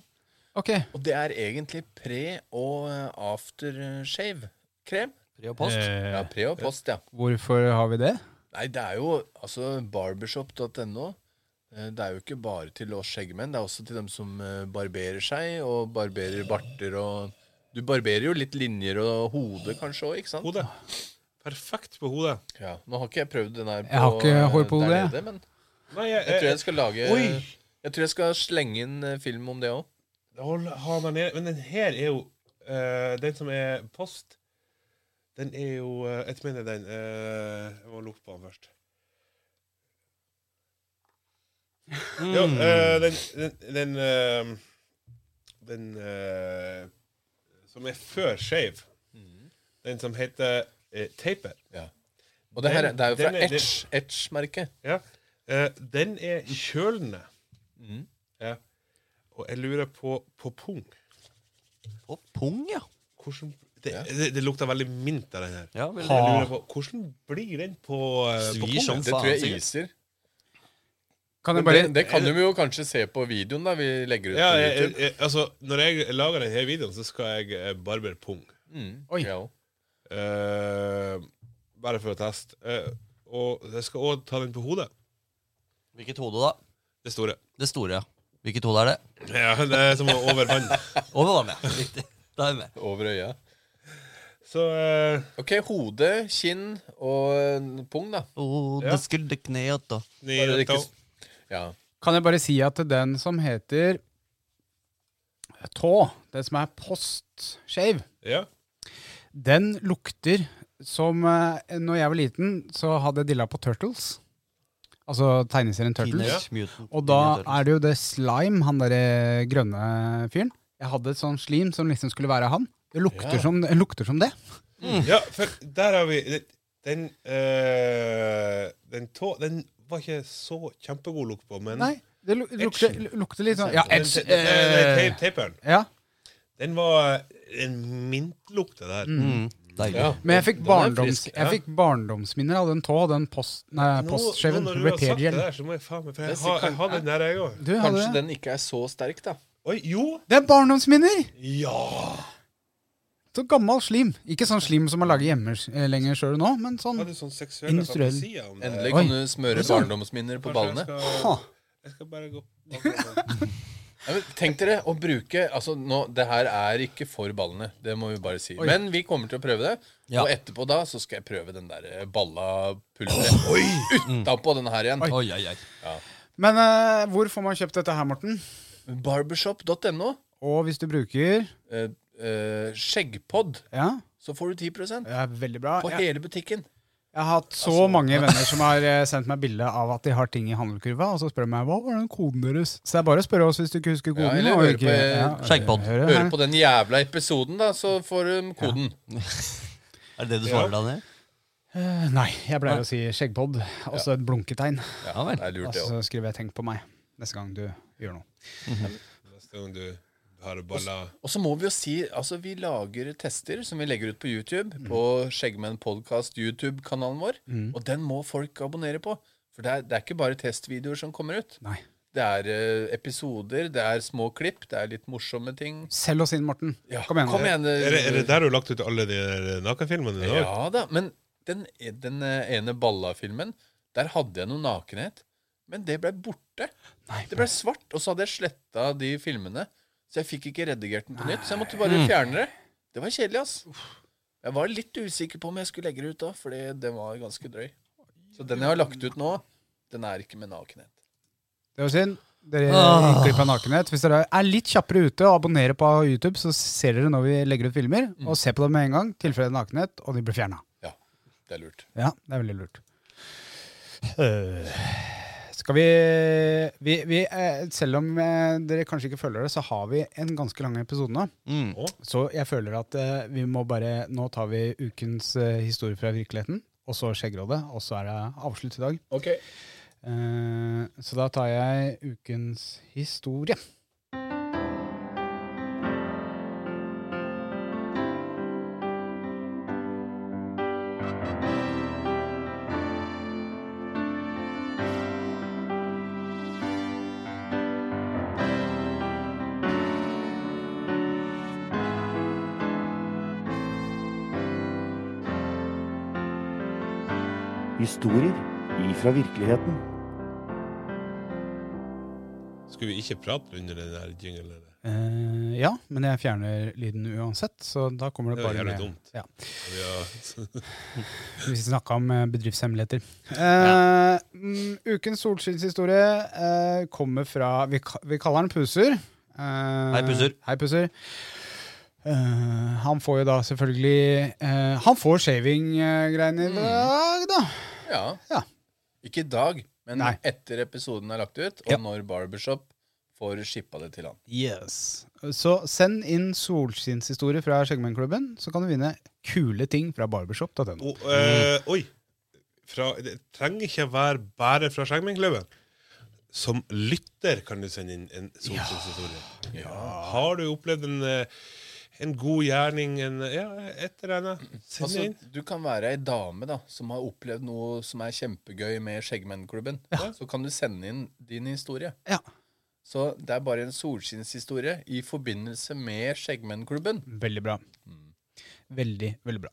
S3: Ok,
S5: Og det er egentlig pre- og eh, aftershave-krem.
S4: Fri og post.
S3: Eh.
S5: Ja, pre og post, ja.
S3: hvorfor har vi det?
S5: Nei, det er jo altså barbershop.no. eh, Det er jo ikke bare til oss skjeggmenn, det er også til dem som eh, barberer seg, og barberer barter og Du barberer jo litt linjer og hodet kanskje òg, ikke sant?
S6: Hodet. Perfekt på hodet.
S5: Ja. Nå har ikke jeg prøvd den her på,
S3: har ikke hår på
S5: eh, der
S3: hodet, jeg.
S5: nede, men
S6: Nei, jeg,
S5: jeg tror
S6: jeg,
S5: jeg skal lage
S6: Oi.
S5: Jeg tror jeg skal slenge inn eh, film om det òg.
S6: hold, ha den nede. Men den her er jo eh, Den som er post, den er jo eh, Jeg mener den eh, Jeg må lukke på den først. Jo, eh, den Den, den, eh, den eh, som er før shave, den som heter eh, taper
S5: Og det her er- det er jo
S6: Den-
S5: fra
S6: den er- den-
S5: Etch- Etch-merket.
S6: Ja. Eh, den er kjølende. Ja. Og jeg lurer på på pung.
S4: På pung, ja.
S6: Hvordan, det, det, det lukter veldig mint av den her.
S4: ja vel,
S3: Ah.
S6: Jeg lurer på, hvordan blir den på, eh,
S4: Svir
S6: på pungen?
S4: som
S5: Det tror jeg iser.
S3: Kan jeg
S5: Men Det,
S3: bare
S5: det kan de jo kanskje se på videoen da vi legger ut
S6: Ja,
S5: på
S6: jeg, jeg,
S5: YouTube.
S6: jeg, altså, når jeg lager denne videoen, så skal jeg eh, barbere pung.
S3: Oi.
S5: Ja.
S6: Eh, bare for å teste. Eh, og jeg skal òg ta den på hodet.
S4: Hvilket hode, da?
S6: Det store.
S4: Det store, ja. Hvilket hode er det?
S6: Ja, det er som å over vann.
S4: Over var med. Riktig. Da er jeg med.
S5: Over øya.
S6: Så eh,
S5: Ok, hode, kinn og eh, pung, da.
S4: Hode,
S6: Ja.
S4: skulder, kne og tå.
S6: ni,
S5: Bare det
S6: åtte,
S5: ikke- Ja.
S3: Kan jeg bare si at den som heter tå, den som er postshave,
S6: ja.
S3: den lukter som eh, Når jeg var liten, så hadde jeg dilla på Turtles. Altså tegneserien Turtles.
S4: Teenage Mutant
S3: Og da
S4: Ninja Turtles.
S3: er det jo det slime, han derre grønne fyren. Jeg hadde et sånn slim som liksom skulle være han. Det lukter, som, det lukter som det. Mm.
S6: ja, for der har vi Den eh, Den tå Den var ikke så kjempegod lukt på, men
S3: Nei, det lu- lukter, lukter litt sånn Ja,
S6: Den,
S3: edge.
S6: te- den, den,
S3: eh,
S6: den taperen,
S3: ja.
S6: den var en mintlukt, det der.
S4: Mm, Deilig.
S5: ja.
S3: Men jeg fikk,
S5: Den er
S3: barndoms,
S5: frisk,
S6: ja.
S3: jeg fikk barndomsminner av den tå, den post, nei,
S6: Nå-
S3: postshaven.
S6: nå når du har sagt det
S3: Repair-gel.
S6: der, så må jeg faen meg For jeg
S5: Det er
S6: har,
S5: sikkert-
S6: jeg har den der, jeg òg.
S3: Du hadde
S5: Kanskje
S3: det.
S5: den ikke er så sterk, da.
S6: Oi, jo!
S3: Det er barndomsminner!
S6: Ja!
S3: Så gammel slim. Ikke sånn slim som man lager hjemme s- eh, lenger sjøl nå, men sånn.
S6: Har du sånn seksuelle
S3: Industriell.
S6: fantasier om det?
S5: Endelig
S3: Oi. sånn.
S5: kan du smøre
S3: sant?
S5: barndomsminner på
S6: Kanskje
S5: ballene.
S6: Jeg skal,
S3: Ha.
S6: jeg skal bare gå bak-
S5: Ja, men tenk dere å bruke Altså, nå, det her er ikke for ballene. Det må vi bare si. Men vi kommer til å prøve det.
S4: Ja.
S5: Og etterpå da så skal jeg prøve den der eh, balla pulveret utapå denne her igjen.
S4: Oi, oi, oi.
S3: Men eh, hvor får man kjøpt dette her, Morten?
S5: Barbershop.no.
S3: Og hvis du bruker
S5: Eh, eh, skjeggpod,
S3: Ja,
S5: så får du 10
S3: det er veldig bra.
S5: på Altså-
S3: Jeg,
S5: hele butikken.
S3: jeg har hatt så mange venner som har eh, sendt meg bilde av at de har ting i handelkurva, og så spør de meg hva var den koden deres. Så det er bare å spørre oss hvis du ikke husker
S5: Ja,
S3: koden.
S5: eller
S3: og
S5: høre
S3: ikke-
S5: på,
S3: ja,
S4: Skjeggpod.
S3: høre her.
S5: Hører på den jævla episoden, da, så får du koden.
S4: Er det det du svarer, Daniel?
S3: Eh, Nei, jeg pleier å si skjeggpod, og så et blunketegn.
S5: Ja,
S4: Ja vel. Altså,
S5: det er
S3: Og
S5: lurt, det òg.
S3: så skriver jeg 'tenk på meg' neste gang du gjør noe.
S6: Neste gang du har balla
S5: Og så må vi jo si altså vi lager tester som vi legger ut på YouTube,
S6: Mm.
S5: på Skjeggmenn Podcast YouTube-kanalen vår. Og den må folk abonnere på. For det er, det er ikke bare testvideoer som kommer ut.
S3: Nei.
S5: Det er eh, episoder, det er små klipp, det er litt morsomme ting.
S3: Selg oss inn, Morten.
S5: Ja,
S3: Kom igjen. nå.
S5: Kom igjen eh,
S6: er det, er det der du har lagt ut alle de der nakenfilmene dine? også?
S5: Ja da, men den, den eh, ene Balla-filmen, der hadde jeg noe nakenhet. Men det ble borte.
S3: Nei,
S5: Det ble svart, og så hadde jeg sletta de filmene. Så jeg fikk ikke redigert den på nytt, så jeg måtte
S3: Mm.
S5: bare fjerne det. Det var kjedelig, ass. Jeg var litt usikker på om jeg skulle legge det ut da, fordi den var ganske drøy. Så den jeg har lagt ut nå, den er ikke med nakenhet.
S3: Det var synd. Dere
S4: Åh.
S3: gikk glipp av nakenhet. Hvis dere er litt kjappere ute og abonnerer på YouTube, så ser dere når vi legger ut filmer, og ser på dem med en gang. Tilfelle det er nakenhet, og de blir fjerna.
S5: Ja, det er lurt.
S3: Ja, det er veldig lurt. Øh, Skal vi, vi, vi eh, Selv om eh, dere kanskje ikke føler det, så har vi en ganske lang episode nå.
S4: Mm.
S3: Så jeg føler at eh, vi må bare Nå tar vi ukens eh, historie fra virkeligheten, og så Skjeggerådet, og så er det avslutt i dag.
S5: Ok.
S3: Eh, så da tar jeg ukens historie.
S1: Historier ifra virkeligheten.
S6: Skulle vi ikke prate under den der jinglen? eller?
S3: Eh, ja, men jeg fjerner lyden uansett, så da kommer det
S6: Det var
S3: bare
S6: jævlig
S3: med.
S6: dumt.
S3: Ja.
S6: Vi har-
S3: Vi snakka om eh, bedriftshemmeligheter. Eh, mm, Ukens solskinnshistorie eh, kommer fra vi, ka- vi kaller han Puser. Eh,
S4: Hei, Puser.
S3: Hei, Puser. Eh, han får jo da selvfølgelig eh, Han får shaving-greiene i dag, da.
S5: Ja.
S3: Ja.
S5: Ikke i dag, men
S3: Nei.
S5: etter episoden er lagt ut, og
S3: Ja.
S5: når Barbershop får shippa det til han.
S3: Yes. Så send inn solskinnshistorie fra Skjeggmennklubben, så kan du vinne kule ting fra barbershop.no.
S6: Og, eh, oi! Fra, det trenger ikke være bare fra Skjeggmennklubben. Som lytter kan du sende inn en solskinnshistorie. Har du opplevd en eh, en god gjerning, en ja, et eller annet. Send det inn.
S5: Altså, du kan være ei dame da som har opplevd noe som er kjempegøy med Skjeggmennklubben. Så kan du sende inn din historie.
S3: Ja.
S5: Så det er bare en solskinnshistorie i forbindelse med Skjeggmennklubben.
S3: Veldig bra. Veldig, veldig bra.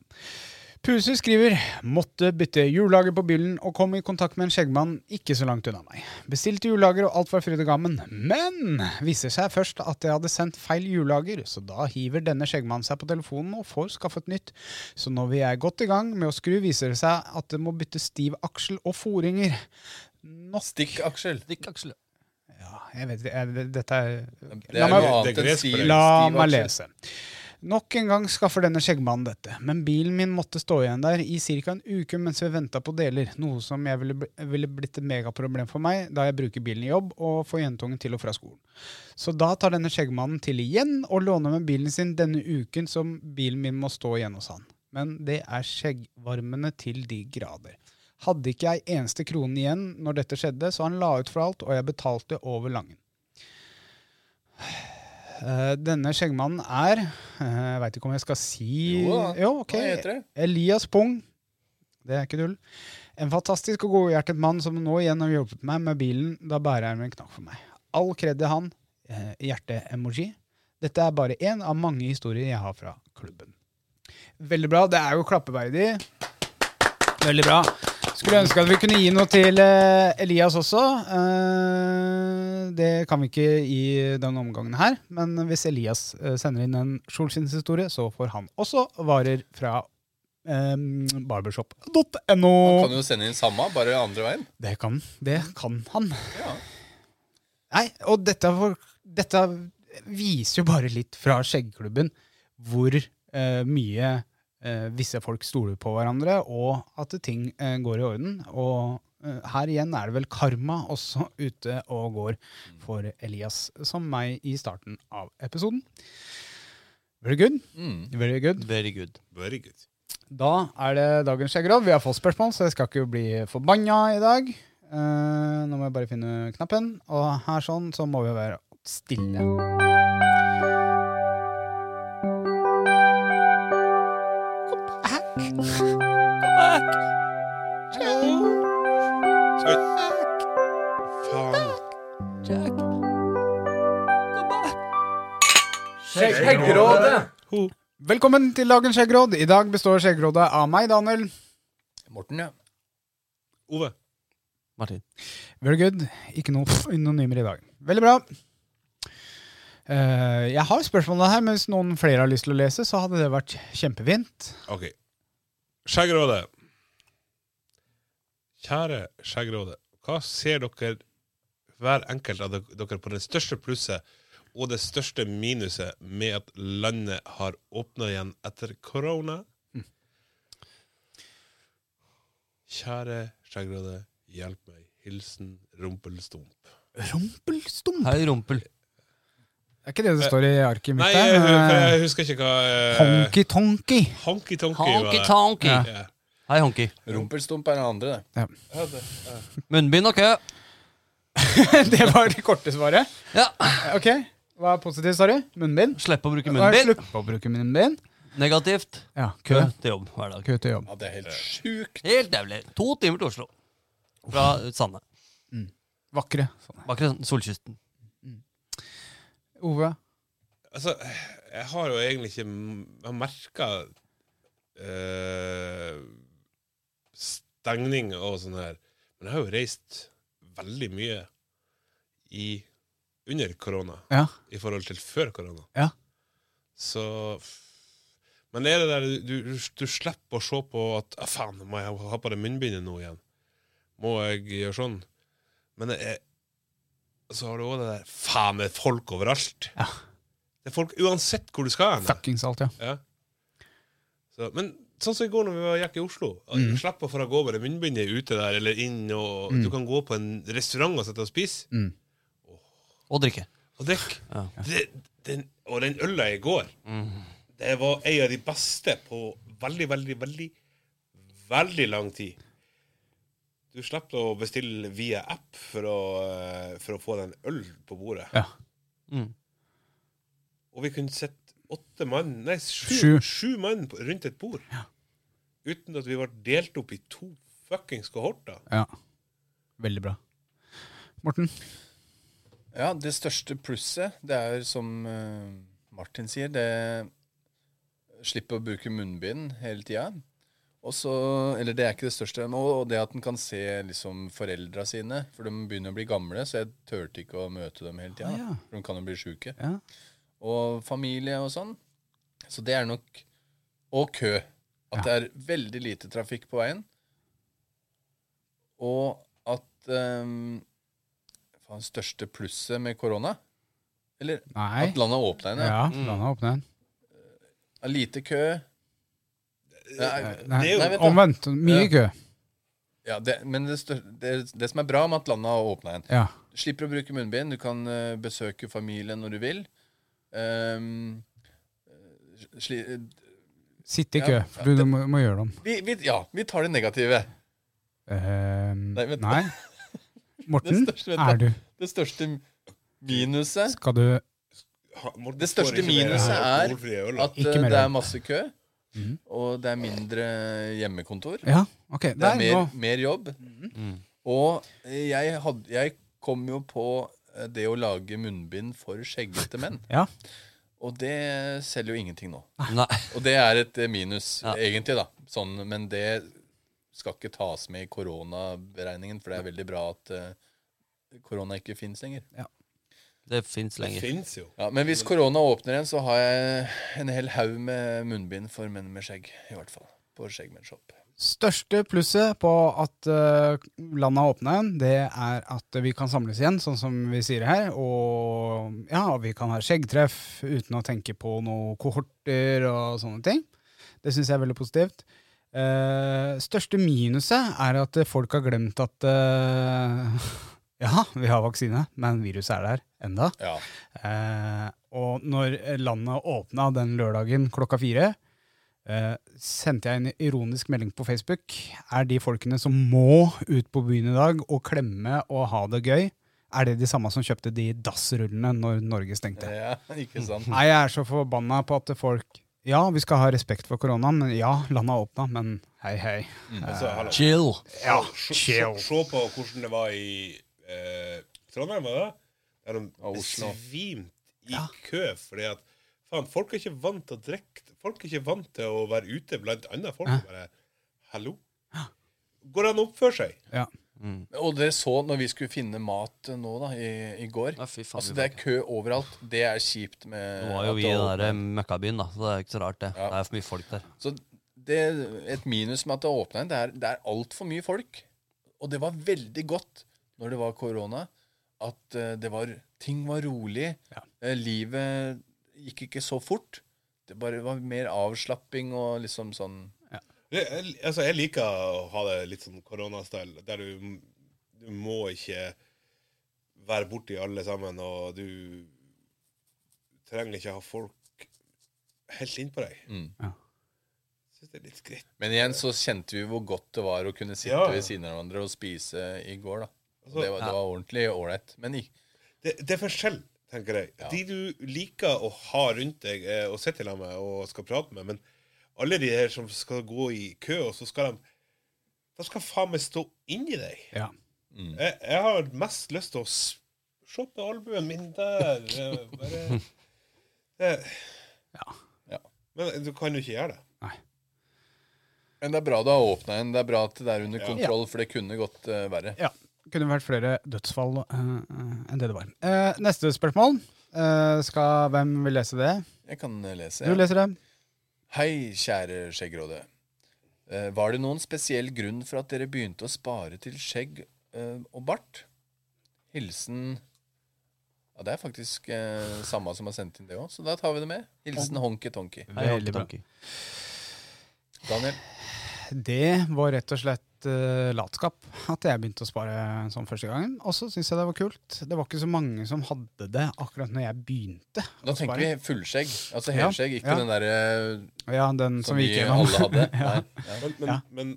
S3: Puse skriver måtte bytte hjullager på bilen og kom i kontakt med en skjeggmann ikke så langt unna meg. Bestilte hjullager og alt var fryd og gammen, men viser seg først at jeg hadde sendt feil hjullager, så da hiver denne skjeggmannen seg på telefonen og får skaffet nytt. Så når vi er godt i gang med å skru, viser det seg at det må bytte stiv aksel og foringer. Nok
S5: Stikk, Aksel.
S4: Stikk, Aksel.
S3: Ja, jeg vet ikke, jeg- dette er
S5: Det
S3: La
S5: er
S3: meg-
S5: noe
S6: det
S5: annet
S6: er
S5: enn
S6: gresk
S5: stiv,
S6: for
S5: stiv
S6: deg.
S3: La meg
S5: Aksel.
S3: lese. Nok en gang skaffer denne skjeggmannen dette, men bilen min måtte stå igjen der i ca. en uke mens vi venta på deler, noe som jeg ville, bli- ville blitt et megaproblem for meg da jeg bruker bilen i jobb og får jentungen til og fra skolen. Så da tar denne skjeggmannen til igjen og låner med bilen sin denne uken som bilen min må stå igjen hos han. Men det er skjeggvarmende til de grader. Hadde ikke ei eneste krone igjen når dette skjedde, så han la ut for alt, og jeg betalte over langen. Eh, denne skjeggmannen er eh, Jeg veit ikke om jeg skal si
S5: Jo da.
S3: ok.
S5: Hva heter det?
S3: Elias Pung. Det er ikke tull. En fantastisk og godhjertet mann som nå igjen har hjulpet meg med bilen da bæreren min knakk for meg. All kred til han. Eh, Hjerte-emoji. Dette er bare én av mange historier jeg har fra klubben. Veldig bra. Det er jo klappeverdig. Veldig bra. Skulle ønske at vi kunne gi noe til eh, Elias også. Eh, det kan vi ikke i denne omgangen her, men hvis Elias eh, sender inn en solskinnshistorie, så får han også varer fra eh, barbershop.no.
S5: Kan du jo sende inn samme, bare andre veien.
S3: Det kan, det kan han.
S5: Mm. Ja.
S3: Nei, og dette, var- dette viser jo bare litt fra skjeggklubben hvor eh, mye eh, visse folk stoler på hverandre, og at ting eh, går i orden. Og eh, her igjen er det vel karma også ute og går
S5: Mm.
S3: for Elias, som meg i starten av episoden. Very good.
S5: Mm.
S3: Very good.
S4: Very good.
S6: Very good.
S3: Da er det dagens skjeggeråd. Vi har fått spørsmål, så jeg skal ikke bli forbanna i dag. Eh, nå må jeg bare finne knappen, og her sånn så må vi være stille.
S6: Faen.
S3: Velkommen til dagens skjeggeråd. I dag består skjeggerådet av meg, Daniel.
S5: Morten, ja.
S6: Ove.
S4: Martin.
S3: Very good. Ikke noe anonymer i dag. Veldig bra. Eh, jeg har spørsmålene her, men hvis noen flere har lyst til å lese, så hadde det vært kjempefint.
S6: Ok. Skjeggrådet. Kjære Skjeggrådet. Hva ser dere, hver enkelt av dere- dere, på det største plusset og det største minuset med at landet har åpna igjen etter korona? Kjære Skjeggrådet, hjelp meg. Hilsen Rumpelstump.
S3: Rumpelstump.
S4: Hei, rumpel.
S3: Det er ikke det det står i arket mitt Eh,
S6: Nei, jeg,
S3: der.
S6: jeg husker ikke hva eh,
S3: Honky-tonky.
S6: Honky-tonky var
S4: Honky
S6: det.
S4: tonky.
S6: Ja.
S4: Hei, honky.
S5: Rumpelstump er den andre, det.
S4: Munnbind og kø.
S3: Det var det korte svaret.
S4: Ja.
S3: Ok, Hva er positivt, sa du? Munnbind?
S4: Slippe å bruke
S3: Hva er
S4: munnbind.
S3: Slutt på å bruke munnbind.
S4: Negativt.
S3: Ja,
S4: Kø til jobb hver dag.
S3: Kø til jobb.
S5: Ja, det er helt sjukt.
S4: Helt jævlig. To timer til Oslo. Fra Sande.
S3: Vakre. Sånn.
S4: Akkurat solkysten.
S3: Ove?
S6: Altså, jeg har jo egentlig ikke m- Jeg merka stengning og sånn her. Men jeg har jo reist veldig mye i under korona
S3: Ja.
S6: i forhold til før korona.
S3: Ja.
S6: Så Men det er det der du, du, du slipper å se på at ah, 'faen, må jeg ha på det munnbindet nå igjen'? Må jeg gjøre sånn? Men det er, så har du òg det der 'faen, det er folk overalt'.
S3: Ja.
S6: Det er folk uansett hvor du skal hen.
S3: Fuckings alt, ja.
S6: Ja. Så, men sånn som i går når vi var- gikk i Oslo at
S3: Mm.
S6: Du slipper for å gå med det munnbindet ute der eller inn, og du kan gå på en restaurant og sitte og spise
S3: Mm.
S4: Og drikke.
S6: og drikke.
S4: Ja.
S6: Det, den, og den øla i går, det var en av de beste på veldig, veldig, veldig, veldig lang tid. Du slipper å bestille via app for å, eh, for å få den øl på bordet.
S3: Ja.
S4: Mm.
S6: og vi kunne sett åtte mann, nei, sju,
S3: Sju.
S6: sju mann på- rundt et bord. Uten at vi var delt opp i to fuckings kohorter.
S3: Ja. Veldig bra. Morten?
S5: Ja, det største plusset, det er som eh, Martin sier, det slipper å bruke munnbind hele tida. Og så, eller det er ikke det største, men- og og det at en kan se liksom foreldra sine, for de begynner å bli gamle, så jeg turte ikke å møte dem hele tida.
S3: Ah, ja.
S5: For de kan jo bli sjuke.
S3: Ja.
S5: Og familie og sånn. Så det er nok Og kø. At det er veldig lite trafikk på veien. Og at um, Faen, største plusset med korona? Eller
S3: Nei.
S5: at landet Mm. åpna igjen? Ja.
S3: Ja, landet er åpnet igjen.
S5: Er Lite kø. Nei,
S3: Eh, Nei,
S6: Det er jo-
S5: nei, vet du.
S3: Omvendt. Mye
S5: Ja.
S3: kø.
S5: ja, det, men det, stør, det, det som er bra med at landet har åpna igjen
S3: Ja.
S5: Du slipper å bruke munnbind. Du kan eh, besøke familien når du vil. Um, sli,
S3: Sitte i
S5: Ja,
S3: kø, for du, du må, må gjøre det om.
S5: vi, vi, ja, vi tar det negative.
S3: Ehm,
S5: Nei, vent.
S3: nei. Morten,
S5: Det største, vent da.
S3: er du
S5: Det største minuset
S3: Skal du
S6: Ha- Morten
S5: Det
S6: får
S5: største
S6: ikke mer
S5: minuset er
S6: alkoholfrie øl, da.
S5: at
S3: Ikke Mhm.
S5: eh,
S3: mer
S5: det
S3: øl.
S5: er masse kø, og det er mindre hjemmekontor.
S3: Ja, OK.
S5: Det
S3: Der,
S5: er
S3: nå.
S5: mer, mer jobb. Mhm. Og eh, jeg, hadde, jeg kom jo på eh, det å lage munnbind for skjeggete menn.
S3: Ja.
S5: Og det selger jo ingenting nå.
S4: Nei.
S5: Og det er et eh, minus,
S4: Ja.
S5: egentlig, da. Sånn, men det skal ikke tas med i koronaberegningen, for det er veldig bra at eh, korona ikke fins lenger.
S4: Det fins
S6: Det
S4: lenger.
S6: fins jo.
S5: Ja, Men hvis korona åpner igjen, så har jeg en hel haug med munnbind for menn med skjegg. I hvert fall. På Skjeggmennshop.
S3: Største plusset på at eh, landet har åpna igjen, det er at vi kan samles igjen, sånn som vi sier her. Og ja, vi kan ha skjeggtreff uten å tenke på noen kohorter og sånne ting. Det syns jeg er veldig positivt. Eh, største minuset er at eh, folk har glemt at eh, Ja, vi har vaksine, men viruset er der enda.
S5: Ja.
S3: Eh, og når landet åpna den lørdagen klokka fire, eh, sendte jeg en ironisk melding på Facebook. Er de folkene som må ut på byen i dag og klemme og ha det gøy, er det de samme som kjøpte de dassrullene når Norge stengte?
S5: ja, ikke sant?
S3: Nei, jeg er så forbanna på at folk Ja, vi skal ha respekt for koronaen, men ja, landet har åpna, men hei, hei.
S6: Altså, hallo.
S4: Chill.
S6: Ja, se, se, se på hvordan det var i eh, Trondheim, var det? Der de
S5: Og Oslo.
S6: besvimte i kø fordi at faen, folk er ikke vant til å drikke. Folk er ikke vant til å være ute blant andre folk. og Bare, Hallo? Går det an å oppføre seg?
S3: Ja.
S5: Og dere så når vi skulle finne mat nå da, i, i går.
S4: Ja, fy faen, vi
S5: altså, det
S4: var
S5: er kø overalt. Det er kjipt med
S4: Nå var jo
S5: at
S4: vi
S5: det
S4: i den
S5: åpner.
S4: der eh, møkkabyen, da, så det er ikke så rart, det. Det er for mye folk der.
S5: Så det, et minus med at det åpna igjen, det er, det er altfor mye folk. Og det var veldig godt når det var korona, at eh, det var, ting var rolig. Eh, livet gikk ikke så fort. Det bare var mer avslapping og liksom sånn
S6: Det, jeg, altså, jeg liker å ha det litt sånn koronastyle, der du, m- du må ikke være borti alle sammen, og du trenger ikke ha folk helt innpå deg.
S5: Mm.
S3: Ja.
S6: Syns det er litt greit.
S5: Men igjen så kjente vi hvor godt det var å kunne sitte
S6: Ja.
S5: ved siden av hverandre og spise i går, da. Og
S6: Altså-
S5: det, var, det var ordentlig ålreit. Men i,
S6: Det, det er forskjell, tenker jeg.
S5: Ja.
S6: De du liker å ha rundt deg eh, og sitte sammen med og skal prate med, men alle de her som skal gå i kø, og så skal de De skal faen meg stå inni deg.
S3: Ja.
S6: Jeg, jeg har mest lyst til å s- se på albuen min der. eh, Bare det.
S3: Ja.
S5: Ja.
S6: Men du kan jo ikke gjøre det.
S5: men det er bra du har åpna en. Det er bra at det er under kontroll, for det kunne gått eh, verre.
S3: Ja. Kunne vært flere dødsfall eh, eh, enn det det var. Eh, neste spørsmål. Eh, skal, hvem vil lese det?
S5: Jeg kan eh, lese.
S3: Du
S5: ja.
S3: leser det.
S5: Hei, kjære skjeggråde. Eh, var det noen spesiell grunn for at dere begynte å spare til skjegg eh, og bart? Hilsen Ja, det er faktisk eh, samme som har sendt inn det òg, så da tar vi det med. Hilsen Honky Tonky.
S4: Hei,
S3: Veldig bra.
S4: honky-tonky.
S5: Daniel.
S3: Det var rett og slett eh, latskap at jeg begynte å spare sånn første gangen. Og så syns jeg det var kult. Det var ikke så mange som hadde det akkurat når jeg begynte.
S5: Da tenker vi fullskjegg. Altså helskjegg, ikke
S3: ja.
S5: den derre
S3: Ja, den
S5: som
S3: som vi
S5: vi
S3: gikk
S5: alle
S3: gjennom.
S5: hadde. Nei. Ja.
S6: Men, men,
S3: Ja.
S6: men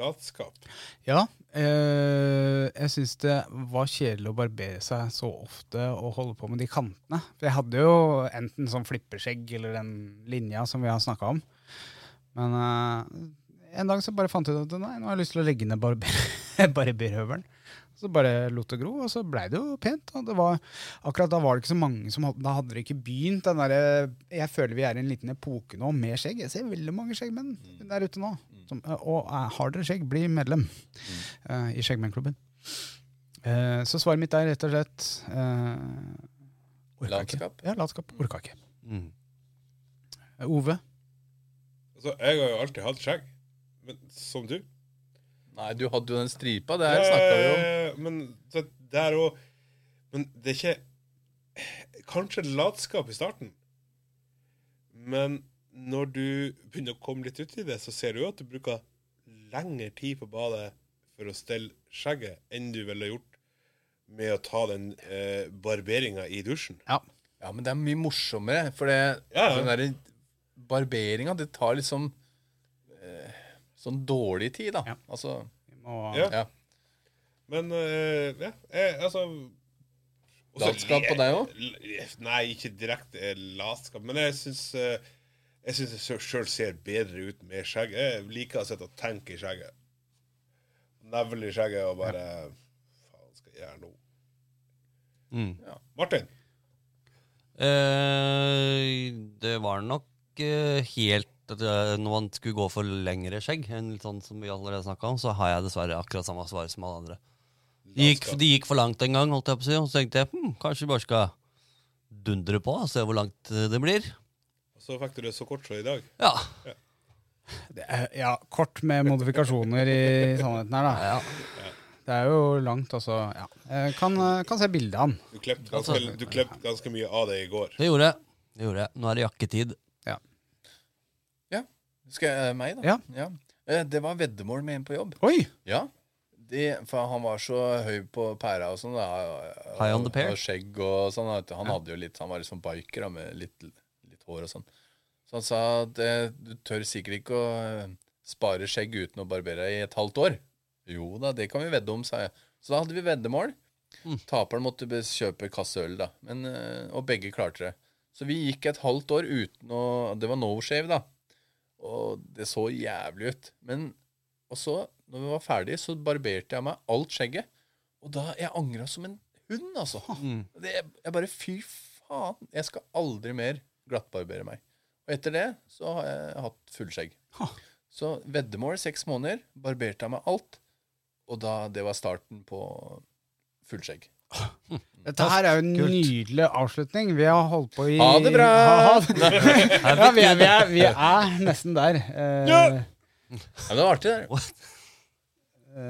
S6: latskap.
S3: Ja. eh, jeg syns det var kjedelig å barbere seg så ofte og holde på med de kantene. For jeg hadde jo enten sånn flipperskjegg eller den linja som vi har snakka om. Men eh, en dag så bare fant jeg ut at nei, nå har jeg lyst til å legge ned barber barberhøvelen. Så bare lot det gro, og så blei det jo pent. Og det var, akkurat da var det ikke så mange som hadde, da hadde det ikke begynt. Den der, jeg føler vi er i en liten epoke nå med skjegg. Jeg ser veldig mange skjeggmenn der ute nå. Som, og eh, har dere skjegg, bli medlem eh, i Skjeggmennklubben. Eh, så svaret mitt er rett og slett eh, orka ikke.
S5: Latskap.
S3: Ja, latskap. Orka ikke.
S4: Mm.
S3: Eh, Ove?
S6: Altså, jeg har jo alltid hatt skjegg, men som du.
S5: Nei, du hadde jo den stripa. Det her snakka vi om.
S6: Eh, Men så det er jo Men det er ikke Kanskje latskap i starten, men når du begynner å komme litt uti det, så ser du jo at du bruker lengre tid på badet for å stelle skjegget enn du ville gjort med å ta den eh, barberinga i dusjen.
S3: Ja.
S5: Ja, men det er mye morsommere. For det,
S6: Ja, ja.
S5: den der barberinga, det tar liksom eh, sånn dårlig tid, da.
S3: Ja.
S5: Altså
S3: Og,
S6: Ja.
S5: Ja.
S6: Men eh, ja, jeg, altså også-
S5: Latskap på deg også?
S6: L- Nei, ikke direkte eh, latskap. Men jeg syns eh, jeg syns jeg sjøl ser bedre ut med skjegg. Jeg liker å sitte og tenke i skjegget. Nevle i skjegget og bare Faen, skal jeg gjøre nå?
S4: Mm.
S6: Martin?
S4: Eh, det var nok eh, helt at eh, når man skulle gå for lengre skjegg, enn litt sånn som vi allerede snakka om, så har jeg dessverre akkurat samme svar som alle andre. Det gikk, det gikk for langt en gang, holdt jeg på å si, og så tenkte jeg hm, kanskje vi bare skal dundre på og se hvor langt eh, det blir.
S6: Og så fikk du det så kort som i dag.
S4: Ja.
S3: Det er, Eh, ja, kort med modifikasjoner i sannheten her, da.
S4: ja.
S3: Det er jo langt, altså. Ja. Eh, Kan, eh, kan se bildet av den.
S6: Du klippte ganske, du klippte ganske mye av det i går.
S4: Det gjorde jeg. Det gjorde jeg. Nå er det jakketid.
S5: Ja. Skal jeg eh, meg, da?
S3: Ja.
S5: Eh, Det var veddemål med en på jobb.
S3: Oi!
S5: Ja. De, for han var så høy på pæra og sånn. da.
S4: High on the pear.
S5: Og skjegg og sånn. vet du. Han hadde jo litt, han var liksom biker da, med litt, litt hår og sånn. Så han sa at eh, du tør sikkert ikke å eh, spare skjegg uten å barbere deg i et halvt år. Jo da, det kan vi vedde om, sa jeg. Så da hadde vi veddemål.
S4: Mm.
S5: Taperen måtte be- kjøpe kasse øl, da. Men, eh, og begge klarte det. Så vi gikk et halvt år uten å Det var no shave, da. Og det så jævlig ut. Men og så, når vi var ferdige, så barberte jeg meg alt skjegget. Og da Jeg angra som en hund, altså.
S3: Mm.
S5: Det, jeg bare Fy faen. Jeg skal aldri mer glattbarbere meg. Og etter det så har jeg hatt fullskjegg.
S3: Ha.
S5: Så veddemål seks måneder. Barberte jeg meg alt. Og da Det var starten på fullskjegg.
S3: Dette her er jo en nydelig avslutning. Vi har holdt på i
S5: Ha det bra!
S3: Ha- ha det. ja, vi, er, vi, er, vi er nesten der. Eh,
S5: Ja, men det var artig, det.
S3: eh,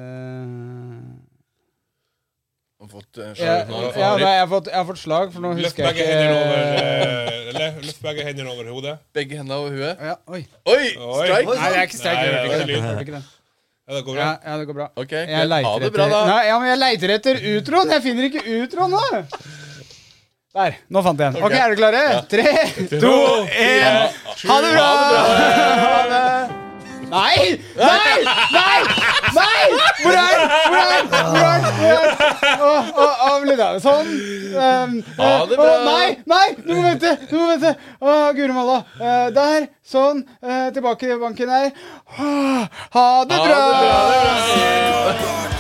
S5: Jeg Har fått, eh,
S3: ja,
S5: slag. Nå har jeg fått
S3: ja,
S5: ripp.
S3: nei, jeg, har fått, jeg har fått slag, for nå
S6: Løft
S3: husker jeg
S6: begge hendene over,
S3: ikke
S6: eh, lø- løft begge hendene over hodet.
S5: Begge hendene over huet.
S3: ja, Oi.
S5: Oi!
S6: Oi.
S5: Strike!
S3: Nei, det er ikke sterk.
S6: Nei,
S3: Jeg hørte
S6: det var
S3: ikke den.
S6: lyd.
S3: Jeg hørte ikke den.
S6: Ja, det går bra.
S3: Ja, ja, det går bra.
S5: Ok,
S3: Jeg
S5: greit. Ha
S3: leiter
S5: det bra,
S3: etter-
S5: da.
S3: Nei, ja, men jeg leiter etter utroen. Jeg finner ikke utroen nå. Der. Nå fant jeg den. Ok, er dere klare? Tre, to, én. Ha det bra! Ha det. Nei! Nei! Nei! Nei! Hvor er den? Hvor er den? Hvor er den? Hvor er den? Å, å, å, litt av- Sånn. Um,
S5: Ha det bra.
S3: å, nei! Nei! Du må vente! Du må vente! Å, guri malla. Eh, der. Sånn. Eh, tilbake i banken her. Å, ha det bra!
S5: bra.
S2: Kort